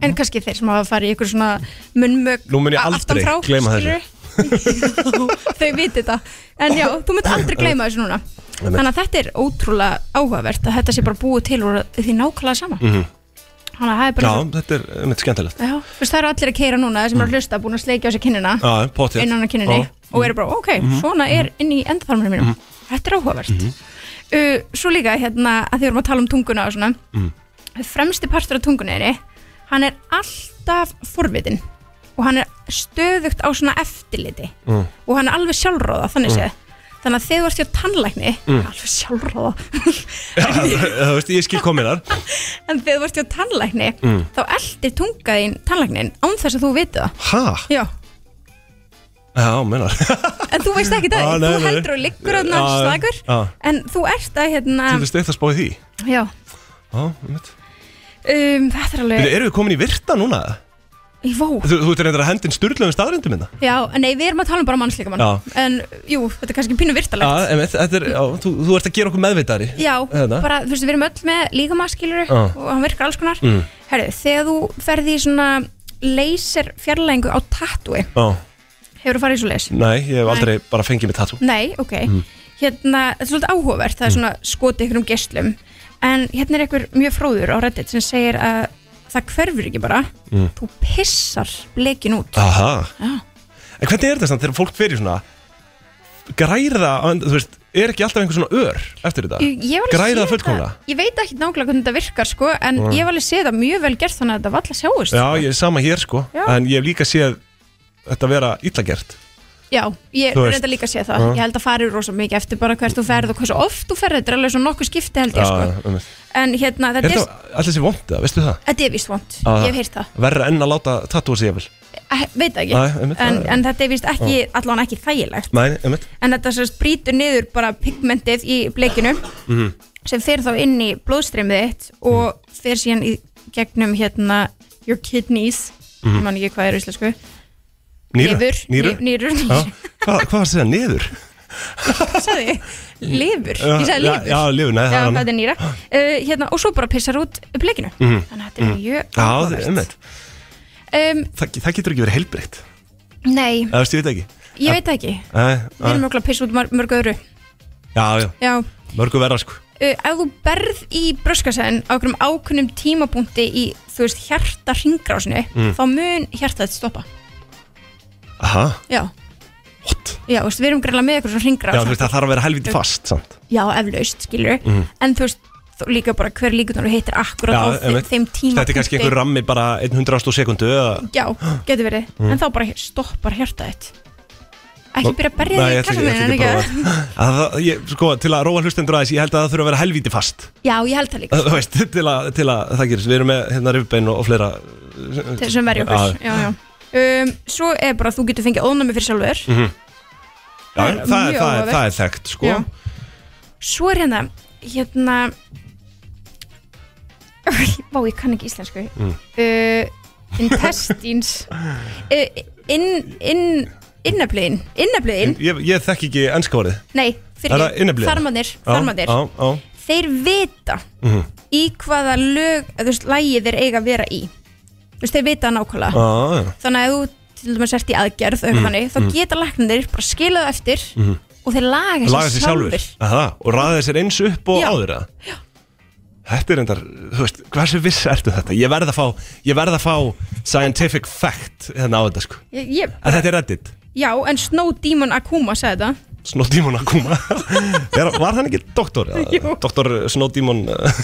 Speaker 2: en kannski þeir sem hafa farið í ykkur svona munnmög
Speaker 1: Nú mun ég aldrei
Speaker 2: aftan frá,
Speaker 1: gleyma
Speaker 2: skilurðu? Þau viti þetta En já, þú munt aldrei gleyma þessu núna
Speaker 1: Einmitt.
Speaker 2: Þannig að þetta er ótrúlega áhugavert að þetta sé bara búið til úr því nákvæmlega sama
Speaker 1: Mhm.
Speaker 2: Þannig að það er
Speaker 1: Já,
Speaker 2: bara
Speaker 1: þetta er einmitt skemmtilegt
Speaker 2: Já, þú veist það eru allir að keira núna þeir sem eru að hlusta búin að sleikja á sig kinnina
Speaker 1: Mhm. Já, Mhm. potið
Speaker 2: Ah. innan á kinninni og eru bara, ok, svona er inn í endaþarminu mínum
Speaker 1: Mhm,
Speaker 2: Þetta er áhugavert uh, Svo líka hérna að því vorum að tala um tunguna og svona Fremsti partur af tungunni hann er alltaf forvitin og hann er stöðugt á svona eftirliti
Speaker 1: Mm.
Speaker 2: og hann er alveg sjálfróða þannig séð Þannig að þegar þú ert hjá tannlækni,
Speaker 1: Mm.
Speaker 2: alveg sjálfróða,
Speaker 1: mhm. Þú veist, ég skil komið þar
Speaker 2: en þegar þú ert hjá tannlækni,
Speaker 1: Mm.
Speaker 2: þá eldir tungaðin tannlæknin án þess að þú viti það.
Speaker 1: Ha?
Speaker 2: Já,
Speaker 1: Já, menar
Speaker 2: En þú veist ekki það,
Speaker 1: Ah, nei,
Speaker 2: þú
Speaker 1: nei.
Speaker 2: heldur og liggur og
Speaker 1: Já,
Speaker 2: náttúrulega
Speaker 1: já,
Speaker 2: slagur
Speaker 1: já.
Speaker 2: En þú ert að hérna
Speaker 1: Þú veist, eitthvað spáði því
Speaker 2: Já,
Speaker 1: Já, einmitt
Speaker 2: um, þetta er
Speaker 1: Við
Speaker 2: alveg
Speaker 1: erum við komin í virta núna
Speaker 2: Í vó
Speaker 1: Þú, þú ert reyndar að hendin um sturlum staðrindum minna
Speaker 2: Já, en nei, við erum að tala um bara mannslíka mann
Speaker 1: Já. Ah,
Speaker 2: En jú, þetta er kannski pínu
Speaker 1: Já,
Speaker 2: virtalegt
Speaker 1: einmitt, þetta er, já, þú, þú ert að gera okkur meðvitari
Speaker 2: Já,
Speaker 1: Þetta.
Speaker 2: bara, þú veist, við erum öll með líkamaskilur
Speaker 1: Hérna. Já.
Speaker 2: og hann virkar alls konar
Speaker 1: Mm.
Speaker 2: Herru, þegar þú ferði í svona laser fjarlæðingu á tattúi
Speaker 1: Já,
Speaker 2: Hefur þú farið í svo leys?
Speaker 1: nei, ég hef aldrei bara fengið mitt tattoo
Speaker 2: Nei, ok
Speaker 1: Mm.
Speaker 2: Hérna, þetta er svolítið áhugavert, það er svona skotið ykkur um geslum En hérna er einhver mjög fróður á Reddit sem segir að það hverfur ekki bara Þú pissar blekin út
Speaker 1: Mm. Aha
Speaker 2: Já.
Speaker 1: En hvernig er þetta samt þegar fólk fyrir svona Græða, á end- þú veist, er ekki alltaf einhver svona ör eftir þetta?
Speaker 2: Ég- ég hef alveg
Speaker 1: Græða
Speaker 2: séð
Speaker 1: fullkomlega? Mm.
Speaker 2: það- Ég veit ekki nákvæmlega hvernig þetta virkar sko En ég hef alveg séð það mjög vel gert þannig að þetta valla sjáist
Speaker 1: Já, ég er sama hér sko
Speaker 2: Já.
Speaker 1: En ég hef líka séð þetta vera illa gert
Speaker 2: Já, ég
Speaker 1: Þú veist.
Speaker 2: reynda líka að sé það Ég held að farið rosa mikið eftir bara hvert þú ferð og hversu oft þú ferð Þetta er alveg svo nokkuð skipti held ég sko
Speaker 1: um,
Speaker 2: En hérna,
Speaker 1: Er
Speaker 2: þetta er,
Speaker 1: þetta allir sér vondið, veistu það?
Speaker 2: þetta er víst vond
Speaker 1: Já,
Speaker 2: Ég
Speaker 1: það-
Speaker 2: hef heyrt það,
Speaker 1: Verra enn að láta tattúa sig yfir
Speaker 2: Eh, veit það ekki
Speaker 1: Nei, einmitt,
Speaker 2: en,
Speaker 1: það er-
Speaker 2: en þetta er víst ekki, allan ekki þægilegt
Speaker 1: Nei, einmitt
Speaker 2: en þetta sérst brýtur niður bara pigmentið í bleikinu
Speaker 1: Mhm.
Speaker 2: sem fer þá inn í blóðstreymið þitt og
Speaker 1: Mm.
Speaker 2: fer síðan í gegnum hérna your kidneys
Speaker 1: Mhm.
Speaker 2: mm mann ekki hvað er á íslensku
Speaker 1: Nýru?
Speaker 2: lifur,
Speaker 1: Nýru?
Speaker 2: Ni- nýrur
Speaker 1: Já, hvað, hvað var það að segja, niður?
Speaker 2: sagði ég? lifur, ég sagði lifur
Speaker 1: Já, já, lifur, nei,
Speaker 2: Já,
Speaker 1: það Ah.
Speaker 2: þetta
Speaker 1: er
Speaker 2: er nýra uh, hérna, og svo bara pissar út bleikinu
Speaker 1: Mm.
Speaker 2: þannig að þetta er mjög
Speaker 1: Mhm. Já, það
Speaker 2: áhugavert.
Speaker 1: er einmitt
Speaker 2: um,
Speaker 1: það, það getur ekki verið heilbreytt
Speaker 2: Nei,
Speaker 1: Það veist, ég veit ekki
Speaker 2: ég veit það ekki
Speaker 1: Nei,
Speaker 2: Við erum
Speaker 1: nei.
Speaker 2: okkur að pissa út mar- mörg öðru
Speaker 1: Já, já,
Speaker 2: Já,
Speaker 1: mörgu verra sko
Speaker 2: uh, ef þú berð í bröskasæðin á okkurum ákunnum tímabúndi í þú veist hjarta ringrásinu
Speaker 1: Mm.
Speaker 2: þá mun hjarta þetta stoppa
Speaker 1: Aha,
Speaker 2: já,
Speaker 1: what?
Speaker 2: já þú veist, við erum greinlega með eitthvað svona
Speaker 1: Já,
Speaker 2: ringrás
Speaker 1: þú veist, það þarf að vera helviti fast samt
Speaker 2: já, eflaust, skilur en þú veist, þú líka bara hver líkunar þú hittir akkurat
Speaker 1: Já,
Speaker 2: á þeim,
Speaker 1: einmitt.
Speaker 2: þeim tímapunkti
Speaker 1: Þetta er kannski einhver rammi bara 100 sekundu eða
Speaker 2: já, getur verið,
Speaker 1: Mm.
Speaker 2: en þá bara stoppar hjarta þetta ekki byrja að berja
Speaker 1: Nei,
Speaker 2: þig í
Speaker 1: ég ætla ekki- ég ætla
Speaker 2: kassamöðin
Speaker 1: ekki að prófa það. Að það- ég- Sko, til að róa hlustendur aðeins, ég held að það þurfa að vera helvíti fast
Speaker 2: já, ég held það líka sko.
Speaker 1: Þú veist, til að, til að það gerist Við erum með hérna rifbein og, og fleira
Speaker 2: til sem verja okkur já, já. Um, svo er bara að þú getur fengið ónæmi fyrir sjálfur
Speaker 1: Mhm. Já, það,
Speaker 2: er
Speaker 1: er, það,
Speaker 2: mjög
Speaker 1: er, það, er,
Speaker 2: áhugavert.
Speaker 1: það er þekkt, sko
Speaker 2: Já. Svo er hérna hérna Vá, ég kann ekki íslensku mm. uh, Intestines uh, in, in innabliðin, innabliðin
Speaker 1: Ég, ég þekki ekki ennska orðið
Speaker 2: nei,
Speaker 1: Er
Speaker 2: fyrir
Speaker 1: það innabliðin?
Speaker 2: þarmanir,
Speaker 1: Á,
Speaker 2: þarmanir
Speaker 1: Á, á
Speaker 2: þeir vita
Speaker 1: Mhm.
Speaker 2: í hvaða lög, eða, þú veist, lægi þeir eiga að vera í þú veist, þeir vita það nákvæmlega
Speaker 1: Á, Ah, já.
Speaker 2: þannig að ef þú til dæmis ert í aðgerð mm.
Speaker 1: Mm,
Speaker 2: hannig, þá
Speaker 1: mm.
Speaker 2: geta læknir bara skilað eftir
Speaker 1: Mhm.
Speaker 2: og þeir laga,
Speaker 1: Laga sér sjálfur Aha, Og raða sér eins upp og
Speaker 2: Já.
Speaker 1: áður að Þetta er endar, þú veist, hversu viss ertu þetta? Ég verð að fá, ég verð að fá scientific fact hérna á þetta sko
Speaker 2: Ég, ég,
Speaker 1: En þetta er reddit,
Speaker 2: já, en Snow Demon Akuma sagði þetta
Speaker 1: Snowdemon Akuma er, Var hann ekki doktor?
Speaker 2: Jú.
Speaker 1: Doktor Snowdemon eh,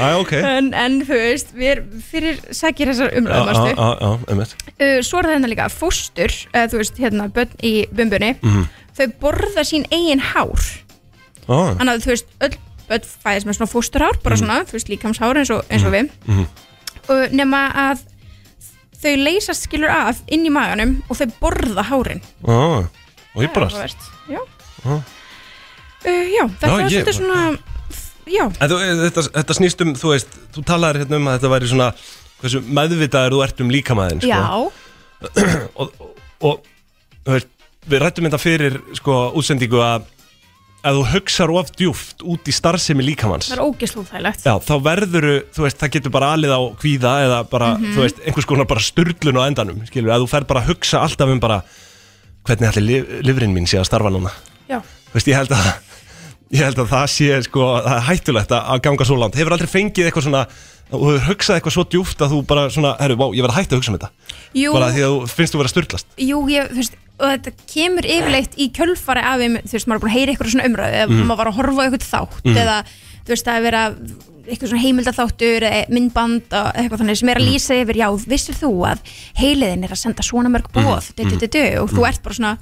Speaker 1: Æ, ok
Speaker 2: en, en þú veist, við erum fyrir sækir þessar
Speaker 1: Já,
Speaker 2: umræðum
Speaker 1: já,
Speaker 2: uh,
Speaker 1: já, já, einmitt
Speaker 2: svo er það hérna líka fóstur, uh, þú veist, hérna bönn í bumbunni,
Speaker 1: Mhm.
Speaker 2: þau borða sín eigin hár,
Speaker 1: Ó.
Speaker 2: þannig að þú veist öll börn fæðist með svona fósturhár bara
Speaker 1: Mhm.
Speaker 2: svona, þú veist, líkamshár eins og, eins og við
Speaker 1: Mhm.
Speaker 2: og nema að þau leysast skilur af inn í maganum og þau borða hárin
Speaker 1: Ó, Ah, Og ég Ah. bara
Speaker 2: áhugavert. Já,
Speaker 1: Ó.
Speaker 2: uh, já þetta
Speaker 1: Já,
Speaker 2: var
Speaker 1: ég-
Speaker 2: svolítið svona Já,
Speaker 1: En þú, þetta, þetta snýst um, þú veist, þú talaðir hérna um að þetta væri svona hversu meðvitaður þú ert um líkamæðin sko.
Speaker 2: já,
Speaker 1: og, og þú veist, við rættum þetta fyrir sko, útsendingu að að þú hugsar of djúft út í starfsemi líkamanns
Speaker 2: það er ógeslúþægilegt
Speaker 1: Já, þá verður, þú veist, það getur bara alið á kvíða eða bara,
Speaker 2: Mhm.
Speaker 1: þú veist, einhvers konar bara styrlun á endanum, skilur, að þú fer bara að hugsa alltaf um bara, hvernig ætli lif, lifrin mín sé að starfa núna
Speaker 2: Já.
Speaker 1: Þú veist, ég held að ég held að það sé, sko, það er hættulegt að að ganga svo langt, hefur aldrei fengið eitthvað svona og hefur hugsað eitthvað svo djúft að þú bara svona, herru, vá, ég verð að hætta að hugsa um þetta
Speaker 2: Jú.
Speaker 1: bara því að þú finnst þú verið að styrlast
Speaker 2: Jú, ég, þú veist, og þetta kemur yfirleitt í kjölfari af, einmitt, þú veist, maður er búin að heyra eitthvað svona umræðu, eða
Speaker 1: Mm.
Speaker 2: maður var að horfa á eitthvað þátt,
Speaker 1: Mm.
Speaker 2: eða, þú veist, það er verið að eitthvað svona heimildaþáttur, eða myndband og eitthvað þannig sem er að
Speaker 1: Mhm.
Speaker 2: lýsa yfir, já, vissir þú að heiliðin er að senda svona mörg bóð,
Speaker 1: Mm.
Speaker 2: du, du, du, du, og þú
Speaker 1: Mm.
Speaker 2: ert bara svona,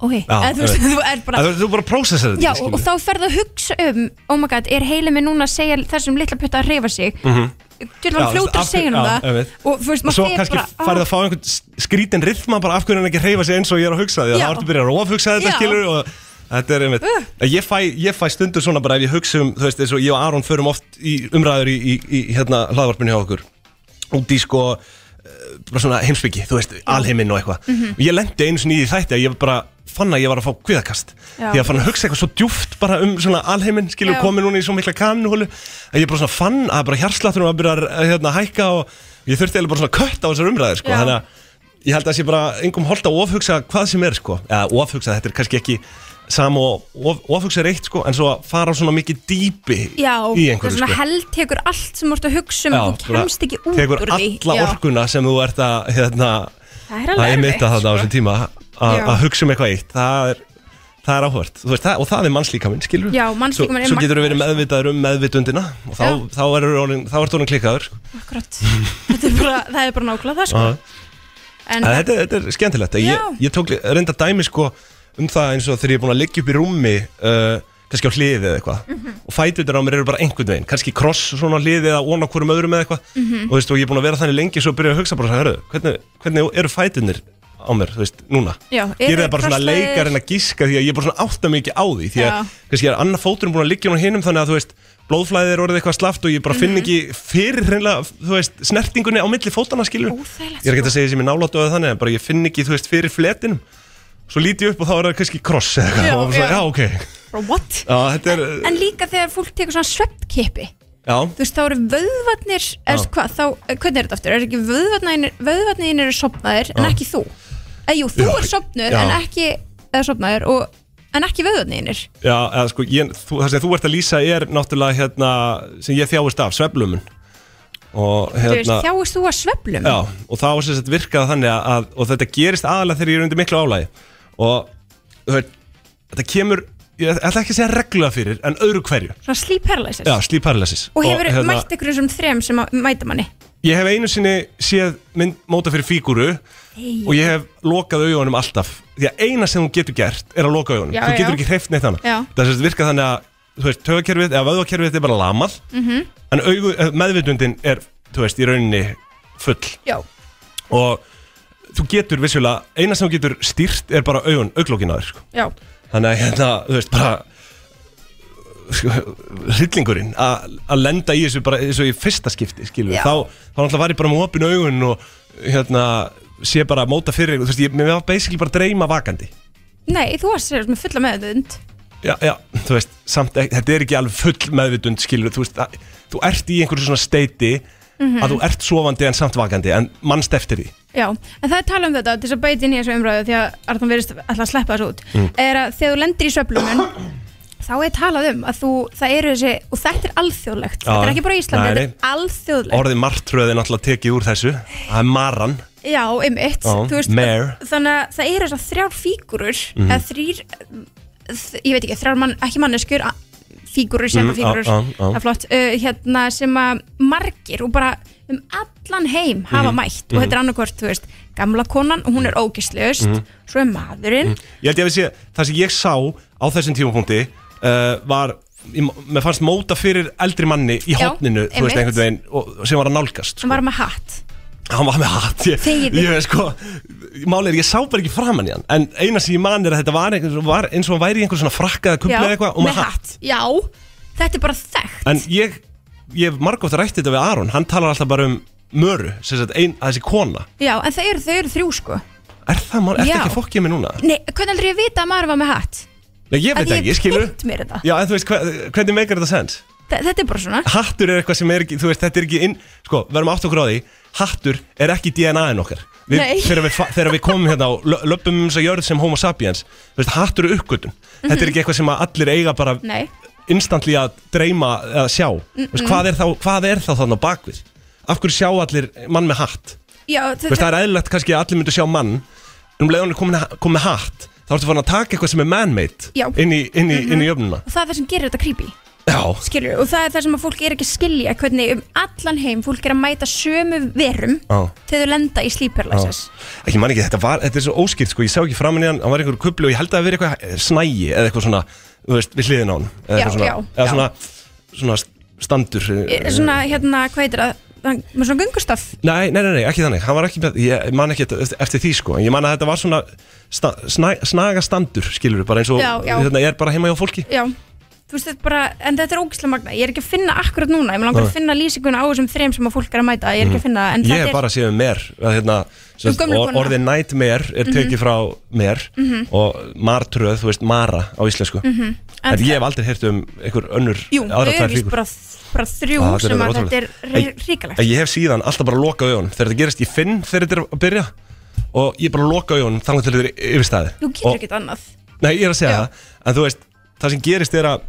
Speaker 2: ok,
Speaker 1: Já,
Speaker 2: eða þú veist, þú ert bara,
Speaker 1: að, þú- Þú bara prósessar þetta
Speaker 2: já,
Speaker 1: skilur.
Speaker 2: og, og þá ferðu að hugsa um, oh my god, er heilið minn núna að segja þessum litla putta að reyfa sig,
Speaker 1: Mhm.
Speaker 2: Þú erum
Speaker 1: Já,
Speaker 2: fljótur að
Speaker 1: af-
Speaker 2: segja um
Speaker 1: já,
Speaker 2: það
Speaker 1: einmitt.
Speaker 2: og þú veist,
Speaker 1: og svo
Speaker 2: maður fer
Speaker 1: kannski
Speaker 2: bara, ah.
Speaker 1: farið að fá einhvern s- skrítin rithma bara af hverju hann ekki hreyfa sig eins og ég er að hugsa því að
Speaker 2: Já.
Speaker 1: það ertu byrjað að ofhugsa
Speaker 2: Já.
Speaker 1: þetta
Speaker 2: Uh.
Speaker 1: skilur og þetta er einmitt ég, fæ, ég fæ stundur svona bara ef ég hugsa um þú veist eins og ég og Aron förum oft í umræður í, í, í hérna hlaðvarpinu hjá okkur út í sko eh, bara svona heimsbyggi, þú veist, alheiminn og eitthvað
Speaker 4: Mhm.
Speaker 1: og ég lendi einu sinni í því þætti að ég bara fann að ég var að fá kviðakast
Speaker 4: Já.
Speaker 1: ég var fann að hugsa eitthvað svo djúft bara um svona alheiminn skilur
Speaker 4: Já.
Speaker 1: komið núna í svo mikla kanuhólu að ég bara svona fann að bara hjarsláttunum að byrja að eh, hérna, hækka og ég þurfti eða bara svona kött á þessar umræðir sko.
Speaker 4: Já.
Speaker 1: þannig að ég held að það sé bara engum holdt að ofhugsa hvað sem er sko. eða ofhugsa, þetta er kannski ekki sam og of, ofhugsa er eitt sko, en svo að fara á svona mikið dýpi
Speaker 2: Já, það
Speaker 1: í
Speaker 2: er
Speaker 1: einhverju
Speaker 2: svona
Speaker 1: sko.
Speaker 2: held tekur allt sem þú ert að hugsa um og þú kemst ekki út
Speaker 1: tekur
Speaker 2: úr því
Speaker 1: alla
Speaker 2: Já.
Speaker 1: orkuna sem þú ert að hérna,
Speaker 2: Það er alveg
Speaker 1: einmitta
Speaker 2: erfitt,
Speaker 1: þarna á
Speaker 2: sko.
Speaker 1: þessum tíma að
Speaker 2: Já.
Speaker 1: að hugsa um eitthvað eitt það er, það er áhvert veist, það, og það er mannslíkaminn skilur
Speaker 2: Já, mannslíkaminn er
Speaker 1: svo, svo getur þú verið meðvitaður um meðvitundina og þá,
Speaker 2: Já.
Speaker 1: þá er þú orðin klikkaður sko.
Speaker 2: Akkurat, þetta er bara, það er bara nákvæmlega það sko.
Speaker 1: Aha.
Speaker 2: en,
Speaker 1: En þetta, þetta er skemmtilegt ég,
Speaker 2: Já.
Speaker 1: ég tók reynda dæmi sko um það eins og þegar ég er búin að liggja upp í rúmi uh, kannski á hliðið eða eitthvað
Speaker 4: Mhm.
Speaker 1: og fætutur á mér eru bara einhvern veginn kannski kross svona á hliðið eða ón á hverjum öðrum eða eitthvað
Speaker 4: Mhm.
Speaker 1: og, þú veist, og ég er búin að vera þannig lengi svo byrja að hugsa bara, hörðu, hvernig, hvernig eru fætunir á mér, þú veist, núna
Speaker 4: Já,
Speaker 1: Ég
Speaker 4: eru
Speaker 1: er það bara svona
Speaker 4: krosslagðir?
Speaker 1: leikar en að gíska því að ég er bara svona átta mikið á því því að
Speaker 4: Já.
Speaker 1: kannski er annar fóturinn búin að liggja hún á hinum þannig að þú veist, blóðflæðið er orðið eitthvað slaft og ég bara finn
Speaker 4: Mhm.
Speaker 1: ekki fyrir hreinlega, þú veist, snertingunni á milli fótana skilur
Speaker 2: Óþægilegt, sko.
Speaker 1: Ég er ekki að segja sem ég nálátt og þannig en bara ég finn ekki, þú veist, fyrir fletinum Svo líti ég upp og þá er það kannski kross eða eitthvað
Speaker 2: Já,
Speaker 1: og bara
Speaker 2: já.
Speaker 1: svona, já, ok
Speaker 2: bara, what?
Speaker 1: Já, þetta er,
Speaker 2: en líka þegar fólk tekur svona sveppkipi
Speaker 1: já,
Speaker 2: þú veist, þá eru vöðvarnir
Speaker 1: Já.
Speaker 2: eða hvað, þá, eh, hvernig er þetta aftur? Er ekki vöðvarnir, vöðvarnir eru sopnaðir en
Speaker 1: Já.
Speaker 2: ekki þú? Eh, jú, þú
Speaker 1: Já.
Speaker 2: er sopnur
Speaker 1: Já.
Speaker 2: en ekki, eða sopnaðir og, en ekki vöðvarnir
Speaker 1: já, eða sko, ég, þú, það sem þú ert að lýsa er náttúrulega hérna sem ég þjáist af, sveflumun Og
Speaker 2: þú veist,
Speaker 1: hérna
Speaker 2: þjáist þú að sveflum
Speaker 1: Já, og þá sem sagt virkað þannig að, og þetta gerist aðalega þegar ég er undir miklu álægi og þú veist, þetta kemur, ég ætla ekki að segja reglulega fyrir, en öðru hverju
Speaker 2: svona sleep paralysis
Speaker 1: Já, sleep paralysis
Speaker 2: og hefur
Speaker 1: hérna-
Speaker 2: mætt einhverjum sem þrem sem að mæta manni
Speaker 1: Ég hef einu sinni séð mynd móta fyrir fíguru
Speaker 2: Hey.
Speaker 1: og ég hef lokað augunum alltaf því að eina sem þú getur gert er að loka augunum
Speaker 4: Já,
Speaker 1: þú getur
Speaker 4: já.
Speaker 1: ekki hreift neitt hana
Speaker 4: Já.
Speaker 1: það er sem sagt virkað þannig að þú veist, tögakerfið eða vöðvakerfið er bara lamað
Speaker 2: Mm-hmm.
Speaker 4: Mhm.
Speaker 1: en augu, eh, meðvitundin er þú veist, í rauninni full
Speaker 2: Já.
Speaker 1: og þú getur vissulega, eina sem þú getur stýrt er bara augun, auglókin aður sko.
Speaker 2: Já.
Speaker 1: þannig að hérna, þú veist, bara sko, hryllingurinn að að lenda í þessu bara eins og í fyrsta skipti skilur við,
Speaker 4: Já.
Speaker 1: þá, þá náttúrulega var ég bara með opinu augun og hérna sé bara að móta fyrir þú veist, ég, mér var basically bara að dreyma vakandi
Speaker 2: Nei, þú varst sér með fulla meðvitund
Speaker 1: já, já, þú veist, samt ekki, þetta er ekki alveg full meðvitund skilur, þú veist, að, þú ert í einhverju svona steiti
Speaker 2: Mhm.
Speaker 1: að þú ert sofandi en samt vakandi en mannst eftir því
Speaker 2: Já, en það er tala um þetta til þess að beita inn í þessu umræðu því að Arnum verist alltaf að sleppa þessu út
Speaker 1: Mm.
Speaker 2: er að þegar þú lendir í sveflumun þá er talað um að þú, það eru þessi og þetta er alþjóðlegt,
Speaker 1: Já,
Speaker 2: þetta er ekki bara á Íslandi
Speaker 1: nei, nei.
Speaker 2: þetta er alþjóðlegt
Speaker 1: orðið martröð er náttúrulega tekið úr þessu það er maran
Speaker 2: Já, einmitt,
Speaker 1: Já,
Speaker 2: þú veist
Speaker 1: mare.
Speaker 2: þannig að það eru þessar þrjár fígurur
Speaker 1: Mhm.
Speaker 2: eða þrýr, ég veit ekki þrjár mann, ekki manneskjur a- fígurur sem
Speaker 1: Mm,
Speaker 2: að fígurur,
Speaker 1: á, á, á.
Speaker 2: það er flott uh, hérna sem að margir og bara um allan heim hafa
Speaker 1: Mhm,
Speaker 2: mætt og þetta er
Speaker 1: mhm.
Speaker 2: annarkvort, þú veist, gamla konan og hún er ógislegust,
Speaker 1: Mhm.
Speaker 2: svo er maðurinn
Speaker 1: ég held ég að við sé, það sem ég sá á þessum tímapunkti uh, var ég- mér fannst móta fyrir eldri manni í
Speaker 2: Já,
Speaker 1: hotninu, þú
Speaker 2: einmitt.
Speaker 1: veist, einhvern veginn og, sem var að nálgast,
Speaker 2: sem var með hatt
Speaker 1: hann var með hatt ég,
Speaker 2: Þegiðu.
Speaker 1: ég, sko, málið er, ég sá bara ekki framan í hann en eina sem ég man er að þetta var, einhver, var eins og hann væri í einhver svona frakka eða
Speaker 2: Já,
Speaker 1: kumpla eða eitthvað og
Speaker 2: með
Speaker 1: með hatt
Speaker 2: hatt, já, þetta er bara þekkt
Speaker 1: en ég, ég margótt rætti þetta við Aron hann talar alltaf bara um möru sem sagt, ein, að þessi kona,
Speaker 2: já, en þau eru, þau eru þrjú sko
Speaker 1: er það mál, ertu
Speaker 2: Já.
Speaker 1: ekki að fokkja mig núna?
Speaker 2: Nei, hvernig heldur ég að vita að maður var með hatt?
Speaker 1: Nei, ég
Speaker 2: Af
Speaker 1: veit
Speaker 2: því
Speaker 1: ekki, ég
Speaker 2: ég
Speaker 1: skilur
Speaker 2: hef kynnt mér þetta
Speaker 1: Já, en þú veist, hver, hvernig meikar þetta sens?
Speaker 2: Þa- Þetta er bara svona
Speaker 1: Hattur er eitthvað sem er ekki, þú veist, þetta er ekki inn Sko, verðum átt okkur á því Hattur er ekki DNA-in okkar við,
Speaker 2: Nei.
Speaker 1: þegar, við, fa- þegar við komum hérna og lö- löbbum um þess að jörð sem homo sapiens Þú veist, hattur er uppgötum Þetta er
Speaker 2: Mhm.
Speaker 1: ekki eitthvað sem að allir eiga bara
Speaker 2: Nei,
Speaker 1: instantly að dreyma að sjá Þú veist,
Speaker 2: Mm-mm.
Speaker 1: hvað er þá, hvað er þá þannig á bakvið? Af hverju sjá allir mann með hatt?
Speaker 2: já,
Speaker 1: Þú veist, það er eðlilegt kannski að allir myndu sjá mann En um leiðan er komin, komin með hatt Þá ertu farin að taka eitthvað sem er man-made
Speaker 2: Já. Mhm.
Speaker 1: Inn í, inn í, inn í jöfnuna
Speaker 2: og það er það sem gerir þetta creepy
Speaker 1: Já,
Speaker 2: skilur, og það er það sem að fólk er ekki að skilja hvernig um allan heim fólk er að mæta sömu verum
Speaker 1: já
Speaker 2: til þau lenda í sleep paralysis
Speaker 1: Ekki, Ah. ég man ekki, þetta, var, þetta er svo óskýrt sko, ég sá ekki framan í hann, hann var einhver kubli og ég held að það hafi verið eitthvað eh, snægi eða eitthvað svona, þú veist, við hliðin á hann eða
Speaker 2: Já,
Speaker 1: eitthvað svona,
Speaker 2: já,
Speaker 1: eða
Speaker 2: já.
Speaker 1: svona, svona standur eh,
Speaker 2: E, svona, hérna, hvað heitir það hann- með svona gungustaf
Speaker 1: Nei, nei, nei, nei, ekki þannig, hann var ekki með, ég man ekki eftir- eftir því sko, en ég man að þetta var svona sta, snæ, snaga standur, skilur bara eins og
Speaker 2: Já, já.
Speaker 1: Hérna, ég er bara heima hjá fólki
Speaker 2: já, þú veist þetta bara, en þetta er ógislega magna ég er ekki að finna akkurat núna, ég mér langar
Speaker 1: Nei. Mm.
Speaker 2: að finna lýsinguna á þessum þreim sem að fólk er að mæta, ég er ekki að finna það, en
Speaker 1: Ég
Speaker 2: þetta
Speaker 1: er
Speaker 2: er
Speaker 1: bara séð um mer að, hérna, sem
Speaker 2: Um
Speaker 1: sagt,
Speaker 2: gömlu
Speaker 1: or-
Speaker 2: konuna.
Speaker 1: Orðið nightmare er
Speaker 2: Mhm.
Speaker 1: tekið frá mer
Speaker 2: Mhm.
Speaker 1: og martröð, þú veist, mara á íslensku
Speaker 2: Mhm. En
Speaker 1: En ég hef aldrei heyrt um einhver önnur
Speaker 2: Jú, þau eru
Speaker 1: aðrar tvær
Speaker 2: víst
Speaker 1: fígur.
Speaker 2: bara, bara þrjú
Speaker 1: Já, þetta er
Speaker 2: sem að
Speaker 1: ótrúlegt.
Speaker 2: þetta er ríkalegt
Speaker 1: En ég hef síðan alltaf bara lokað auðan Þegar þetta gerist, ég finn þegar þetta er að byrja Og ég bara loka auðan þannig til þetta er yfirstæði
Speaker 2: Þú getur ekkert annað
Speaker 1: Nei, ég er að segja það En þú veist, það sem gerist er að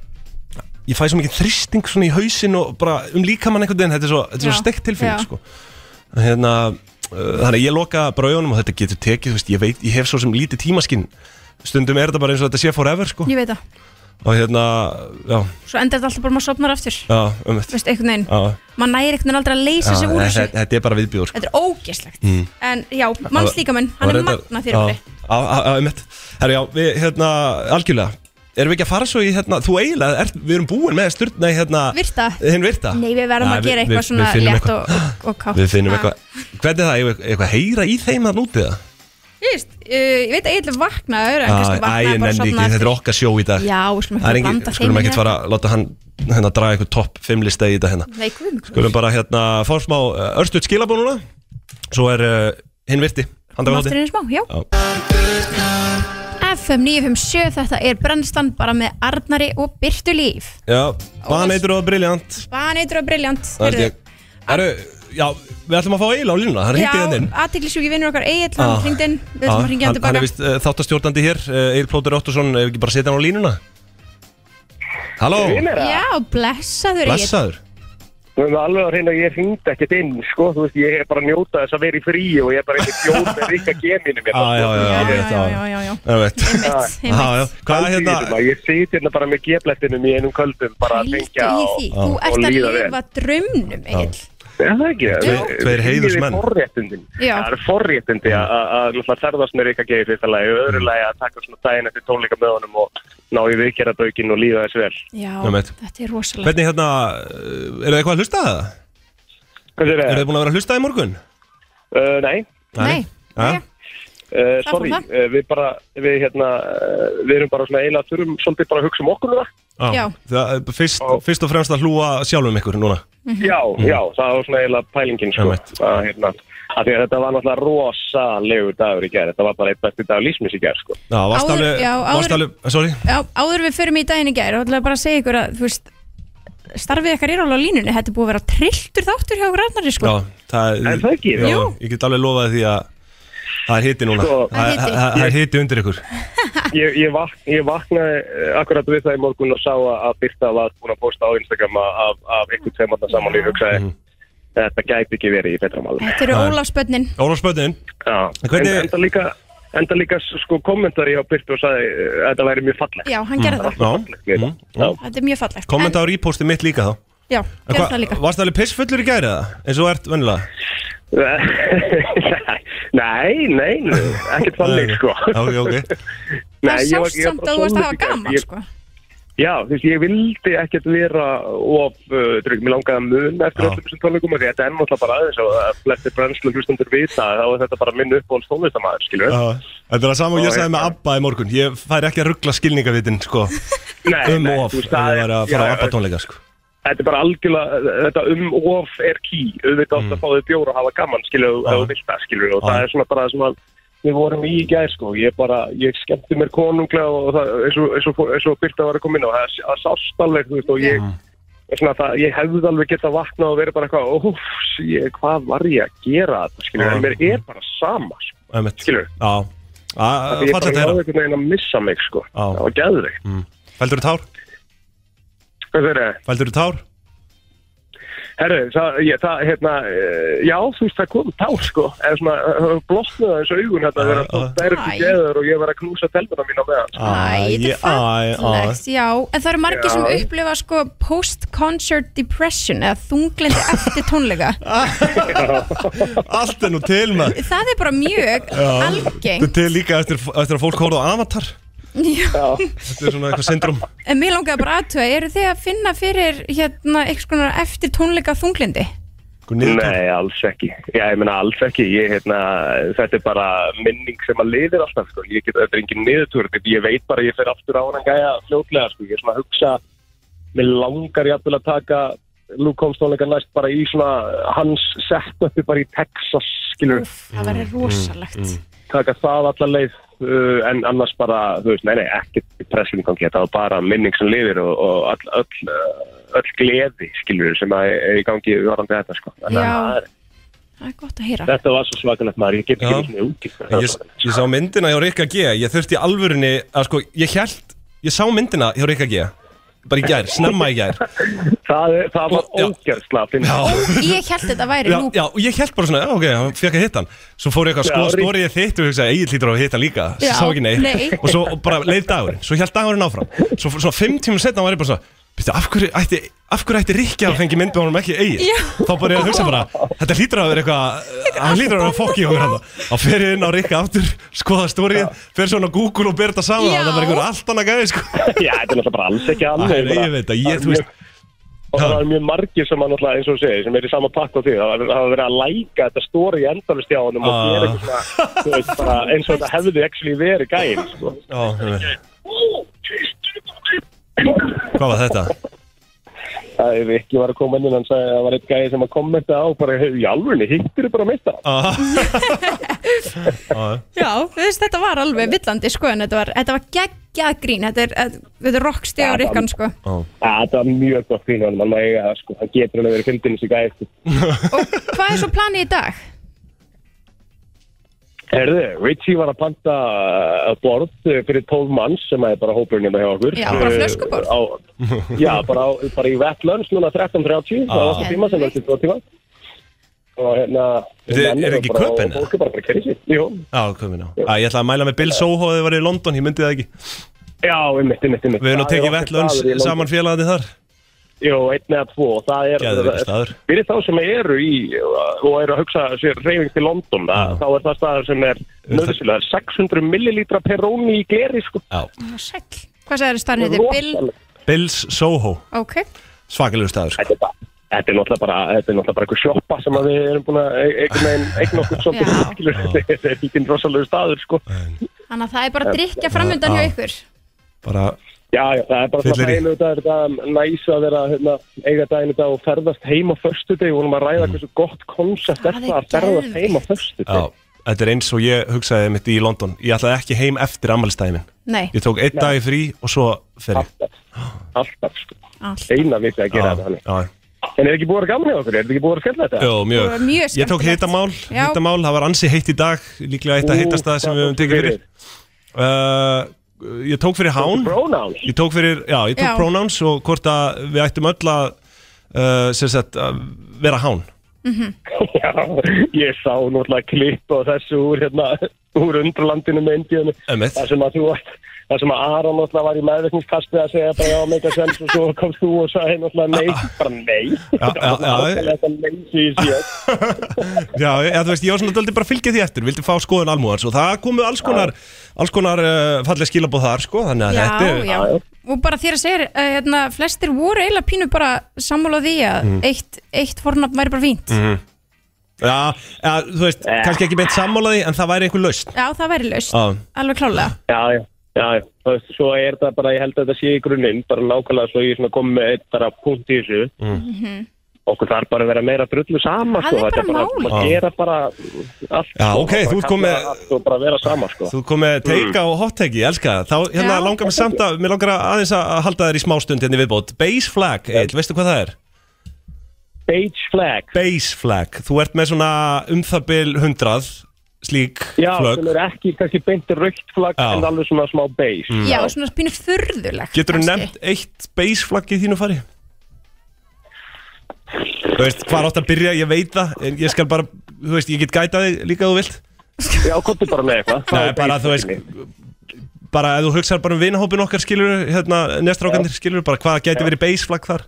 Speaker 1: Ég fæ svo mikið þristing svona í hausin Og bara um líkamann einhvern veginn Þetta er svo, þetta er svo
Speaker 2: Já,
Speaker 1: steikt tilfinning
Speaker 2: já.
Speaker 1: sko. hérna, uh, Þannig að ég loka bara auðanum Og þetta getur tekið, þú veist, ég veit Ég hef svo sem lítið tímaskinn Stundum er þetta bara eins og þetta sé forever sko.
Speaker 2: Ég veit það,
Speaker 1: Og hérna, já,
Speaker 2: svo endar þetta alltaf bara maður sopnar aftur
Speaker 1: já, um
Speaker 2: Þú veist, einhvern veginn
Speaker 1: Já.
Speaker 2: maður næri einhvern veginn aldrei að leysa sig úr þessu
Speaker 1: þetta, þetta er bara viðbjóður sko.
Speaker 2: Þetta er ógeslegt
Speaker 1: Mm.
Speaker 2: En já, mannslíkamenn, hann er magna fyrir
Speaker 1: fyrir
Speaker 2: okkur
Speaker 1: Herra, já, við, hérna, algjörlega Erum við ekki að fara svo í, hérna, þú eiginlega ert, Við erum búin með styrna, nei, hérna
Speaker 2: Virta
Speaker 1: Hinn virta
Speaker 2: Nei, við verðum
Speaker 1: Nei,
Speaker 2: að
Speaker 1: við-
Speaker 2: gera
Speaker 1: við-
Speaker 2: eitthvað
Speaker 1: við
Speaker 2: svona
Speaker 1: finnum
Speaker 2: létt
Speaker 1: eitthvað.
Speaker 2: og, og, og kátt
Speaker 1: Við finnum
Speaker 2: Ha.
Speaker 1: eitthvað Hvernig er það, eigum við eitthvað að heyra í þeim að núti það?
Speaker 2: Ég veist, uh, ég veit að ég ætla að vakna öðru En kannski vakna
Speaker 1: ég
Speaker 2: bara
Speaker 1: Ah, nenni ekki,
Speaker 2: sopna
Speaker 1: þetta er okkar sjó í dag
Speaker 2: Já, við skulum
Speaker 1: Það er
Speaker 2: ekki
Speaker 1: engin-
Speaker 2: blanda
Speaker 1: Skulum
Speaker 2: þeim
Speaker 1: ekki
Speaker 2: í
Speaker 1: fara að láta hann hérna, draga einhver topp fimm lista í þetta hérna
Speaker 2: Nei, guð minn góður.
Speaker 1: Skulum bara hérna, fá smá uh, örstuðt skilabóð núna Svo er uh, hinn virti handa við
Speaker 2: Máttur
Speaker 1: hornið.
Speaker 2: einu smá, já FM 957, þetta er brennstan bara með Arnari og Byrtu Líf
Speaker 1: Já, baneitur og briljant
Speaker 2: Baneitur og briljant
Speaker 1: Það held ég Herru, já, við ætlum að fá Egil á línuna, hann hringdi hérna inn
Speaker 2: aðtiklisjúki vinnur okkar Egil,
Speaker 1: Já.
Speaker 2: hann hringdi inn Við
Speaker 1: Já,
Speaker 2: ætlum að hringja hann
Speaker 1: Hann hann
Speaker 2: tilbaka
Speaker 1: er vist uh, þáttastjórnandi hér, uh, Egil Plóter Óttarsson, ef við ekki bara setja hann á línuna Halló,
Speaker 2: Já, blessaður Egil
Speaker 1: blessaður
Speaker 4: Þú hefur alveg að reyna að ég hringd ekkert inn, sko, þú veist, ég er bara að njóta þess að vera í frí og ég er bara ekki fjóð með ríka geminu mér.
Speaker 1: Já,
Speaker 4: sko.
Speaker 1: Ah, já, já, já, rétt,
Speaker 2: já, já.
Speaker 1: já, Já, veit. Já, já. Hvað er hérna?
Speaker 4: Ég sit hérna bara með geflættinum í einum köldum, bara að
Speaker 2: Í
Speaker 4: tengja og,
Speaker 1: Ah.
Speaker 2: því, þú ert að lifa draumnum Egil
Speaker 4: Já, það ekki.
Speaker 1: Tveir- tveir heiðursmenn.
Speaker 4: Það er forréttindin.
Speaker 2: Já.
Speaker 4: Það er forréttindi að- að að náttúrulega ferðast með ríka geið fyrsta lagi og öðru lagi að taka svona daginn eftir tónleika með honum og ná í viðkjara og líða þess vel.
Speaker 2: Já,
Speaker 1: Já, veit.
Speaker 2: þetta er rosalega
Speaker 1: Hvernig hérna, uh, eru þið eitthvað að hlusta það?
Speaker 4: Hvað er það?
Speaker 1: Eru þið búin að vera að hlusta í morgun?
Speaker 4: Uh, nei.
Speaker 1: Nei. Já,
Speaker 2: Það
Speaker 4: Uh, sorry,
Speaker 2: fór
Speaker 4: uh, við bara, við hérna, uh, við erum bara svona eiginlega þurfum svolítið bara að hugsa um okkur núna.
Speaker 1: já.
Speaker 2: Já.
Speaker 1: Ah, Það, er fyrst,
Speaker 2: Mhm.
Speaker 1: fyrst og fremst að hlúa sjálfum ykkur núna
Speaker 4: Já, já, það var svona eiginlega pælingin, sko. Að, hérna, af því að þetta var náttúrulega rosalegur dagur í gerð þetta var bara eitt besti dagur lífsmis í gerð sko.
Speaker 1: Já, varst
Speaker 2: Áður-
Speaker 1: alveg,
Speaker 2: já,
Speaker 1: varst
Speaker 2: áður-
Speaker 1: alveg, eh, sorry
Speaker 2: Já, áður við förum í daginn í gær og ætlaði bara að segja ykkur að þú veist starfið ykkar er alveg á línunni, þetta er búið að vera trilltur þáttur hjá okkur Arnari sko
Speaker 1: Já, það,
Speaker 4: En það ekki?
Speaker 1: já,
Speaker 2: Jú.
Speaker 1: Ég get alveg lofað því að það er hiti núna
Speaker 4: Sko-
Speaker 1: Það
Speaker 2: Það er hiti.
Speaker 1: það- það er hiti undir ykkur
Speaker 4: ég, ég, vak, ég vaknaði eh, akkurat við það í morgun og sá að að Birta var búin að posta á Instagram af, af- af einhvern tveimanda saman og ég hugsaði þetta gæti ekki verið í betra málum
Speaker 2: Mhm. Þetta eru
Speaker 1: Já.
Speaker 2: Ólafsbönnin
Speaker 1: Ólafsböndin
Speaker 4: Já,
Speaker 1: En hvernig-
Speaker 4: en, enda líka enda líka sko kommentari á Birtu og sagði eh, að þetta væri mjög fallegt
Speaker 2: Já, hann gerði það,
Speaker 1: Mm. Já,
Speaker 4: Við það. Já.
Speaker 2: þetta er mjög fallegt
Speaker 1: kommenta á reposti mitt líka þá
Speaker 2: En- Já,
Speaker 1: En
Speaker 2: gerði það líka
Speaker 1: varst alveg pissfullur í gæri það? Eins og þú ert vennilega?
Speaker 4: nei, nei, nei, ekkert þannig sko
Speaker 1: Já, ok, ok
Speaker 2: Það
Speaker 4: ég var-
Speaker 2: sást
Speaker 4: ég var
Speaker 2: samt að
Speaker 4: bara
Speaker 2: þú varst að hafa
Speaker 4: svolítið-
Speaker 2: gaman
Speaker 4: ég-
Speaker 2: sko
Speaker 4: Já, þú veist, ég vildi ekkert vera of uh, drögg, mér langaði að mun eftir
Speaker 1: Já.
Speaker 4: öllum þessum tónleikum af því að þetta er náttúrulega bara aðeins og að flestir brennslu hlustendur vita að þá er þetta bara minn uppbóðs tónlistamæður, skilur
Speaker 1: Já, Þetta er það sama og ég
Speaker 4: Já,
Speaker 1: sagði
Speaker 4: ég-
Speaker 1: með Abba í morgun Ég fær ekki að ruggla skilningavitin, sko
Speaker 4: Nei,
Speaker 1: Um og of,
Speaker 4: þú
Speaker 1: ef
Speaker 4: veist,
Speaker 1: ég var að fara á
Speaker 4: já,
Speaker 1: Abba tónleika, sko
Speaker 4: Þetta er bara algjörlega, þetta um og of er ký, auðvitað átt að fá þau bjóra og hafa gaman, skilur,
Speaker 1: Mm. Já.
Speaker 4: ef þú vilt það, skilur og
Speaker 1: Já.
Speaker 4: það er svona bara það sem að Við vorum í í gær sko, ég bara, ég skemmti mér konunglega og það, eins og, eins og, eins og Birta var að koma inn á, það það sást alveg, þú veist, og
Speaker 1: Mm.
Speaker 4: ég, Og svona, það, ég hefði alveg getað vaknað og verið bara eitthvað óf, ég, hvað var ég að gera þetta skilur,
Speaker 1: Já.
Speaker 4: en mér er bara sama sko.
Speaker 1: Einmitt.
Speaker 4: Skilur.
Speaker 1: Já,
Speaker 4: Því ég
Speaker 1: falla
Speaker 4: bara
Speaker 1: þetta
Speaker 4: náði
Speaker 1: hérna
Speaker 4: einhvern veginn að missa mig sko.
Speaker 1: Já.
Speaker 4: það var geðveikt
Speaker 1: Mm. Fældur þú tár?
Speaker 4: Hvað þeir eru?
Speaker 1: Fældur þú tár?
Speaker 4: Herru, það, ég, það, hérna, eh, já, þú veist, það kom tár, sko, en svona, eh, blotnaði þessu augun,
Speaker 1: Já,
Speaker 4: þetta, þegar
Speaker 1: já.
Speaker 4: það er
Speaker 2: Æ.
Speaker 4: ekki geður og ég var að knúsa telmuna mín á meðan, sko.
Speaker 2: Æ, þetta
Speaker 1: Æ,
Speaker 2: er fallegt, já, en það eru margir sem
Speaker 4: Já.
Speaker 2: upplifa sko post-concert depression eða þunglindi eftir tónleika
Speaker 1: æ, æ, Allt er nú til maður
Speaker 2: Það er bara mjög algeng
Speaker 1: Þetta er til líka eftir, eftir að fólk horfðu á Avatar
Speaker 2: Já.
Speaker 1: Þetta er svona eitthvað syndrom
Speaker 2: En mér langaði bara aðtöða, eru þið að finna fyrir hérna einhvers konar eftir tónleika þunglindi?
Speaker 1: Einhver niðurtál.
Speaker 4: Nei, alls ekki. Já, ég meina, alls ekki. Ég, hérna, þetta er bara minning sem að lifir alltaf, sko. Ég get, þetta er engin niðurtúr, þetta- ég veit bara að ég fer aftur á hann gæja fljótlega, sko. Ég er svona að hugsa, mér langar jafnvel að taka Luke Combs tónleika næst bara í svona hans setupi bara í Texas, skilur.
Speaker 2: Úff, það verður rosalegt
Speaker 4: Mm. taka það alla leið uh, en annars bara, þú veist, nei, nei, ekkert pressum gangi, þetta var bara minning sem lifir og, og all, öll, uh, öll gleði, skilur, sem að er í gangi varandi þetta, sko. Þannig
Speaker 2: Já.
Speaker 4: að það er-
Speaker 2: Það er gott að heyra
Speaker 4: Þetta var svo svakalegt maður, ég get
Speaker 1: Já.
Speaker 4: ekki svona úti.
Speaker 1: En ég, ég sá myndina hjá Rikka G Ég þurfti í alvörinni að sko Ég held, ég sá myndina hjá Rikka G Bara í gær, snemma í gær
Speaker 4: Það, er- það var
Speaker 1: Já.
Speaker 4: ógjörðsla að finna.
Speaker 1: Já,
Speaker 2: Ég held þetta væri
Speaker 1: já,
Speaker 2: lúk
Speaker 1: já, og ég held bara svona, já, ok, hann fekk að hitta hann Svo fór ég eitthvað að
Speaker 4: Já,
Speaker 1: skoða
Speaker 4: Rik-
Speaker 1: stórið þitt og ég hugsaði, Egil lítur á að hitta hann líka Svo
Speaker 2: Já,
Speaker 1: sá ekki neitt
Speaker 2: nei.
Speaker 1: Og svo og bara leið dagurinn, svo held dagurinn áfram Svo svona fimm tímum setna var ég bara svona Býttu, af hverju ætti, af hverju ætti Rikki að fengi mynd með honum ekki Egil?
Speaker 2: Já.
Speaker 1: Þá bara ég að hugsa bara, þetta hlýtur að vera eitthvað, hann hlýtur að vera að fokki okkur hann Þá fer ég inn á Rikka aftur, skoða stórið, fer svona á Google og ber þetta saman
Speaker 2: Já.
Speaker 1: Það var einhver allt annað gæði, sko
Speaker 4: Já, þetta er náttúrulega bara alls ekki
Speaker 1: Æ,
Speaker 4: alveg.
Speaker 1: nei,
Speaker 4: bara-
Speaker 1: ég veit að ég,
Speaker 4: það er
Speaker 1: þú veist-
Speaker 4: mjög- Og það er mjög margir sem að náttúrulega, eins og þú segir, sem er í sama pakk á því. Það hafa verið að læka þetta stóri endalist hjá honum og
Speaker 1: Ah.
Speaker 4: gera eitthvað svona, þú veist, bara eins og þetta hefði actually verið gæðin, sko.
Speaker 1: Já, ég veit. Hvað var þetta?
Speaker 4: Það er ekki var að koma inn en hann sagði að það var eitt gæði sem að kommenta á bara, hei, í alvörni, hittir þið bara meitt það?
Speaker 1: Ah. Ah.
Speaker 2: Já, þú veist, þetta var alveg villandi sko en þetta var, þetta var geggjað grín Þetta er, eh, þetta er rockstið á
Speaker 4: Já,
Speaker 2: Rikkan sko
Speaker 1: Ah.
Speaker 4: Það var mjög gott fyrir hann, hann eiga það, sko, hann getur alveg verið fyndin þessi gæði, sko.
Speaker 2: Og hvað er svo planið í dag?
Speaker 4: Herðu, Richie var að panta uh, borð uh, fyrir 12 manns sem er bara hópurinn hérna hjá okkur.
Speaker 2: Já, bara
Speaker 4: Uh,
Speaker 2: flöskuborð?
Speaker 4: á, já, bara, á, bara í Vetlunds núna 13.30, það
Speaker 1: Ah.
Speaker 4: var það tíma sem var til 2 tíma. Og hérna...
Speaker 1: Er þið- er ekki
Speaker 4: bara-
Speaker 1: Köben, eða?
Speaker 4: Fólk er bara bara kerið sér, jú.
Speaker 1: Já, komin á Æ, Ég ætla að mæla með Bill Soho þegar þið var í London, ég myndi það ekki
Speaker 4: Já, einmitt, einmitt, einmitt.
Speaker 1: Við erum að
Speaker 4: Það er
Speaker 1: tekið
Speaker 4: okkar
Speaker 1: vettlöns
Speaker 4: staður í London.
Speaker 1: saman félagandi þar
Speaker 4: Jú, einn eða tvo og það er
Speaker 1: Geðveikur staður.
Speaker 4: Fyrir þá sem eru í og eru að hugsa sér reyfing til London
Speaker 1: Já.
Speaker 4: það, þá er það staður sem er nöðsilega 600 millilítra peróni í gleri sko
Speaker 1: Já
Speaker 2: Ná, Sæll Hvað sagði þetta heitir? Bill?
Speaker 4: Rosalegt.
Speaker 1: Bills Soho,
Speaker 2: Ok
Speaker 1: svakalegur staður sko.
Speaker 4: Þetta er bara- þetta er náttúrulega bara þetta er náttúrulega bara eitthvað sjoppa sem að við erum búin að e- einhvern veginn eigna okkur svolítið
Speaker 2: Já.
Speaker 4: skilur. þetta er lítinn rosalegu staður sko
Speaker 2: Þannig að það er bara að drikja framöndan hjá ykkur
Speaker 1: Bara
Speaker 4: Já, já, það er bara
Speaker 1: Fyllir
Speaker 4: það
Speaker 1: í.
Speaker 4: einu dag, þetta er næs að vera hérna, eiga daginn í dag og ferðast heim á förstu dag og hún var að ræða hversu gott konsept er það að ferðast heim á förstu dag.
Speaker 1: Mm. Já, þetta er eins og ég hugsaði mitt í London Ég ætlaði ekki heim eftir ammælistæði minn
Speaker 2: Nei.
Speaker 1: Ég tók einn
Speaker 4: Nei.
Speaker 1: dag í frí og svo fer ég
Speaker 4: Alltaf, sko.
Speaker 2: Alltaf.
Speaker 4: Eina vitið að gera þetta þannig.
Speaker 1: Já, já
Speaker 4: En er ekki búið að vera gaman hjá okkur? Er þetta ekki búið að vera skella þetta?
Speaker 1: Jó, mjög.
Speaker 2: var mjög
Speaker 1: Ég tók
Speaker 2: skemmtilegt.
Speaker 1: hitamál,
Speaker 2: Já.
Speaker 1: hitamál, það var ansi heitt í dag, líklega eitt að
Speaker 4: Ú,
Speaker 1: heitast það sem
Speaker 4: hvað
Speaker 1: við höfum
Speaker 4: tókstu
Speaker 1: tekið fyrir.
Speaker 4: fyrir?
Speaker 1: Uh, ég tók fyrir hán,
Speaker 4: Pronouns?
Speaker 1: ég tók fyrir, já, ég tók
Speaker 2: Já.
Speaker 1: pronouns og hvort að við ættum öll að, uh, sem sagt, að vera hán.
Speaker 2: Mhm.
Speaker 4: Já, ég sá náttúrulega klipp á þessu úr, hérna, úr undralandinu með Indíðinu.
Speaker 1: Emmett.
Speaker 4: Það sem að þú varst, það sem að Aron náttúrulega var í meðvirkningskasti að segja bara já, meika sens og svo komst þú og sagði náttúrulega nei, bara nei.
Speaker 1: Já, já, já.
Speaker 4: Þetta leysi í sér.
Speaker 1: Já, eða þú veist, ég var svona döldi bara að fylgja því eftir, vildi fá skoðun almúðans og það komu alls konar, alls konar uh, falleg skilabóð þar, sko, þannig að
Speaker 2: Já,
Speaker 1: þetta er...
Speaker 2: já, og bara þér að segja uh, hérna, flestir voru eiginlega pínu bara sammála því að
Speaker 1: Mm.
Speaker 2: eitt, eitt fornafn væri bara fínt
Speaker 1: Mhm. Já, já, þú veist, kannski ekki beint sammálaði en það væri einhver lausn
Speaker 2: Já, það væri laust,
Speaker 1: Já.
Speaker 2: alveg klálega
Speaker 4: Já, já, já, já. Þú veist, svo er það bara, ég held að þetta sé í grunninn, bara nákvæmlega svo ég er svona komið með eitt bara punkt í þessu.
Speaker 1: Mm.
Speaker 4: Okkur þarf bara að vera meira drullu sama,
Speaker 2: Það
Speaker 4: sko.
Speaker 2: er bara
Speaker 4: Þetta
Speaker 2: málið.
Speaker 4: Bara, að gera bara allt.
Speaker 1: Já,
Speaker 4: sko,
Speaker 1: ok,
Speaker 4: bara
Speaker 1: þú ert komið-
Speaker 4: kalla Allt og bara vera sama, sko.
Speaker 1: Þú kom með teika og hotteki, ég elska það Þá hérna
Speaker 2: Já.
Speaker 1: langar mér samt að, mér langar að aðeins að að halda þér í smástund hérna í viðbót Base flag, Eil, veistu hvað það er?
Speaker 4: Beige flag.
Speaker 1: Base flag, þú ert með svona um það bil 100 slík
Speaker 4: Já,
Speaker 1: flögg
Speaker 4: sem er ekki kannski beinti raukt flagg,
Speaker 1: Já.
Speaker 4: en alveg svona smá beige.
Speaker 2: Já, og svona pínu furðulegt
Speaker 1: Getur þú
Speaker 2: kannski.
Speaker 1: nefnt eitt base flagg í þínu fari? Þú veist, hvað átt að byrja, ég veit það En ég skal bara, þú veist, ég get gæta þig líka ef þú vilt
Speaker 4: Já, komdu bara með eitthvað. Hvað
Speaker 1: Nei,
Speaker 4: er
Speaker 1: bara
Speaker 4: beige
Speaker 1: þú veist
Speaker 4: flaggið?
Speaker 1: bara ef þú hugsar bara um vinahópin okkar skilur hérna, nestrákandir skilur bara hvað gæti verið beisflag þar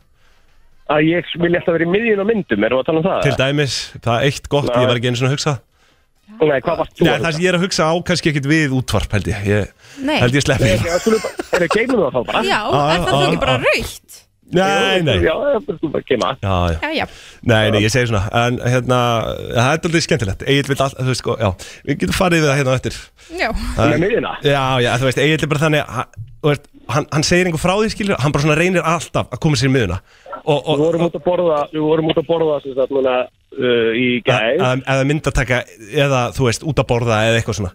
Speaker 4: Að ég vil eftir að vera í miðjun á myndum, erum við að tala um það?
Speaker 1: til dæmis, það er eitt gott,
Speaker 4: Já.
Speaker 1: ég var ekki einu svona að hugsa
Speaker 4: Nei, hvað varst þú?
Speaker 1: Nei, það sem ég er að hugsa á kannski ekkit við útvarp held ég, ég
Speaker 2: Nei.
Speaker 1: held ég sleppi því.
Speaker 4: Já, skulum bara, er það geimum það þá bara?
Speaker 2: Já,
Speaker 1: Já,
Speaker 2: er það þá
Speaker 1: já,
Speaker 2: ekki bara
Speaker 1: já.
Speaker 2: raukt?
Speaker 1: Nei, nei,
Speaker 4: Já, það er bara geima.
Speaker 1: já, já
Speaker 2: Já, já,
Speaker 1: Nei, nei, ég segi svona, en hérna það er aldrei skemmtilegt, Egil vil alltaf, þú veist sko já, við getum farið við það hérna á eftir
Speaker 2: já,
Speaker 4: Með miðjuna?
Speaker 1: Já, já, þú veist, Egil er bara þannig hann, þú veist, hann, hann segir einhver frá því skilur hann bara svona reynir alltaf að koma sér í miðuna og, og,
Speaker 4: Við vorum út að borða, við vorum út að borða sem sagt núna uh, í gæð,
Speaker 1: Að- um, eða myndataka eða þú veist út að borða eða eitthvað svona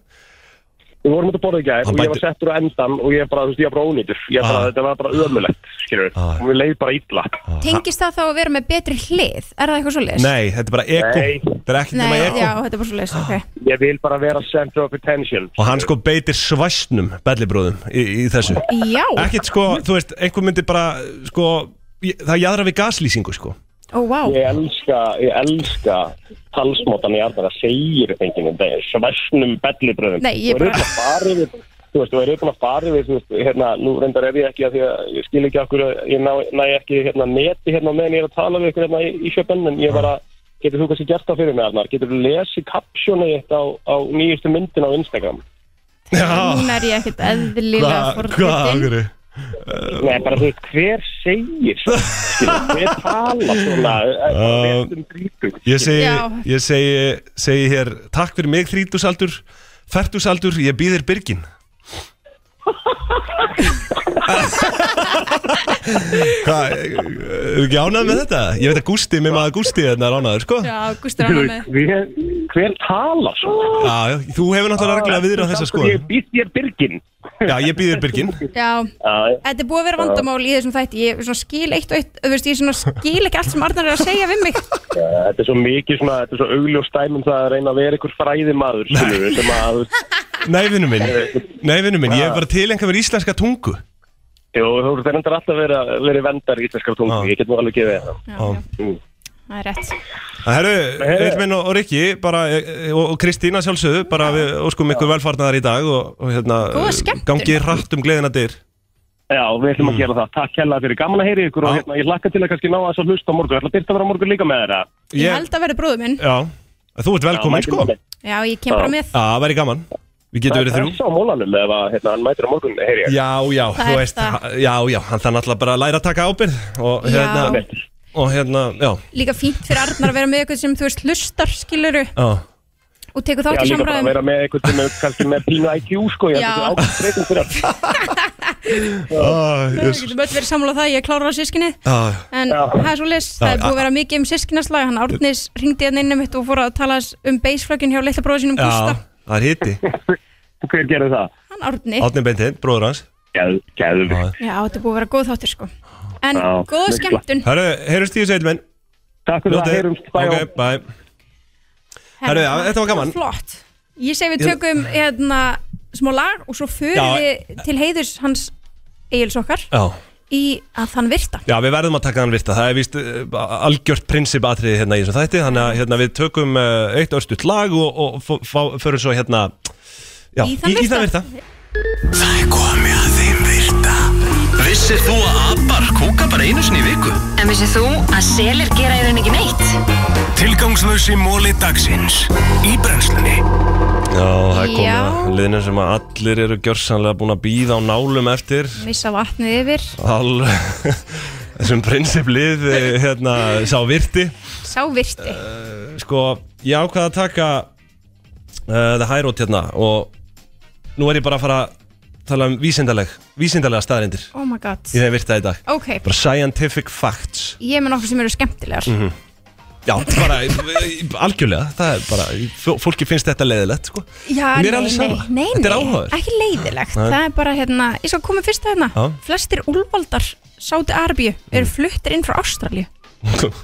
Speaker 4: við vorum út að borða í gæð
Speaker 1: Hann
Speaker 4: og ég var
Speaker 1: bætir-
Speaker 4: settur á endan og ég bara, þú veist, ég var bara ónýtur, ég bara,
Speaker 1: Ah.
Speaker 4: þetta var bara ömulegt, skilur við,
Speaker 1: Ah.
Speaker 4: og við leið bara illa.
Speaker 2: tengist það þá að vera með betri hlið? Er það eitthvað svo leis?
Speaker 1: Nei, þetta er bara eko
Speaker 4: Nei.
Speaker 1: Þetta er ekkert nema
Speaker 2: Nei,
Speaker 1: eko
Speaker 2: já, þetta er bara svo leis, ok
Speaker 4: Ég vil bara vera center of attention.
Speaker 1: Og hann sko beitir svæsnum bellibróðum í, í þessu
Speaker 2: Já,
Speaker 1: Ekkert sko, þú veist, einhver myndi bara sko, ég- það jaðra við gaslýsingu sko
Speaker 2: ó, vá
Speaker 4: Ég elska, ég elska talsmótan í Arnar að segir þenginu, það er svæsnum bellibröðum.
Speaker 2: Nei, ég bara-
Speaker 4: Og er eitthvað farið við, þú veist, og er eitthvað farið við, þú veist, hérna, nú reyndar er ég ekki að því að ég skil ekki okkur, ég næ, næ ekki hérna neti hérna á meðan ég er að tala við ykkur hérna í, í sjöpenn, en ég bara, getur þú kannski gert það fyrir mig Arnar, getur þú lesið kapsjónu eitt á, á nýjustu myndin á Instagram?
Speaker 1: Já,
Speaker 2: Hún er ég ekkert eðlilega forvitin
Speaker 1: okkur Eh,
Speaker 4: Nei, bara þú veist, hver segir svona, skilur, hver tala svona,
Speaker 1: Ah.
Speaker 4: um dríkug?
Speaker 1: Ég segi,
Speaker 2: Já.
Speaker 1: ég segi, segi hér Takk fyrir mig þrítusaldur Fertusaldur, ég býðir byrgin Hvað, eru ekki ánað með þetta? Ég veit að Gústi, mér maður Gústi þarna er ánaður, sko
Speaker 2: Já, Gústur hann með
Speaker 4: Hver, hver tala Ah, svona?
Speaker 1: Já, já, þú hefur náttúrulega reglulega viðra þessa sko
Speaker 4: Ég býst þér byrgin
Speaker 1: Já, ég býðir byrgin
Speaker 2: Já,
Speaker 4: Já,
Speaker 2: þetta er búið að vera vandamál í þessum þætti Ég svona skil eitt og eitt, þú veist, ég svona skil ekki allt sem Arnar er að segja við mig
Speaker 4: Þetta er svo mikið svona, þetta er svo augljóstæmum það að reyna að vera ykkur fræðimaður skilur við, sem að,
Speaker 1: Nei, vinnu minn, nei, vinnu minn,
Speaker 4: Ah.
Speaker 1: ég er bara tilengja verið íslenska tungu
Speaker 4: jú, þú eru þetta alltaf að vera, vera vendar í íslenskar tungu,
Speaker 1: Já.
Speaker 4: ég get nú alveg gefið það
Speaker 2: Já,
Speaker 4: Mm.
Speaker 2: já, það er
Speaker 1: Já.
Speaker 2: rétt
Speaker 1: Það herru, Eilminn og, og Rikki bara, e, e, og, og Kristína sjálfsögðu bara við óskum ykkur velfarnaðar í dag og, og hérna,
Speaker 2: Góða skemmtun.
Speaker 1: gangið hratt um gleðina dyr
Speaker 4: Já, við ætlum að gera það, takk hella fyrir gaman að heyri ykkur og
Speaker 1: Mm. Já.
Speaker 4: hérna, ég hlakka til að kannski ná að þess að hlusta á morgun, ég ætla að byrta að vera á morgun líka með þeirra
Speaker 2: Ég held að verði bróður minn
Speaker 1: Já, þú ert velkomin
Speaker 4: Já,
Speaker 1: sko
Speaker 4: mætum
Speaker 1: Já,
Speaker 4: við.
Speaker 2: Já, ég kem bara með
Speaker 1: það væri gaman, við getum
Speaker 4: Það er
Speaker 1: verið þrjú
Speaker 4: pressa á mólanum ef að, hérna, hann mætir á morgun, heyri ég
Speaker 1: Já, já,
Speaker 2: Það
Speaker 1: þú
Speaker 2: er
Speaker 1: veist,
Speaker 2: það.
Speaker 1: ha- já, já, hann þannig alltaf bara að læra að taka ábyrð og
Speaker 2: Já.
Speaker 1: hérna, og hérna, já,
Speaker 2: Líka fínt fyrir Arnar að vera með eitthvað sem þú veist hlustar, skiluru
Speaker 1: já
Speaker 2: og tekur þátt
Speaker 4: Já,
Speaker 2: í
Speaker 4: líka bara að
Speaker 2: samræðum
Speaker 4: vera með einhvern sem er kannski með pínu IQ sko, ég
Speaker 2: Já.
Speaker 4: held að það er ákveðin fyrir hann.
Speaker 2: Við getum öll verið samlað það, ég klárar á sískinni
Speaker 1: Ah.
Speaker 2: En það er svo list, það er
Speaker 1: Já,
Speaker 2: búið að vera mikið um sískinaslag Hann Árnis ringdi hérna innum mitt og fór að tala um beisflökin hjá litla bróðu sínum Gústa
Speaker 1: Já, það er hitti
Speaker 4: Hver gerði það?
Speaker 2: Hann Árni
Speaker 1: Átni Beintin, bróður hans
Speaker 4: Gæðum við
Speaker 2: Já, þetta er búið að vera góð þáttur sko En
Speaker 4: Já,
Speaker 2: góða
Speaker 4: mikla.
Speaker 2: skemmtun
Speaker 1: Herru, heyrjumst í þessu eilmenn
Speaker 4: Takk fyrir það, heyrumst, bæ
Speaker 1: Ok, bæ Herru, já, þetta var gaman
Speaker 2: Flott Ég segi við tökum hérna smá lag og svo förum
Speaker 1: Já.
Speaker 2: við til heiðurs hans Egils okkar
Speaker 1: Já,
Speaker 2: í að þann virta
Speaker 1: já við verðum að taka hann virta Það er víst uh, algjört prinsip atriði hérna í þessum þætti Þannig að hérna, við tökum uh, eitt örstutt lag og, og f- fá- förum svo hérna já,
Speaker 2: Í þann
Speaker 1: í, í þann virta
Speaker 10: Það er komið að þeim virta Vissir þú að abar kúka bara einu sinni í viku?
Speaker 11: En vissið þú að selir gera í rauninni ekki neitt?
Speaker 10: Tilgangslösi móli dagsins Í brennslunni
Speaker 1: Já, það er komið
Speaker 2: Já.
Speaker 1: að liðnum sem að allir eru gjörsanlega búin að býða á nálum eftir
Speaker 2: Missa vatnið yfir,
Speaker 1: All Þessum prinsiplið eh, hérna, sá virti
Speaker 2: sá virti
Speaker 1: Sko, ég ákvað að taka uh, The High Road hérna og nú er ég bara að fara að tala um vísindaleg, vísindalega staðrindir
Speaker 2: Oh my god
Speaker 1: í þeim virta í dag
Speaker 2: Ok,
Speaker 1: Bara scientific facts
Speaker 2: ég er með nokkur sem eru skemmtilegar
Speaker 1: mm Já, bara eh, algjörlega, það er bara, fó- fólki finnst þetta leiðilegt sko
Speaker 2: Já,
Speaker 1: Mér er
Speaker 2: nei,
Speaker 1: alveg
Speaker 2: nei,
Speaker 1: sama.
Speaker 2: nei, nei,
Speaker 1: Þetta er áhugavert.
Speaker 2: ekki leiðilegt
Speaker 1: Nei.
Speaker 2: Það er bara hérna, ég skal koma fyrst að hérna
Speaker 1: Já. Mm.
Speaker 2: Flestir úlvaldar sáti Arbíu eru fluttir inn frá Ástralju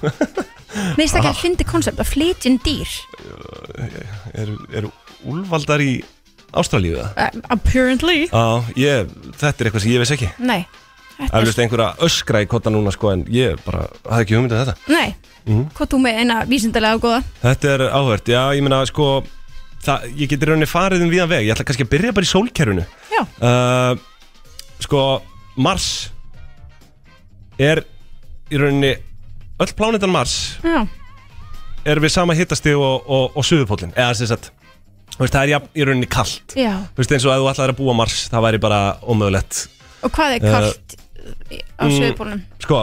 Speaker 2: Meðist ekki
Speaker 1: Ah.
Speaker 2: að fyndi konsept að flytjinn dýr
Speaker 1: Eru er úlvaldar í Ástralíu það?
Speaker 2: uh, Apparently
Speaker 1: Já, ég, þetta er eitthvað sem ég veist ekki
Speaker 2: Nei, þetta
Speaker 1: Eflust einhverja öskra í kotta núna sko en ég bara hafði ekki hugmyndið þetta
Speaker 2: Nei,
Speaker 1: Mhm.
Speaker 2: hvað þú með eina vísindalega og góða
Speaker 1: Þetta er áhört, já, ég meina sko það, ég geti rauninni farið um víðan veg ég ætla kannski að byrja bara í sólkerfinu
Speaker 2: Já.
Speaker 1: uh, Sko, Mars er í rauninni öll plánetan Mars
Speaker 2: Já,
Speaker 1: er við sama hittasti og, og, og suðupólinn eða sem sagt, þú veist, það er jafn, í rauninni kalt
Speaker 2: já
Speaker 1: Þú veist, eins og að þú ætlar að búa á Mars það væri bara ómögulegt
Speaker 2: Og hvað er
Speaker 1: Eh,
Speaker 2: kalt á
Speaker 1: mm.
Speaker 2: söðupólunum?
Speaker 1: Sko,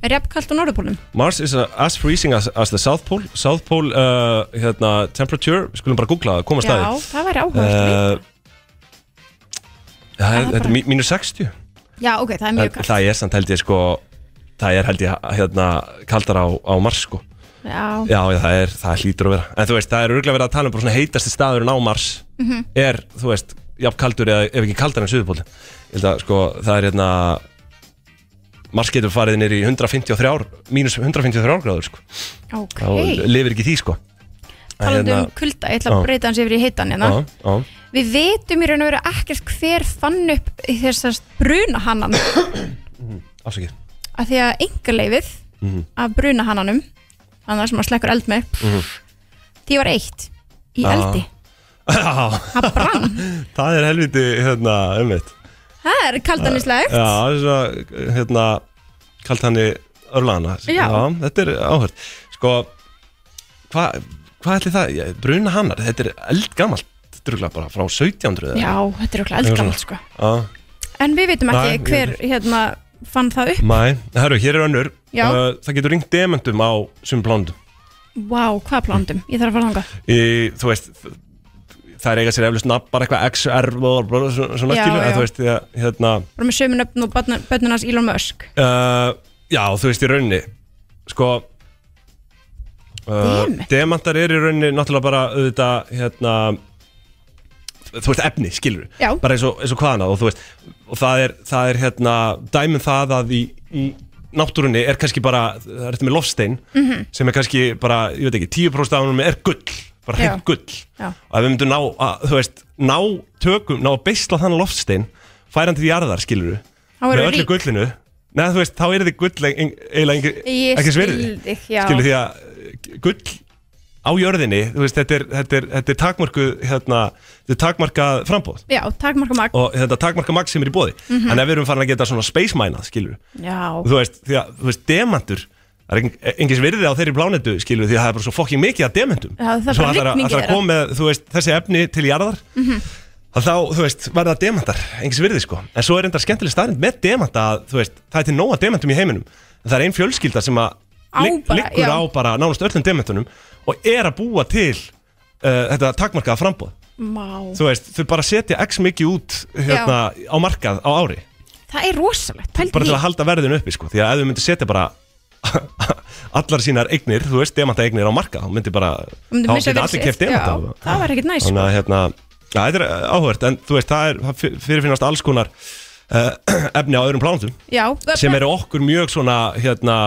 Speaker 2: Er jafn kalt á norðupólunum?
Speaker 1: Mars is uh, as freezing as, as the South Pole South Pole uh, hérna, temperature Við skulum bara googla það, koma
Speaker 2: Já,
Speaker 1: staði
Speaker 2: það væri áhugavert
Speaker 1: Það er,
Speaker 2: er
Speaker 1: þetta
Speaker 2: bara-
Speaker 1: er mí- mínus 60
Speaker 2: Já, ok, það er mjög
Speaker 1: En
Speaker 2: kalt
Speaker 1: Það er samt held ég sko Það er held ég hérna kaldar á, á Mars sko
Speaker 2: Já,
Speaker 1: Já, já, það er, það hlýtur að vera En þú veist, það er örgulega verið að tala um bara svona heitasti staðurinn á Mars
Speaker 2: Mhm.
Speaker 1: Er, þú veist, jafn kaldur eða ef ekki kaldar en suðupóli Ég held að sko, það er hérna Mars getur farið nýr í 153 mínus 153 gráður sko
Speaker 2: ok
Speaker 1: þá lifir ekki í því sko
Speaker 2: Talandi um kulda, ég ætla
Speaker 1: hérna- Já.
Speaker 2: að breyta hans yfir í heitan hérna
Speaker 1: kulda
Speaker 2: Við vitum í raun og veru ekkert hver fann upp þessast brunahannan af
Speaker 1: Hm, afsakið
Speaker 2: því að engarleifið
Speaker 1: Mhm.
Speaker 2: af brunahannanum annað sem að slekkur eld með því var eitt í
Speaker 1: Já.
Speaker 2: eldi
Speaker 1: það brann það er helviti hérna umveitt
Speaker 2: Það er kaldaníslegt
Speaker 1: já, það er svona hérna kalt hann í örlana
Speaker 2: Já.
Speaker 1: þetta er áhört sko hvað hva ætli það Ég- bruna hannar þetta er eldgamalt druglega bara frá 1700 eða-
Speaker 2: Já, þetta er okkur
Speaker 1: Eitthvað
Speaker 2: eldgamalt sko
Speaker 1: svona. já
Speaker 2: En við vitum
Speaker 1: Nei,
Speaker 2: ekki
Speaker 1: ég-
Speaker 2: hver hérna fann það upp
Speaker 1: Mæ, herru, hér er önnur
Speaker 2: Já.
Speaker 1: Uh, Það getur ringt dementum á sum blóndum Mm.
Speaker 2: Vá, hvað plándum, ég þarf að fara þangað
Speaker 1: í, þú veist það er eiga sér eflust nafn bara eitthvað XR og bara svona svona
Speaker 2: Já,
Speaker 1: skilu en
Speaker 2: já.
Speaker 1: þú veist, ég- hérna
Speaker 2: Bara með sömu nöfn og bönnunars Elon Musk
Speaker 1: uh, já, þú veist í rauninni sko uh,
Speaker 2: Demant?
Speaker 1: demantar er í rauninni náttúrulega bara auðvitað hérna þú veist efni, skilur
Speaker 2: Já.
Speaker 1: bara eins og, eins og hvaðan og þú veist og það er, það er hérna, dæmum það að í, í náttúrunni er kannski bara það er þetta með lofstein
Speaker 2: Mhm.
Speaker 1: sem er kannski bara, ég veit ekki, 10% af húnum er gull bara
Speaker 2: Já.
Speaker 1: hreint gull
Speaker 2: Já.
Speaker 1: og ef við myndum ná, að, þú veist, ná tökum, ná að beisla þann loftstein færa hann til jarðar, skilur
Speaker 2: Þá
Speaker 1: með
Speaker 2: erum við
Speaker 1: öllu
Speaker 2: rík.
Speaker 1: gullinu neða, þú veist, þá er þið gull ein- eiginlega engri-
Speaker 2: Ég
Speaker 1: ekki sverði,
Speaker 2: skil þig, já.
Speaker 1: skilur því að eh, gull á jörðinni þú veist, þetta er, þetta er, þetta er takmarku hérna, þetta er takmarkað frambóð
Speaker 2: Já, takmarka mag
Speaker 1: og þetta takmarka magn sem er í bóði
Speaker 2: Mhm.
Speaker 1: en ef við erum farin að geta svona space minað, skilur
Speaker 2: Já,
Speaker 1: þú veist, því að, þú veist, demantur það er engin- engin svirði á þeirri plánetu skilu því að það er bara svo fokking mikið af demantum
Speaker 2: Já, það er
Speaker 1: Svo
Speaker 2: bara
Speaker 1: ætlar að-
Speaker 2: rigning í
Speaker 1: ætlar að
Speaker 2: þeirra.
Speaker 1: koma með, þú veist, þessi efni til jarðar
Speaker 2: Mhm.
Speaker 1: að þá, þú veist, verða demantar engin svirði sko, en svo er enda skemmtileg starrend með demanta að, þú veist, það er til nóga demantum í heiminum en það er ein fjölskylda sem að
Speaker 2: Á
Speaker 1: ligg-
Speaker 2: bara,
Speaker 1: liggur
Speaker 2: já.
Speaker 1: á bara nánast öllum demantunum og er að búa til uh, þetta takmarkaða frambóð
Speaker 2: Má.
Speaker 1: þú veist, þau bara setja x mikið út hérna, á markað á ári
Speaker 2: Það er rosalegt, pældi
Speaker 1: bara til
Speaker 2: því.
Speaker 1: að halda verðinu uppi sko. því að ef þau myndir setja bara allar sínar eignir, þú veist, demanta eignir á markað, þá myndir bara
Speaker 2: Þú myndir
Speaker 1: þá
Speaker 2: missa
Speaker 1: geta
Speaker 2: verð
Speaker 1: allir
Speaker 2: sitt,
Speaker 1: keft demanta
Speaker 2: já, það væri ekkert sko. næs,
Speaker 1: þannig að hérna, já, þetta er eh, áhugavert en þú veist, það, er, það fyr- fyrirfinnast alls konar uh, efni á öðrum plánutum
Speaker 2: Já,
Speaker 1: sem eru okkur mjög svona hérna,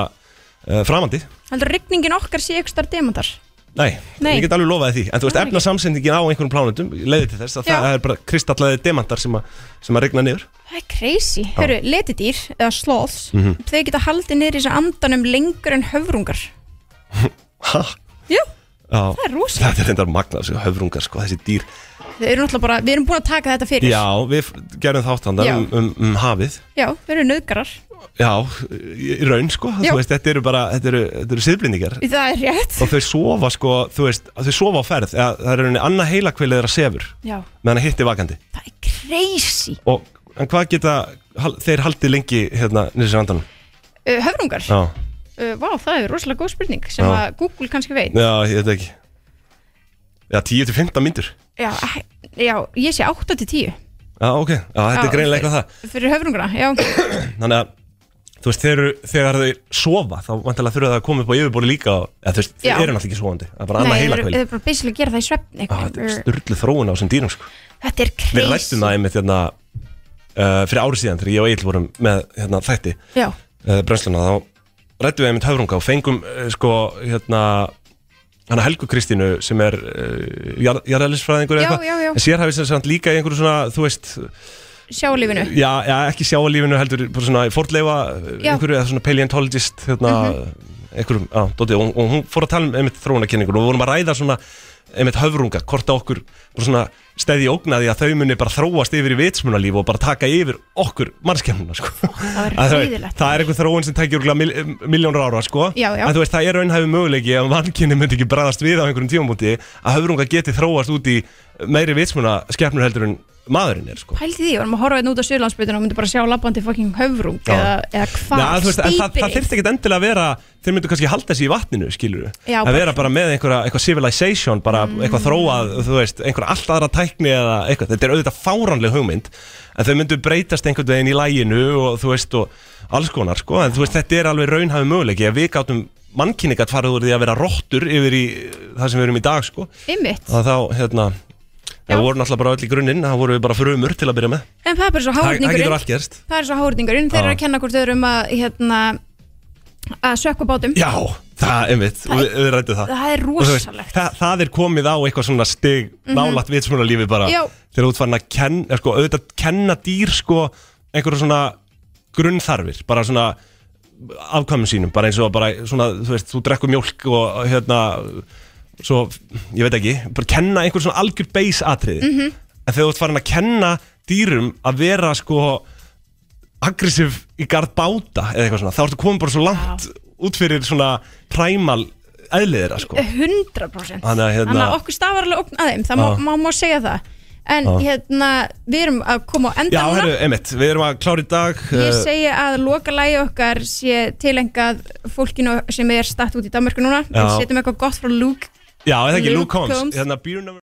Speaker 1: uh, framandi
Speaker 2: Heldur rigningin okkar sé ykkur starf demantar
Speaker 1: Nei,
Speaker 2: Nei.
Speaker 1: ég get alveg lofaði því En þú veist, efna samsendingin á einhverjum plánutum leiði til þess að
Speaker 2: Já.
Speaker 1: það er bara kristallaði demantar sem, að- sem að regna niður
Speaker 2: Það er crazy, hörru, letidýr eða sloths,
Speaker 1: Mhm.
Speaker 2: þau geta haldið niður í þessu andanum lengur en höfrungar
Speaker 1: Ha?
Speaker 2: Jú,
Speaker 1: Já,
Speaker 2: Það er rosalegt.
Speaker 1: Þetta er reyndar magna, þessi höfrungar, sko, þessi dýr
Speaker 2: þau eru náttúrulega bara, við erum búin að taka þetta fyrir
Speaker 1: Já, við f- gerum þáttandar
Speaker 2: Já.
Speaker 1: um, um, um hafið
Speaker 2: Já, þau eru nöðgarar,
Speaker 1: Já, í í raun, sko,
Speaker 2: Já.
Speaker 1: þú veist, þetta eru bara, þetta eru, þetta eru siðblindingar
Speaker 2: það er rétt
Speaker 1: Og þau sofa, sko, þú veist, þau sofa á ferð eða, Það er rauninni annað heilakveil þeirra sefur
Speaker 2: Já,
Speaker 1: meðan að hitti vakandi
Speaker 2: crazy
Speaker 1: Og en hvað geta hal, þeir haldið lengi, hérna, niður sér andanum?
Speaker 2: uh, Höfrungar,
Speaker 1: Já,
Speaker 2: uh, vá, það er rosalega góð spurning sem
Speaker 1: Já.
Speaker 2: að Google kannski veit
Speaker 1: já, ég veit ekki Já, 10-15 myndur
Speaker 2: Já, eh, já ég sé 8 til 10
Speaker 1: Já, ok, já, þetta er greinilega eitthvað það
Speaker 2: Fyrir höfrunguna, já
Speaker 1: Þannig að, þú veist, þeir, eru- þegar þau sofa þá vantilega þurfa það að koma upp á yfirborði líka og, eða, þú veist, þeir
Speaker 2: Já.
Speaker 1: eru náttúrulega ekki sofandi það er bara annað Ah,
Speaker 2: þeir
Speaker 1: heilakveil
Speaker 2: eru bara basically að gera það í svefni einhvern veginn.
Speaker 1: Sturlu þróun á þessum dýrum, sko
Speaker 2: Þetta er
Speaker 1: Við
Speaker 2: crazy
Speaker 1: rættum það einmitt, hérna, uh, fyrir ári síðan þegar ég og Egil vorum með, hérna, þætti
Speaker 2: Já,
Speaker 1: uh, brennsluna þá rættum við einmitt höfrunga og fengum uh, sko hérna hana Helgu Kristínu sem er uh, jar- jarðeðlisfræðingur
Speaker 2: Já,
Speaker 1: eða
Speaker 2: já, já.
Speaker 1: eitthvað en sér hafið sem samt líka í einhverju svona þú veist,
Speaker 2: sjáulífinu
Speaker 1: já, já ekki sjáalífinu heldur bara svona fordleifa
Speaker 2: Já. Mhm.
Speaker 1: einhverju eða svona paleontologist hérna, einhverjum, já, dóti og, og hún fór að tala um einmitt þróunarkynningur og við vorum að ræða svona einmitt höfrunga, hvort að okkur bara svona stæði ógnaði að þau muni bara þróast yfir í vitsmunalíf og bara taka yfir okkur mannskjæmuna sko.
Speaker 2: Það er
Speaker 1: Að þú veist,
Speaker 2: reyðilegt
Speaker 1: Það er einhver þróun sem tækir miljónur ára sko.
Speaker 2: Já, já.
Speaker 1: En þú veist, það er raunhæfi möguleiki að vannkynni myndi ekki bræðast við á einhverjum tímapunkti að höfrunga geti þróast út í meiri vitsmuna skepnur heldur en maðurinn er sko.
Speaker 2: Pældi því, varum að horfa einn út á Sjölandsbytun og myndi bara sjá labbandi fucking höfrung
Speaker 1: Já.
Speaker 2: eða, eða hvað,
Speaker 1: Nei, þú veist, en það, það
Speaker 2: stýpirinn.
Speaker 1: þyrfti ekkit endilega að vera þeir myndu kannski halda þessi í vatninu, skilur
Speaker 2: Já,
Speaker 1: að
Speaker 2: bara- Mm.
Speaker 1: vera bara með einhverja eitthvað civilization bara eitthvað þróað, þú veist, einhverja allt aðra tækni eða eitthvað, þetta er auðvitað fáránleg hugmynd en þau myndu breytast einhvern veginn í læginu og þú veist, og alls konar sko, en þú veist, þetta er alveg raunhafi möguleiki að við gátum mannkinningat farið úr því að vera rottur yfir í það sem við erum í dag sko,
Speaker 2: Einmitt.
Speaker 1: að þá, hérna það voru náttúrulega bara öll í grunninn, það voru við bara frumur til að byrja með,
Speaker 2: En það er bara svo
Speaker 1: það, það
Speaker 2: hárningurinn
Speaker 1: getur allt gerst
Speaker 2: Það er svo hárningurinn, þeir
Speaker 1: Já.
Speaker 2: eru að kenna hvort þau eru um að hérna, að sökka bátum
Speaker 1: Já, það, einmitt, við, við rættum það
Speaker 2: það er
Speaker 1: Og þú veist,
Speaker 2: rosalegt.
Speaker 1: það, það er komið á eitthvað svona stig
Speaker 2: Mhm.
Speaker 1: nálægt við svona lífi bara
Speaker 2: Já.
Speaker 1: Þegar þú ert farin að kenna, sko, auðvitað kenna dýr sko einhverja svona grunnþarfir Bara svona afkvæmum sínum, bara eins og bara svona, þú veist, þú drekkur mjólk og hérna Svo, ég veit ekki, bara kenna einhver svona algjör base atriði
Speaker 10: Mhm.
Speaker 1: En þegar þú ert farin að kenna dýrum að vera sko aggressív í gard báta eða eitthvað svona, þá ertu komin bara svo langt út fyrir svona præmal eðliðira sko
Speaker 2: 100%
Speaker 1: Þannig að, hérna-
Speaker 2: Þannig að okkur stafar alveg okn að þeim það má,
Speaker 1: Já.
Speaker 2: má, má segja það En
Speaker 1: Já.
Speaker 2: hérna, við erum að koma á enda
Speaker 1: Já,
Speaker 2: núna
Speaker 1: herru, einmitt, við erum að klára í dag
Speaker 2: Ég
Speaker 1: eh,
Speaker 2: segi að lokalægi okkar sé tilengað fólkinu sem er statt út í Danmarku núna Við
Speaker 1: Já.
Speaker 2: setjum eitthvað gott frá Luke
Speaker 1: Já, eða ekki,
Speaker 2: Luke
Speaker 1: Luke Combs
Speaker 2: Combs.
Speaker 1: Hérna, beer number